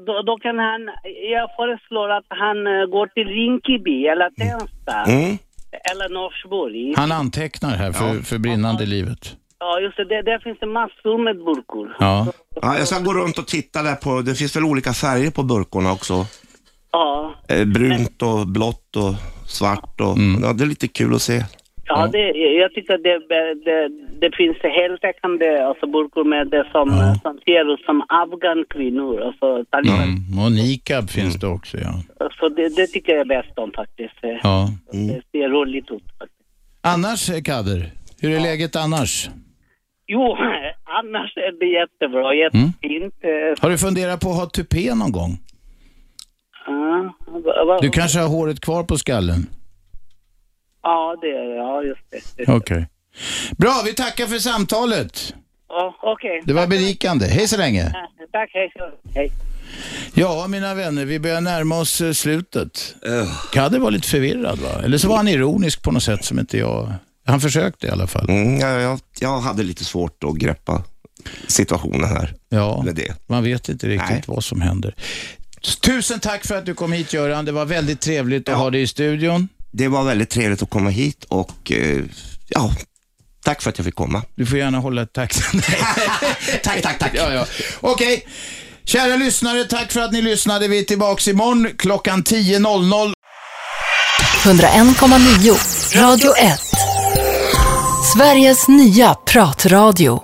Speaker 12: Då, då kan han, jag föreslår att han eh, går till Rinkeby eller Tensta
Speaker 2: Mm.
Speaker 12: eller Norsborg.
Speaker 2: Han antecknar här för, för brinnande livet.
Speaker 12: Ja, just det, där, där finns det massor med burkor.
Speaker 2: Ja.
Speaker 3: Ja, jag ska gå runt och titta där på, det finns väl olika färger på burkorna också.
Speaker 12: Ja,
Speaker 3: Eh, brunt och blått och svart och,
Speaker 2: Mm.
Speaker 3: ja, det är lite kul att se.
Speaker 12: ja det, jag tycker det, det, det finns heltäckande alltså, burkor med det som, som ser ut som afghankvinnor. Alltså, taliban.
Speaker 2: Mm. Och niqab finns det också, ja.
Speaker 12: Så det, det tycker jag är bäst om faktiskt.
Speaker 2: ja.
Speaker 12: Det ser roligt ut.
Speaker 2: Annars, eh, cover, hur är läget annars?
Speaker 12: Jo, annars är det jättebra, jättefint. Mm.
Speaker 2: Har du funderat på att ha tupé någon gång? Du kanske har håret kvar på skallen?
Speaker 12: Ja, det är det. Ja, just det.
Speaker 2: Okej. Bra, vi tackar för samtalet.
Speaker 12: Ja, Okej.
Speaker 2: Det var berikande. Hej så länge.
Speaker 12: Ja, Tack, hej. så- hej.
Speaker 2: Ja, mina vänner, vi börjar närma oss eh, slutet. Kader var lite förvirrad, va? Eller så var han ironisk på något sätt som inte jag... Han försökte i alla fall.
Speaker 3: Mm, jag, jag, jag hade lite svårt att greppa situationen här.
Speaker 2: Ja,
Speaker 3: Med det.
Speaker 2: man vet inte riktigt vad som händer. Tusen tack för att du kom hit, Göran. Det var väldigt trevligt att ha dig i studion.
Speaker 3: Det var väldigt trevligt att komma hit och eh, ja, tack för att jag fick komma.
Speaker 2: Du får gärna hålla takten. tack, tack, tack. Ja, ja. Okej. Kära lyssnare, tack för att ni lyssnade. Vi är tillbaka imorgon klockan 10.00.
Speaker 1: 101,9 Radio 1. Sveriges nya pratradio.